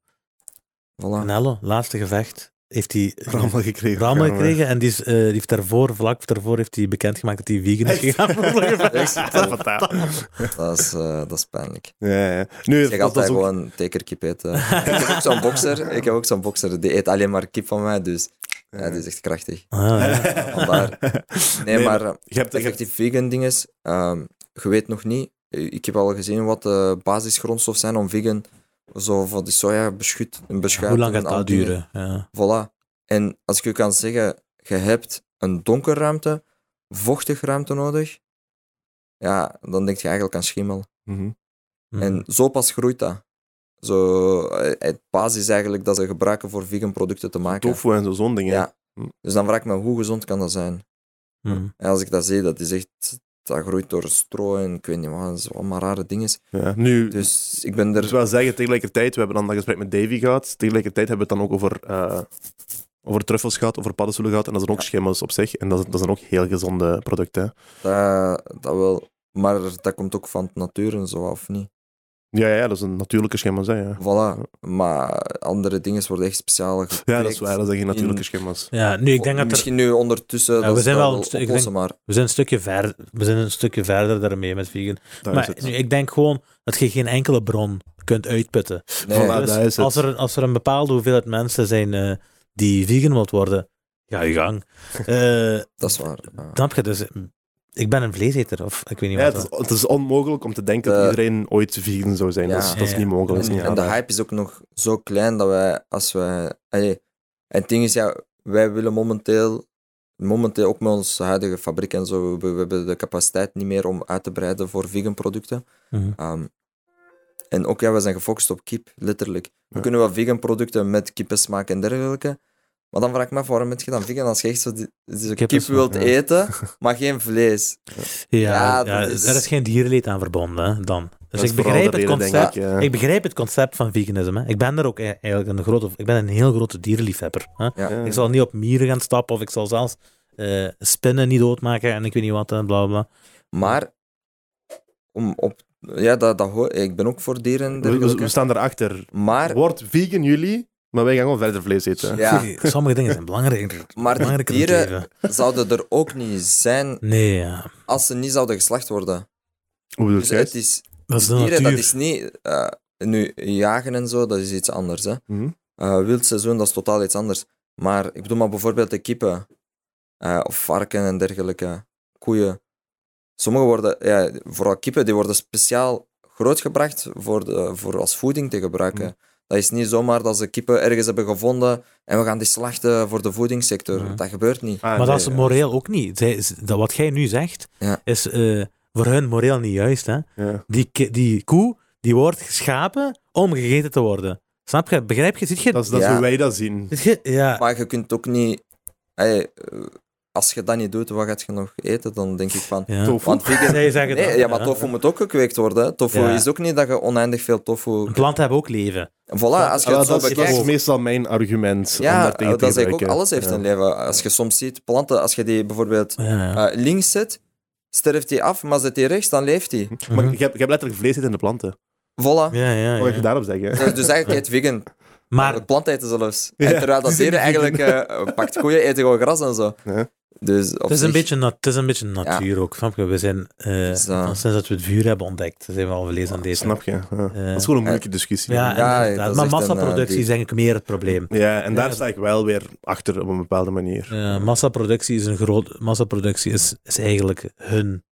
S4: Voilà.
S2: Canelo, laatste gevecht, heeft hij
S1: Rammel gekregen.
S2: ramen
S1: Ja, maar-
S2: gekregen. En die, is, eh, die heeft daarvoor, vlak daarvoor, heeft hij bekendgemaakt dat hij vegan is gegaan. voor het gevecht.
S4: Echt?
S1: Dat is fataal.
S4: Dat is, eh, dat is pijnlijk.
S1: Ja, ja. Nu, dat,
S4: Ik ga
S1: dat
S4: altijd
S1: is ook-
S4: gewoon tekerkip eten. ik heb ook zo'n bokser. Ik heb ook zo'n bokser. Die eet alleen maar kip van mij, dus ja, die is echt krachtig.
S2: Ah, ja.
S4: Vandaar. Nee,
S1: Nee,
S4: maar eh,
S1: Je hebt, je hebt-
S4: effectief vegan dingen, ehm, je weet nog niet. Eh, Ik heb al gezien wat de basisgrondstof zijn om vegan, zo van die soja beschut, beschuit.
S2: Hoe lang
S4: en
S2: gaat
S4: al
S2: dat
S4: die-
S2: duren? Ja.
S4: Voilà. En als ik u kan zeggen, je hebt een donker ruimte, vochtig ruimte nodig, ja, dan denk je eigenlijk aan schimmel.
S1: Mhm.
S2: Mm.
S4: En zo pas groeit dat. Zo, eh, het basis eigenlijk dat ze gebruiken voor vegan producten te maken.
S1: tofu en zo, zo'n dingen.
S4: Ja.
S1: Hm.
S4: Dus dan vraag ik me, hoe gezond kan dat zijn?
S2: Mm.
S4: En als ik dat zie, dat is echt... Dat groeit door stro en ik weet niet wat, dat is allemaal rare dingen.
S1: Ja. Nu, dus,
S4: Dus ik ben er...
S1: wel zeggen, tegelijkertijd, we hebben dan dat gesprek met Davy gehad. Tegelijkertijd hebben we het dan ook over, eh, over truffels gehad, over paddenstoelen gehad. En dat zijn ook schimmels op zich. En dat, dat zijn ook heel gezonde producten. hè.
S4: Dat, dat wel... Maar dat komt ook van de natuur en zo, of niet?
S1: Ja, ja, dat is een natuurlijke schimmels. Hè, ja.
S4: Voilà. Maar andere dingen worden echt speciaal gekweekt.
S1: ja, dat is waar. Dat zijn geen natuurlijke
S4: In-
S1: schimmels.
S2: ja, nu, ik denk dat er
S4: Misschien nu ondertussen... dat
S2: we
S4: ze
S2: zijn
S4: dat
S2: wel een stu- ik
S4: oplossen,
S2: denk-
S4: maar...
S2: We zijn een stukje, ver, we zijn een stukje verder daarmee met vegan.
S1: Daar is
S2: maar
S1: het.
S2: nu, ik denk gewoon dat je geen enkele bron kunt uitputten. Dus
S4: Nee,
S1: Voilà. Ja, dat is het.
S2: als, er, als er een bepaalde hoeveelheid mensen zijn eh, die vegan wilt worden, ga je gang. Eh,
S4: dat is waar. ja.
S2: snap je? Dus, mm, ik ben een vleeseter, of ik weet niet
S1: Ja, het,
S2: wat.
S1: is, het is onmogelijk om te denken dat
S4: Eh,
S1: iedereen ooit vegan zou zijn.
S4: ja.
S1: dat, is, dat is
S2: Ja,
S1: niet
S2: ja.
S1: mogelijk. dat
S4: En,
S1: is niet
S4: en de
S1: haalbaar.
S4: hype is ook nog zo klein dat wij, als we. Allee, en het ding is, ja, wij willen momenteel, momenteel ook met onze huidige fabriek en zo, we, we hebben de capaciteit niet meer om uit te breiden voor vegan producten.
S2: Mhm.
S4: Ehm, en ook, ja, we zijn gefocust op kip, letterlijk. We
S1: Ja.
S4: kunnen wel vegan producten met kippensmaak en dergelijke. Maar dan vraag ik me af, waarom ben je dan vegan als je echt zo die- zo kip
S2: Kippensmaak,
S4: wilt
S2: ja.
S4: eten, maar geen vlees?
S2: Ja,
S4: Ja,
S2: ja,
S4: dat is-
S2: er is geen dierenleed aan verbonden hè, dan. Dus
S1: Dat is
S2: ik
S1: vooral
S2: begrijp,
S1: de
S2: het
S1: reden,
S2: concept,
S1: denk ik, ja.
S2: ik begrijp het concept van veganisme. hè. Ik ben daar ook e- eigenlijk een, grote, ik ben een heel grote dierenliefhebber. Hè.
S1: Ja.
S2: Ik zal niet op mieren gaan stappen, of ik zal zelfs eh, spinnen niet doodmaken en ik weet niet wat, en bla bla.
S4: Maar, om op. Ja, dat, dat hoor, ik ben ook voor dieren en
S1: we, we-
S4: dergelijke.
S1: we staan daarachter.
S4: Maar
S1: Word vegan jullie, maar wij gaan gewoon verder vlees eten.
S4: Ja.
S2: Sommige dingen zijn belangrijker.
S4: Maar die
S2: belangrijker dan
S4: dieren-
S2: leven.
S4: zouden er ook niet zijn
S2: Nee, ja.
S4: als ze niet zouden geslacht worden.
S1: Hoe bedoel
S4: Dus
S1: je het?
S4: het is,
S2: Dat is de
S4: dieren, dat
S2: natuur.
S4: is niet... eh, nu, jagen en zo, dat is iets anders. Hè.
S1: Mhm.
S4: Eh, wild seizoen, dat is totaal iets anders. Maar ik bedoel maar bijvoorbeeld de kippen. eh, of varken en dergelijke. Koeien. Sommige worden... Ja, vooral kippen, die worden speciaal grootgebracht voor, de, voor als voeding te gebruiken.
S2: Mm.
S4: Dat is niet zomaar dat ze kippen ergens hebben gevonden en we gaan die slachten voor de voedingssector.
S2: Mhm.
S4: Dat gebeurt niet.
S1: Ah,
S2: maar
S1: nee,
S2: dat is moreel ook niet. Zij, is- dat wat jij nu zegt,
S4: Ja.
S2: is eh, voor hun moreel niet juist. Hè?
S1: ja.
S2: Die, ki- die koe, die wordt geschapen om gegeten te worden. Snap je? Begrijp je? Ziet je?
S1: Dat is, dat is
S4: Ja.
S1: hoe wij dat zien.
S2: ziet je? Ja.
S4: Maar je kunt ook niet. Hey, eh, als je dat niet doet, wat gaat je nog eten? Dan denk ik van.
S2: ja.
S1: Tofu.
S4: Want vegan.
S2: Zij zeggen
S4: Nee,
S2: dat,
S4: ja, maar
S2: ja.
S4: tofu moet ook gekweekt worden. hè. Tofu
S2: Ja.
S4: is ook niet dat je oneindig veel tofu.
S2: Een plant hebben ook leven.
S4: Voilà, als je
S1: Ah,
S4: het zo
S1: dat, is, dat is
S4: bekijkt.
S1: meestal mijn argument. om
S4: Ja, eh,
S1: daar tegen te
S4: dat zeg ik ook.
S1: gebruiken.
S4: Alles heeft
S1: Ja.
S4: een leven. Als je soms ziet, planten, als je die bijvoorbeeld
S2: Ja.
S4: eh, links zet, sterft die af, maar zet die rechts, dan leeft die.
S1: Maar
S2: Mhm.
S1: ik heb, ik heb letterlijk vlees eten in de planten.
S4: Voilà.
S2: Ja, ja,
S1: Wat
S2: ja.
S1: ga je daarop zeggen?
S4: Dus, dus eigenlijk eet vegan.
S2: Maar
S4: Planten eten zelfs.
S1: Ja,
S4: En terwijl dat
S1: ze zijn
S4: dieren
S1: niet
S4: eigenlijk eh, pakt koeien, eten gewoon gras en zo.
S1: Ja.
S4: Dus op
S2: het is, een
S4: zich-
S2: beetje, nat- het is een beetje natuur ook. Snap je? We zijn, eh,
S4: Dus, eh,
S2: sinds dat we het vuur hebben ontdekt, zijn we al verlezen aan deze.
S1: Snap je? Ja. Dat is gewoon een moeilijke discussie.
S2: Ja,
S4: Ja,
S2: inderdaad.
S4: dat is
S2: maar
S4: echt een, eh,
S2: massaproductie is
S4: die-
S2: denk ik meer het probleem.
S1: Ja, en daar
S2: Ja.
S1: sta ik wel weer achter op een bepaalde manier.
S2: Eh, massaproductie is een groot. Massaproductie is, is eigenlijk hun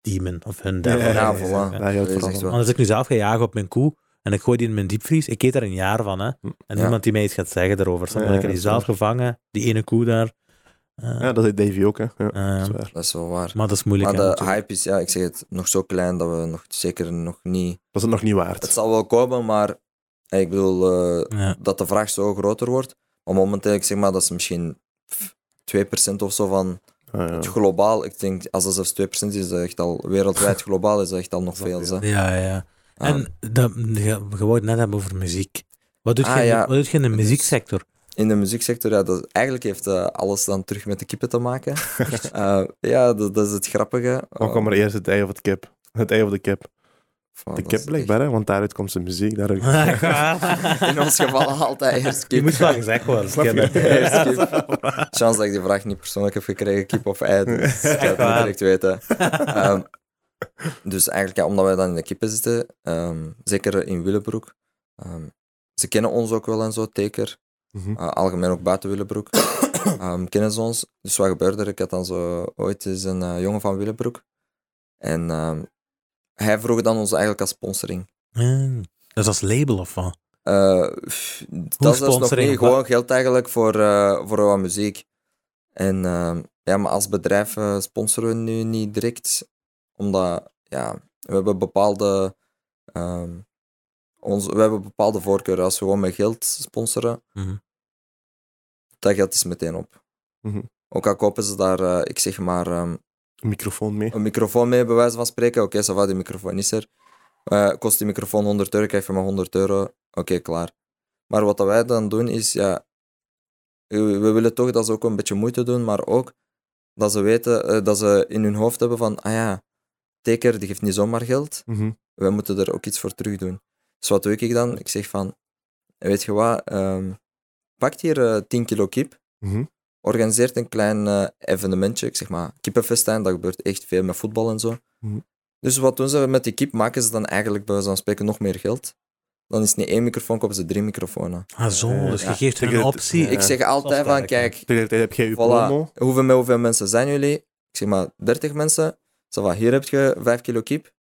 S2: demon of hun devil.
S1: Ja,
S4: Ja,
S1: voilà.
S4: voilà.
S1: Daar gaat
S4: Dat
S1: het
S4: is
S1: vooral
S4: echt
S1: om.
S4: wel.
S2: Want als ik nu zelf ga jagen op mijn koe en ik gooi die in mijn diepvries, ik eet daar een jaar van. Hè? En
S4: Ja.
S2: niemand die mij iets gaat zeggen daarover. Snap je?
S1: Ja,
S2: ik heb
S1: ja,
S2: die zelf gevangen, die ene koe daar. Eh,
S1: Ja, dat deed Davy ook, hè. Ja,
S2: eh,
S1: dat is waar.
S4: Dat is wel waar.
S2: maar dat is moeilijk.
S4: Maar
S2: hè,
S4: de
S2: natuurlijk.
S4: hype is, ja, ik zeg het, nog zo klein dat we nog zeker nog niet...
S1: Dat is het nog niet
S4: Het
S1: waard.
S4: zal wel komen, maar eh, ik bedoel eh,
S2: ja.
S4: dat de vraag zo groter wordt. Maar momenteel, ik zeg maar, dat is misschien pff, 2% of zo van
S1: Ah, ja.
S4: het globaal. Ik denk, als dat zelfs 2% is, is dat echt al wereldwijd globaal, is dat echt al nog veel. Hè.
S2: ja, ja.
S4: Ja.
S2: En dat, je, je wou het net hebben over muziek. Wat doet,
S4: Ah,
S2: je, in de-
S4: ja.
S2: wat doet je in de
S4: Het is-
S2: muzieksector?
S4: In de muzieksector, ja, dat, eigenlijk heeft eh, alles dan terug met de kippen te maken. Eh, ja, dat, dat is het grappige.
S1: Dan kwam er eerst het ei of het kip. Het ei of de kip.
S4: Van,
S1: De
S4: dat
S1: kip
S4: is
S1: blijkbaar, hè, want daaruit komt zijn muziek. Daaruit...
S4: echt- In ons geval altijd eerst
S2: Je
S4: kip.
S2: moet wel gezegd worden.
S1: Snap je?
S2: Kevin.
S4: Eerst kip. Chance dat ik die vraag niet persoonlijk heb gekregen, kip of ei. Dus ik ga het niet
S2: waar.
S4: direct weten. Ehm, dus eigenlijk, ja, omdat wij dan in de kippen zitten, ehm, zeker in Willebroek. ehm, ze kennen ons ook wel en zo, teken.
S1: Mhm.
S4: Uh, algemeen ook buiten Willebroek. Ehm, kennen ze ons. Dus wat gebeurde er? Ik had dan zo ooit eens een eh, jongen van Willebroek. En ehm, hij vroeg dan ons eigenlijk als sponsoring.
S2: Hmm. Dat is als label of wat?
S4: Eh, pff, dat is zelfs nog
S2: sponsoring?
S4: niet. Gewoon geld eigenlijk voor, eh, voor wat muziek. En ehm, ja, maar als bedrijf eh, sponsoren we nu niet direct. Omdat, ja, we hebben bepaalde... ehm, ons, we hebben bepaalde voorkeuren. Als we gewoon met geld sponsoren,
S2: Mhm.
S4: dat geld is meteen op.
S1: Mhm.
S4: Ook al kopen ze daar, eh, ik zeg maar, ehm,
S1: Microfoon mee.
S4: een microfoon mee, bij wijze van spreken. Oké, ça va, die microfoon is er. Eh, kost die microfoon 100 euro, krijg je maar 100 euro. Oké, klaar. Maar wat dat wij dan doen is, ja, we, we willen toch dat ze ook een beetje moeite doen, maar ook dat ze weten, eh, dat ze in hun hoofd hebben van, ah ja, Teker die geeft niet zomaar geld,
S1: Mhm.
S4: wij moeten er ook iets voor terug doen. Dus wat doe ik dan? Ik zeg van, weet je wat, ehm pak hier eh, 10 kilo kip,
S1: Mhm.
S4: organiseert een klein eh, evenementje, ik zeg maar kippenfestijn, dat gebeurt echt veel met voetbal en zo.
S1: Mhm.
S4: Dus wat doen ze met die kip? Maken ze dan eigenlijk bij zo'n spreken nog meer geld? Dan is het niet één microfoon, kopen ze drie microfoons.
S2: Ah, zo.
S1: Eh,
S2: dus je
S4: ja.
S2: geeft hun
S1: Ik-
S2: een optie.
S1: Ja.
S4: Ik zeg altijd van,
S2: sterk, hè.
S4: kijk,
S1: Tegelijkertijd heb jij je promo.
S4: voilà, hoeveel, met hoeveel mensen zijn jullie? Ik zeg maar 30 mensen. Zo van, hier heb je 5 kilo kip.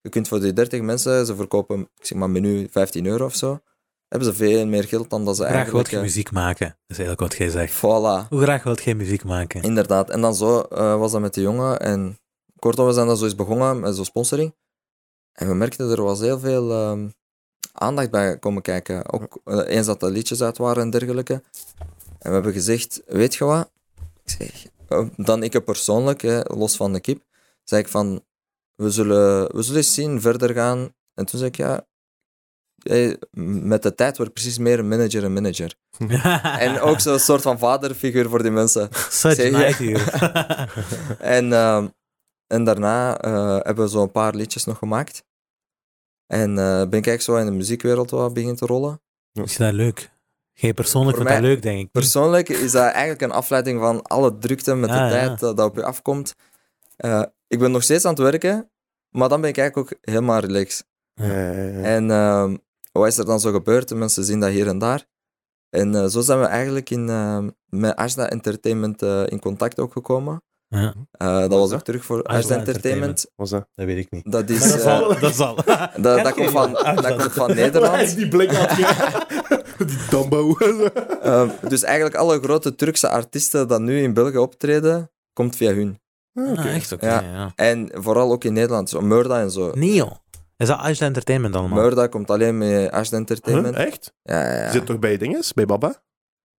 S4: Je kunt voor die 30 mensen, ze verkopen, ik zeg maar menu 15 euro of zo. Hebben ze veel meer geld dan dat ze
S2: Graag wilt
S4: eigenlijk...
S2: je
S4: eh,
S2: muziek maken. Dat is eigenlijk wat jij zegt.
S4: Voilà.
S2: Hoe graag wilt jij muziek maken?
S4: Inderdaad. En dan zo eh, was dat met de jongen. En kortom, we zijn dan zo eens begonnen met zo'n sponsoring. En we merkten er was heel veel ehm, aandacht bij komen kijken. Ook eh, eens dat de liedjes uit waren en dergelijke. En we hebben gezegd, weet je wat? Ik zeg, eh, dan ik persoonlijk, hè, los van de kip, zei ik van, we zullen, we zullen eens zien, verder gaan. En toen zei ik, ja, eh, met de tijd wordt precies meer een manager en manager. En ook zo'n soort van vaderfiguur voor die mensen.
S2: Such
S4: zeg je-
S2: night hier.
S4: En, ehm, en daarna eh, hebben we zo'n paar liedjes nog gemaakt. En eh, ben ik eigenlijk zo in de muziekwereld wat begin te rollen.
S2: Is dat leuk? Jij persoonlijk
S4: Voor
S2: vindt dat
S4: mij-
S2: leuk, denk ik.
S4: Persoonlijk is dat eigenlijk een afleiding van alle drukte met
S2: Ah,
S4: de tijd
S2: ja.
S4: eh, dat op je afkomt. Eh, ik ben nog steeds aan het werken, maar dan ben ik eigenlijk ook helemaal relaxed.
S1: Ja, ja, ja.
S4: En ehm, wat is er dan zo gebeurd? De mensen zien dat hier en daar. En eh, zo zijn we eigenlijk in, ehm, met Ashda Entertainment eh, in contact ook gekomen.
S2: Ja,
S4: Eh, dat was ook terug voor
S2: Ashda
S4: Ashda
S2: Entertainment.
S4: Entertainment.
S1: Was dat?
S2: dat weet ik niet.
S4: Dat is...
S2: Maar dat
S4: eh,
S2: zal. dat zal.
S4: Dat, dat, komt, van, dat komt van Nederland.
S1: die blik had Die Dumbo.
S4: Ehm, dus eigenlijk alle grote Turkse artiesten dat nu in België optreden, komt via hun.
S2: Ah, echt oké.
S4: Ja.
S2: ja. ja.
S4: En vooral ook in Nederland, zo Murda en zo.
S2: Neo. Is dat Ashland Entertainment allemaal?
S4: Murda komt alleen met Ashton Entertainment.
S1: Huh, Echt?
S4: Ja, ja, ja.
S1: Zit toch bij dinges? Bij Baba?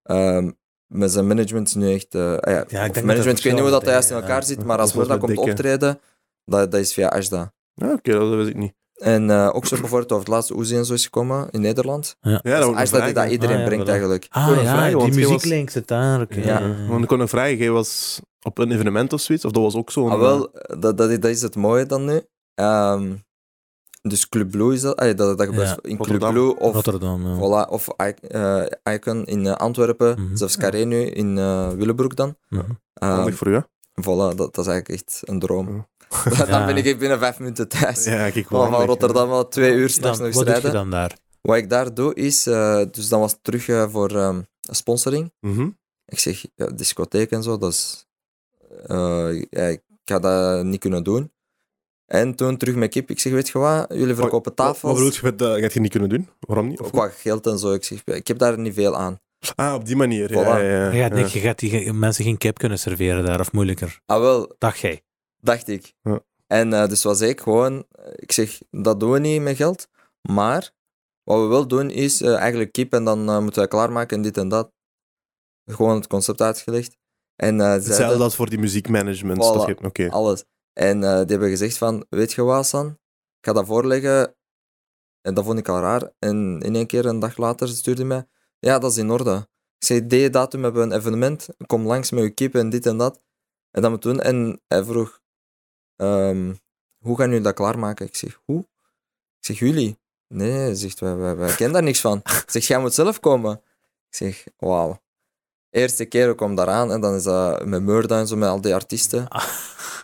S4: Ehm, maar zijn management is nu echt... eh, ah ja,
S2: denk dat
S4: of
S2: er
S4: management, ik weet niet hoe dat
S2: verschillende
S4: juist in
S2: dingen,
S4: elkaar
S2: ja.
S4: zit, maar
S1: Dat
S4: als
S1: is wel
S4: Murda
S1: met
S4: komt
S1: dikke.
S4: optreden, dat, dat is via Ashda.
S1: Ja, Ah, oké, dat wist ik niet.
S4: En eh, ook zo bijvoorbeeld over het laatste Oezie en zo is gekomen in Nederland.
S1: Ja, dat
S4: Dus
S1: wou ik nog
S4: Ashda die dat
S1: vragen.
S4: iedereen
S2: Ah, ja,
S4: brengt
S2: voilà.
S4: eigenlijk.
S1: Ik
S2: Ah
S1: wil nog
S2: ja,
S1: vragen,
S2: die
S1: want je was-
S2: muzieklink zit daar. oké.
S4: Ja.
S1: Ah, Want ik kon nog vragen, jij was op een evenement of zoiets? Of dat was ook zo'n...
S4: Ah, wel,
S2: eh,
S4: dat, dat, is- dat is het mooie dan nu. Ehm, dus Club Blue is dat. ah, ja, dat, dat gebeurt
S2: Ja,
S4: in
S1: Rotterdam.
S4: Club Blue of,
S2: Rotterdam. ja.
S4: voilà, of I- eh, Icon in eh, Antwerpen.
S2: Mhm.
S4: Zelfs Carré nu in eh Willebroek dan.
S2: Mhm.
S4: Ehm,
S1: eh, Handig voor u, hè?
S4: voilà, dat, dat is eigenlijk echt een droom.
S2: Ja.
S4: dan ben ik echt binnen vijf minuten thuis.
S1: Ja, kijk wel.
S4: Van, van
S1: handig,
S4: Rotterdam wel twee uur
S2: Dan,
S4: s'nachts nog
S2: wat
S4: eens
S2: doe je
S4: rijden.
S2: dan daar?
S4: Wat ik daar doe is, eh, dus dan was het terug eh, voor ehm, sponsoring.
S1: hè. Mhm.
S4: Ik zeg, ja, discotheek en zo, dat is... eh, ja, ik ga dat niet kunnen doen. En toen terug met kip. Ik zeg, weet je wat, jullie verkopen
S1: Wat- Wat
S4: tafels.
S1: bedoel je met, eh, dat gaat je niet kunnen doen? Waarom niet? Of
S4: Qua geld en zo. Ik zeg, ik heb daar niet veel aan.
S1: Ah, op die manier. Ja,
S4: Voilà.
S1: ja, ja.
S2: Je gaat,
S1: Ja.
S2: niet- je gaat die ge- mensen geen kip kunnen serveren daar, of moeilijker.
S4: Ah, wel,
S2: Dacht jij.
S4: dacht ik.
S1: Ja.
S4: En eh, dus was ik gewoon, ik zeg, dat doen we niet met geld, maar wat we wel doen is eh, eigenlijk kip en dan eh, moeten we klaarmaken en dit en dat. Gewoon het concept uitgelegd. En eh, zeiden-
S1: Hetzelfde als voor die muziekmanagement.
S4: Voilà.
S1: dat je- Oké.
S4: alles. En eh, die hebben gezegd van, weet je wat, San? Ik ga dat voorleggen. En dat vond ik al raar. En in één keer, een dag later, stuurde hij mij, ja, dat is in orde. Ik zei, die datum hebben we een evenement. Kom langs met je kip en dit en dat. En dat moet doen. En hij vroeg, ehm, hoe gaan jullie dat klaarmaken? Ik zeg, hoe? Ik zeg, jullie? Nee, zegt, wij, wij, wij kennen daar niks van. Ik zeg, jij moet zelf komen. Ik zeg, wauw. Eerste keer, ik kom daaraan en dan is dat met Murda en zo, met al die artiesten.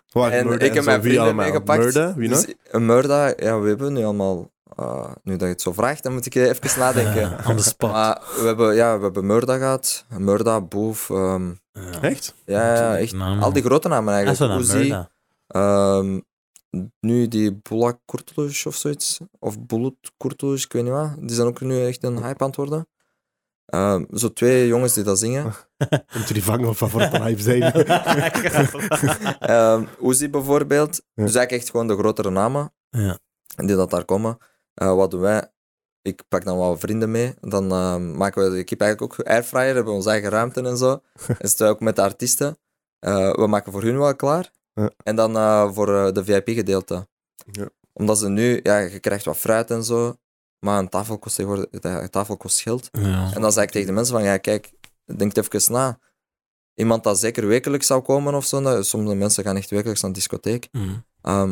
S1: Waar
S4: En
S1: Murda
S4: ik heb
S1: zo,
S4: mijn
S1: wie
S4: vrienden
S1: allemaal?
S4: meegepakt.
S1: Murda? Wie nog?
S4: Dus, een Murda, ja, we hebben nu allemaal... eh, nu dat je het zo vraagt, dan moet ik even nadenken.
S2: Ja, Eh, on the spot.
S4: eh, maar we hebben, ja, we hebben Murda gehad. Murda, Boef. ehm,
S2: Ja.
S1: Echt?
S4: ja, ja, echt.
S2: Namen.
S4: Al die grote namen
S2: Ah, zo
S4: eigenlijk.
S2: naar
S4: Uzi,
S2: Murda.
S4: ehm, nu die Bulak Kurtuluş of zoiets. Of Bulut Kurtuluş, ik weet niet wat. Die zijn ook nu echt een hype aan het worden. Ehm, zo twee jongens die dat zingen.
S1: Om te vangen of wat voor een hype zijn.
S4: Ehm Uzi bijvoorbeeld.
S1: Ja.
S4: Dus eigenlijk echt gewoon de grotere namen
S2: Ja.
S4: die dat daar komen. Eh, wat doen wij? Ik pak dan wat vrienden mee. Dan ehm, maken we de kip eigenlijk ook airfryer. Hebben we onze eigen ruimte en zo. en zitten we ook met de artiesten. Eh, we maken voor hun wel klaar.
S1: Ja.
S4: En dan eh, voor eh, de VIP-gedeelte.
S1: Ja.
S4: Omdat ze nu, ja, je krijgt wat fruit en zo. Maar een tafel kost, tegenwoordig- een tafel kost geld.
S2: Ja.
S4: En dan zei ik tegen de mensen van, ja, kijk, denk even na. Iemand dat zeker wekelijks zou komen of zo, nou, sommige mensen gaan echt wekelijks naar de discotheek.
S2: Mm.
S4: Ehm,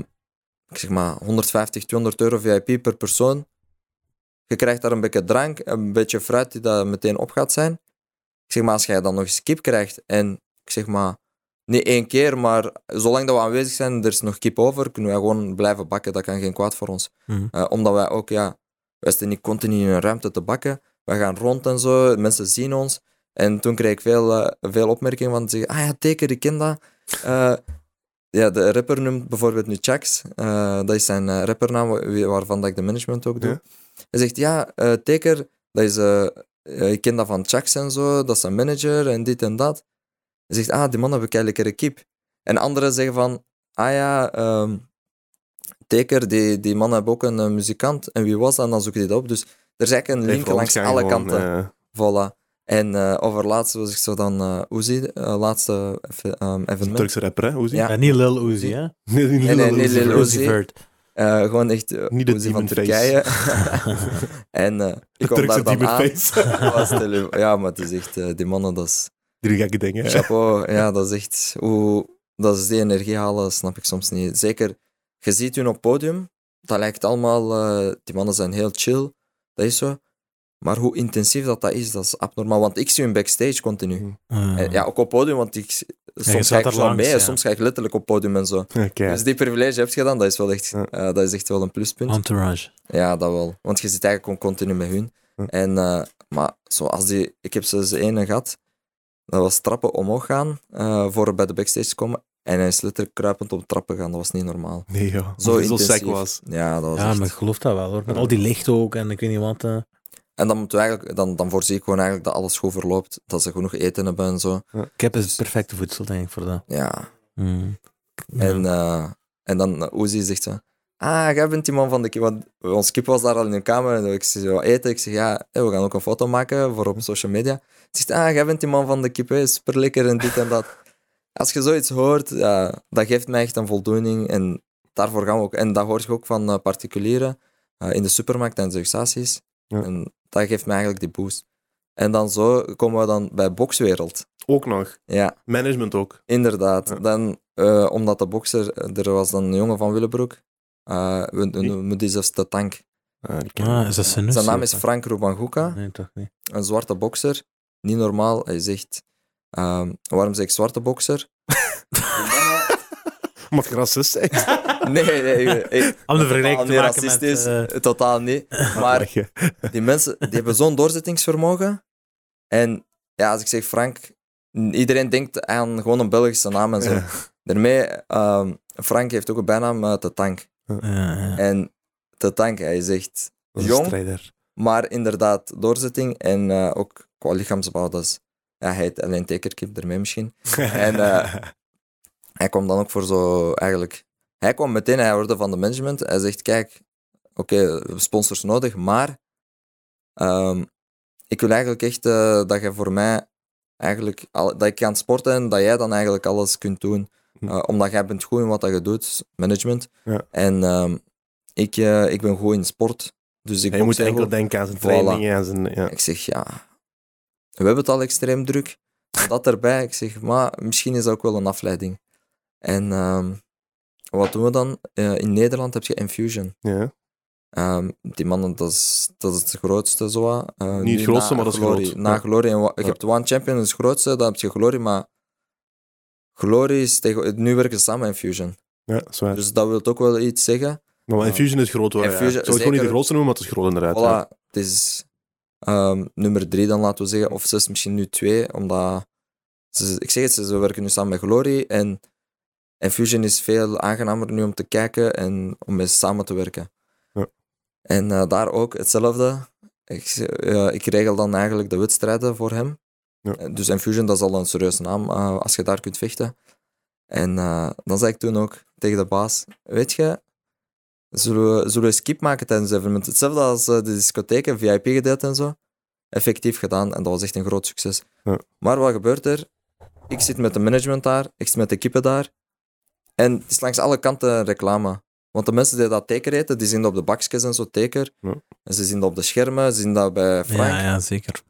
S4: ik zeg maar, 150, 200 euro VIP per persoon. Je krijgt daar een beetje drank, een beetje fruit die daar meteen op gaat zijn. Ik zeg maar, als jij dan nog eens kip krijgt en ik zeg maar, niet één keer, maar zolang dat we aanwezig zijn, er is nog kip over, kunnen wij gewoon blijven bakken. Dat kan geen kwaad voor ons.
S2: Mhm.
S4: Eh, omdat wij ook, ja, wij zitten niet continu in een ruimte te bakken. Wij gaan rond en zo, mensen zien ons. En toen kreeg ik veel, eh, veel opmerkingen van zeggen, ah ja, teken, ik ken dat. Eh, ja, de rapper noemt bijvoorbeeld nu Chax. Eh, dat is zijn eh, rappernaam, wa- wie- waarvan dat ik de management ook doe.
S1: Ja.
S4: Hij zegt, ja, eh, Teker, dat is, eh, eh, ik ken dat van Chax en zo, dat is zijn manager en dit en dat. Hij zegt, ah, die man heb ik eigenlijk een kip. En anderen zeggen van, ah ja, ehm, Teker, die, die man hebben ook een eh, muzikant. En wie was dat? En dan zoek je dit op. Dus er is eigenlijk een link
S1: Even
S4: langs
S1: rondgaan
S4: alle
S1: gewoon,
S4: kanten.
S1: eh,
S4: Voilà. En eh over laatste was ik zo dan eh Uzi, eh, laatste even ehm, evenement.
S1: Turkse rapper, hè? Hoe zie je?
S4: Ja.
S2: Ja, niet Lil Uzi, hè?
S1: Nee, niet
S4: Nee, nee,
S1: Lil
S4: niet
S1: Uzi.
S4: Lil Uzi.
S2: Vert.
S4: Eh, gewoon echt eh,
S1: Niet de
S4: Uzi
S1: Demon
S4: van Turkije.
S1: Face.
S4: en eh
S1: De
S4: ik kwam
S1: Turkse
S4: daar dan
S1: Demon
S4: aan.
S1: Face.
S4: Was tele- ja, maar het is echt, eh, die mannen, dat is eh,
S1: Die gekke dingen. hè.
S4: chapeau. Ja, dat is echt, hoe, dat is die energie halen, snap ik soms niet. Zeker, je ziet hun op podium, dat lijkt allemaal, eh, die mannen zijn heel chill, dat is zo. Maar hoe intensief dat, dat is, dat is abnormaal. Want ik zie hun backstage continu. En Eh,
S1: Mhm.
S4: ja, ook op podium, want ik,
S2: zat
S4: soms ga ik
S2: er
S4: gewoon
S2: langs,
S4: mee,
S2: ja.
S4: soms ga ik letterlijk op podium en zo.
S1: Oké.
S4: Dus die privilege heb je dan, dat is wel echt,
S1: Ja.
S4: eh, dat is echt wel een pluspunt.
S2: Entourage.
S4: Ja, dat wel. Want je zit eigenlijk gewoon continu met hun.
S1: Ja.
S4: En, eh, maar zoals die, ik heb ze ene gehad, dat was trappen omhoog gaan eh, voor bij de backstage te komen. En hij is letterlijk kruipend op trappen gaan, dat was niet normaal.
S1: Nee, joh.
S4: Zo
S1: Zo dat
S4: intensief.
S1: sec was.
S4: Ja, dat was
S2: Ja,
S4: echt-
S2: maar ik geloof dat wel hoor. Met al die licht ook en ik weet niet wat. eh.
S4: En dan, moeten we eigenlijk, dan, dan voorzie ik gewoon eigenlijk dat alles goed verloopt, dat ze genoeg eten hebben en zo.
S2: Ik heb het perfecte voedsel, denk ik, voor dat.
S4: Ja.
S2: Mm.
S4: En, eh, en dan eh, Oezie zegt zo... Ah, jij bent die man van de kip. Want ons kip was daar al in de kamer. En ik zei zo, eten. Ik zeg, ja, hé, we gaan ook een foto maken voor op social media. Hij zegt, ah, jij bent die man van de kip. Hè, super lekker en dit en dat. Als je zoiets hoort, ja, dat geeft mij echt een voldoening. En daarvoor gaan we ook... En dat hoor je ook van eh, particulieren eh, in de supermarkt en de stations.
S1: Ja.
S4: En dat geeft mij eigenlijk die boost. En dan zo komen we dan bij Bokswereld.
S1: Ook nog.
S4: Ja.
S1: Management ook.
S4: Inderdaad.
S1: Ja.
S4: Dan, eh, omdat de bokser, er was dan een jongen van Willebroek. Eh, we we
S1: Wie?
S4: noemen die zelfs de tank.
S1: Ah, die ken ik.
S2: Ah, is dat zijn
S4: Zijn naam is Frank Rubanguka,
S2: Nee, toch niet.
S4: een zwarte bokser. Niet normaal. Hij zegt, ehm, waarom zeg ik zwarte bokser?
S1: Omdat je racist bent.
S4: Nee, nee, ik- ik-
S2: Om de
S4: totaal
S2: vergelijking te
S4: niet
S2: maken met...
S4: racistisch,
S2: eh,
S4: Totaal niet. Maar
S1: Lach je.
S4: die mensen die hebben zo'n doorzettingsvermogen. En ja, als ik zeg Frank, iedereen denkt aan gewoon een Belgische naam en zo.
S1: Ja.
S4: Daarmee, ehm, Frank heeft ook een bijnaam, eh, de tank.
S2: ja, ja.
S4: En te danken, hij zegt
S1: Dat is een
S4: jong,
S1: strijder.
S4: maar inderdaad doorzetting en eh, ook qua lichaamsbouw, dat is... Ja, hij heet alleen tekerkip ermee misschien. En eh, hij kwam dan ook voor zo eigenlijk... Hij kwam meteen, hij hoorde van de management. Hij zegt, kijk, oké, we hebben sponsors nodig, maar ehm, ik wil eigenlijk echt eh, dat je voor mij eigenlijk... al- dat ik kan sporten en dat jij dan eigenlijk alles kunt doen.
S1: Hm.
S4: Eh, omdat jij bent goed in wat dat je doet, management.
S1: Ja.
S4: En ehm, ik, eh, ik ben goed in sport. Dus ik
S1: Hij moet
S4: boksen
S1: enkel
S4: goed.
S1: denken aan zijn
S4: Voilà.
S1: trainingen en zijn... Ja.
S4: Ik zeg, ja, we hebben het al extreem druk. Dat erbij. Ik zeg, maar misschien is dat ook wel een afleiding. En ehm, wat doen we dan? Eh, in Nederland heb je Infusion.
S1: Ja.
S4: Ehm, die mannen, dat is, dat is het grootste zo. wat. Eh,
S1: Niet het
S4: nu
S1: grootste,
S4: na
S1: maar dat is
S4: Glory.
S1: groot.
S4: Na
S1: Ja.
S4: Glory. En wa- je
S1: Ja.
S4: hebt One Champion, dat is het grootste. Dan heb je Glory, maar Glory is tegen... Nu werken ze samen Infusion.
S1: ja, dat is waar.
S4: Dus dat wil ook wel iets zeggen.
S1: Maar wel, Infusion is groot hoor.
S4: Infusion,
S1: ja. Ik Zou ik gewoon niet de
S4: zeker.
S1: grootste noemen, maar het is groot inderdaad. ja.
S4: Voilà, het is ehm, nummer drie dan, laten we zeggen. Of zes, misschien nu twee, omdat... Ze, ik zeg het, ze ze werken nu samen met Glory en, en Fusion is veel aangenamer nu om te kijken en om mee samen te werken.
S1: Ja.
S4: En eh, daar ook hetzelfde. Ik, z- eh, ik regel dan eigenlijk de wedstrijden voor hem.
S1: Ja.
S4: Eh, Dus Infusion, dat is al een serieuze naam eh, als je daar kunt vechten. En eh, dan zei ik toen ook tegen de baas, weet je, Zullen we, zullen we een skip maken tijdens het evenement? Hetzelfde als eh, de discotheken, VIP-gedeelte en zo. Effectief gedaan en dat was echt een groot succes.
S1: Ja.
S4: Maar wat gebeurt er? Ik zit met de management daar, ik zit met de kippen daar. En het is langs alle kanten reclame. Want de mensen die dat teker eten, die zien dat op de bakjes en zo teker.
S1: Ja.
S4: En ze zien dat op de schermen, ze zien dat bij Frank.
S2: Ja, ja, zeker.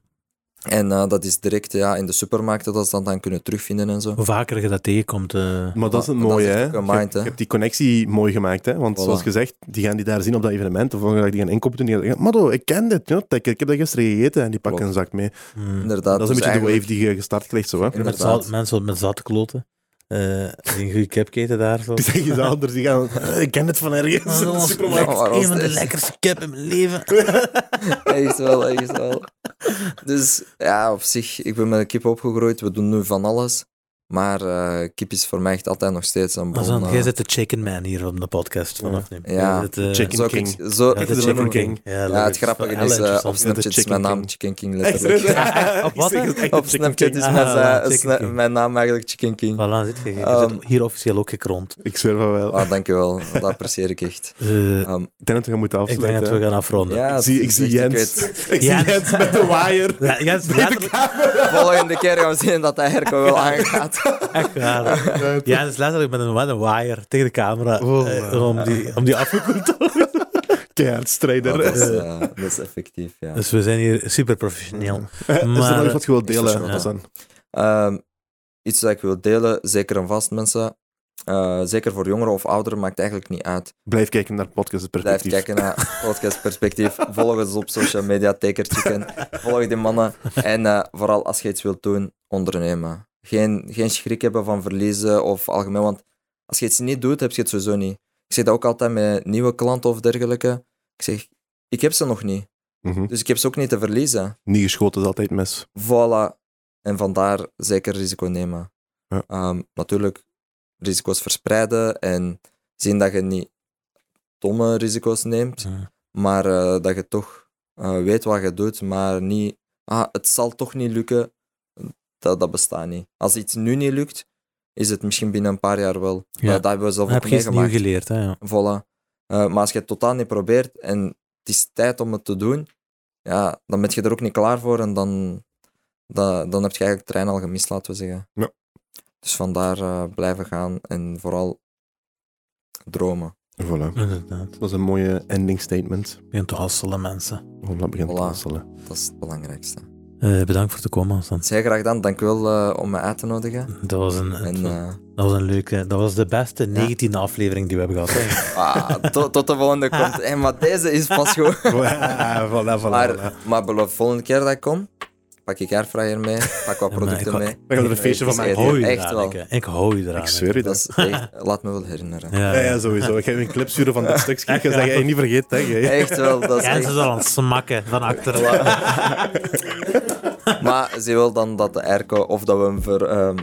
S4: En eh, dat is direct ja, in de supermarkten dat ze dat dan kunnen terugvinden en zo.
S2: Hoe vaker je dat tegenkomt, eh,
S1: Maar dat is het
S4: Maar dat is
S1: mooie, hè?
S4: echt
S1: Je,
S4: gemined,
S1: hebt-
S4: hè?
S1: je hebt die connectie mooi gemaakt, hè? Want
S4: Voilà.
S1: zoals gezegd, die gaan die daar zien op dat evenement. Of volgende dag die gaan inkopen doen. Die gaan zeggen, Maddo, ik ken dit. Ja, ik, ik heb dat gisteren gegeten. En die pakken
S4: Klopt.
S1: een zak mee.
S2: mm,
S4: Inderdaad.
S1: dat is een
S4: dus
S1: beetje de wave
S4: eigenlijk-
S1: die je gestart krijgt, zo, hè?
S2: met
S4: inderdaad.
S2: zout- mensen met zatkloten, eh, die een goede cap eten daar. Zo.
S1: Die zeggen iets anders. Die gaan, "Eh, ik ken dit van
S2: Ah,
S1: ergens. in de supermarkt."
S4: Ja, maar als
S2: een van de
S4: het-
S2: lekkerste cap in mijn leven.
S4: Echt wel, echt wel. Dus ja, op zich, ik ben met een kip opgegroeid. We doen nu van alles. Maar eh, kip is voor mij echt altijd nog steeds een
S2: Maar
S4: bron.
S2: zo,
S4: eh.
S2: jij zit de chicken man hier op de podcast vanaf nu.
S4: Ja.
S2: Jij zit, eh,
S1: Chicken
S4: Zo,
S1: King.
S4: ik- zo,
S2: ja,
S1: Ik
S2: de
S1: de
S2: chicken
S1: Chicken
S2: king.
S1: King.
S2: Ja,
S4: ja, het
S2: leuk.
S4: grappige
S2: Heel
S4: is, eh, op
S2: interessant.
S1: De
S4: Snapchat is
S1: Chicken
S4: mijn naam
S1: King.
S4: Chicken King
S1: Echt,
S4: letterlijk.
S1: serieus?
S2: Ja, op wat,
S1: Ik zeg
S2: hè?
S1: het echt,
S4: Op
S1: de Chicken
S4: Snapchat
S1: King.
S4: is
S2: Ah,
S4: mijn, eh,
S2: Chicken
S4: sna-
S2: King.
S4: mijn naam eigenlijk Chicken King.
S2: Voilà, zit je. Je
S4: Ehm,
S2: zit hier officieel ook gekrond.
S1: Ik zweer van wel.
S4: Ah, dankjewel, dat apprecieer ik echt.
S2: Eh,
S4: Ehm,
S1: Ik denk dat we gaan moeten
S2: ik denk
S1: afsluiten.
S2: dat we gaan afronden.
S4: ja,
S1: ik zie, ik
S4: het
S1: zie
S4: is echt- ik
S1: Jens.
S4: weet-
S1: Ik zie
S2: Jens.
S1: Jens met de waaier.
S2: Ja, jij is letterlijk,
S4: Volgende keer gaan we zien dat hij Herco wel aangaat.
S2: echt waar. Ja, dus letterlijk met een, met een wire tegen de camera
S1: Oh,
S2: eh,
S1: man.
S2: om die, om die afgekoeld te worden.
S1: Keihard
S4: Maar
S1: strijder.
S4: dat, is,
S1: Is
S4: eh, dat is effectief, ja.
S2: Dus we zijn hier super professioneel.
S1: er nog
S2: Maar,
S1: iets wat je wilt
S4: is er
S1: delen,
S4: zo-
S1: Hassan?
S4: Ehm, iets dat ik wil delen, zeker en vast mensen. Eh, zeker voor jongeren of ouderen, maakt eigenlijk niet uit.
S1: Blijf kijken naar podcast
S4: Blijf
S1: perspectief.
S4: kijken naar Podcast Perspectief. Volg ons op social media, Taker Chicken. Volg die mannen. En eh, vooral als je iets wilt doen, ondernemen. Geen, geen schrik hebben van verliezen of algemeen, want als je iets niet doet, heb je het sowieso niet. Ik zeg dat ook altijd met nieuwe klanten of dergelijke. Ik zeg, ik heb ze nog niet.
S1: Mhm.
S4: Dus ik heb ze ook niet te verliezen.
S1: Niet geschoten is altijd mis.
S4: Voilà. En vandaar zeker risico nemen.
S1: Ja.
S4: Ehm, natuurlijk risico's verspreiden en zien dat je niet domme risico's neemt,
S2: Ja.
S4: maar eh, dat je toch eh, weet wat je doet, maar niet, ah, het zal toch niet lukken. Dat, dat bestaat niet. Als iets nu niet lukt, is het misschien binnen een paar jaar wel.
S2: Ja.
S4: Dat, dat hebben we zelf
S2: Dan heb
S4: ook
S2: je iets nieuws
S4: meegemaakt.
S2: geleerd. Hè? ja.
S4: Voilà. Eh, maar als je het totaal niet probeert en het is tijd om het te doen, ja, dan ben je er ook niet klaar voor en dan, da- dan heb je eigenlijk de trein al gemist, laten we zeggen.
S1: Ja.
S4: Dus vandaar eh, blijven gaan en vooral dromen.
S1: Voilà.
S2: Inderdaad. Ik
S1: Dat is een mooie ending statement.
S2: begin te hasselen, mensen.
S1: Om dat begint
S4: Voilà.
S1: te hasselen.
S4: Dat is het belangrijkste.
S2: Eh, bedankt voor het komen, Hassan.
S4: Zeer graag dan. Dankjewel eh om me uit te nodigen.
S2: Dat was een,
S4: En eh,
S2: dat was een leuke. Dat was de beste 19e aflevering die we hebben gehad. hè.
S4: ah, to- tot de volgende komt. Hey, maar deze is pas goed.
S1: voilà, voilà, voilà.
S4: Maar, maar beloof, volgende keer dat ik kom, pak ik airfryer mee, pak wat
S2: Ja, maar ik
S4: producten
S2: wou-
S4: mee.
S1: We gaan er een feestje van
S4: Het is
S1: maken.
S2: Ik hou je
S4: Echt
S2: eraan,
S4: wel.
S2: Nikke. Ik hou je eraan.
S1: Ik zweer je
S4: Dat
S1: dat.
S4: is echt, laat me wel herinneren.
S2: Nikke. Ja,
S1: Ja, ja, sowieso. Ik ga je een clip sturen van dat stukje. Ik ga zeggen, hey, niet vergeet, hè. jij.
S4: Echt wel, dat is
S2: Ja,
S4: echt...
S2: ze is al aan het smakken van achter.
S4: Maar ze wil dan dat de airco of dat we hem ver, ehm,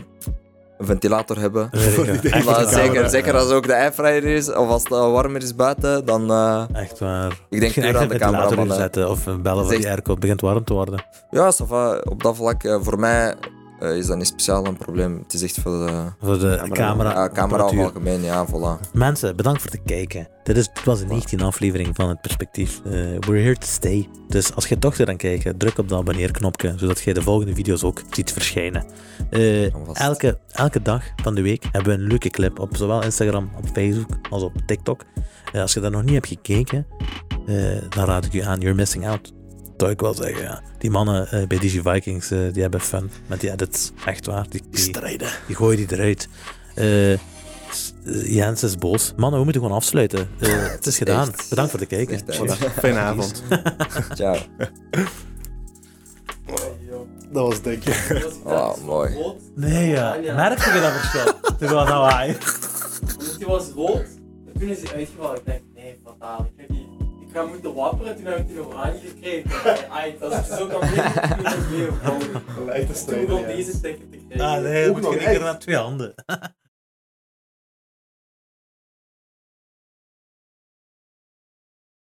S4: een ventilator hebben.
S2: Weet ik
S1: Voor
S2: wel.
S1: die
S2: Echt
S4: Maar
S1: Echt waar,
S4: zeker,
S1: ja.
S4: zeker als ook de airfryer is, of als het al warmer is buiten, dan... eh,
S2: Echt waar.
S4: ik denk
S2: Misschien
S4: puur
S2: echt
S4: aan
S2: een
S4: de
S2: ventilator
S4: cameraman. hè.
S2: inzetten of een bellen voor
S4: Zeg-
S2: die airco. Het begint warm te worden.
S4: Ja, ça va. op dat vlak, eh, voor mij eh, is dat niet speciaal een probleem. Het is echt voor de
S2: Voor de camera.
S4: ja, camera of
S2: apparatuur.
S4: algemeen, ja, voilà.
S2: Mensen, bedankt voor het kijken. Dit, is, dit was de 19e aflevering van het perspectief. Eh, we're here to stay. Dus als je toch weer aan kijken, druk op de abonneerknopje, zodat je de volgende video's ook ziet verschijnen. Eh,
S4: Alvast.
S2: elke, elke dag van de week hebben we een leuke clip op zowel Instagram, op Facebook als op TikTok. Eh, als je daar nog niet hebt gekeken, eh, dan raad ik je aan. You're missing out. Dat zou ik wel zeggen, ja. Die mannen eh, bij Digi Vikings, eh, die hebben fun met die edits. Echt waar. Die, die,
S1: Strijden.
S2: die gooien die eruit. Eh, s- eh, Jens is boos. Mannen, we moeten gewoon afsluiten. Eh, het is gedaan.
S4: echt-
S2: Bedankt voor het kijken.
S4: echt, eh,
S2: Voilà.
S1: Fijne avond.
S4: Ciao.
S1: Dat was dik.
S4: Oh, mooi.
S3: Rood.
S2: Nee, ja. Merk je dat verschil? Terwijl dat waai.
S3: Omdat die was rood. En toen is hij uitgevallen. Ik denk, nee, fataal. Ik ga, die, ik ga moeten wapperen. Toen heb ik die oranje gekregen. Ai, dat is zo kan niet. Toen is het weer opgevallen.
S1: Echt een
S3: Toen
S1: strijder,
S3: begon
S1: ja.
S3: deze ticket te krijgen.
S2: Ah, nee,
S1: Ook
S2: moet je
S1: nog
S2: niet
S1: echt.
S2: met twee handen.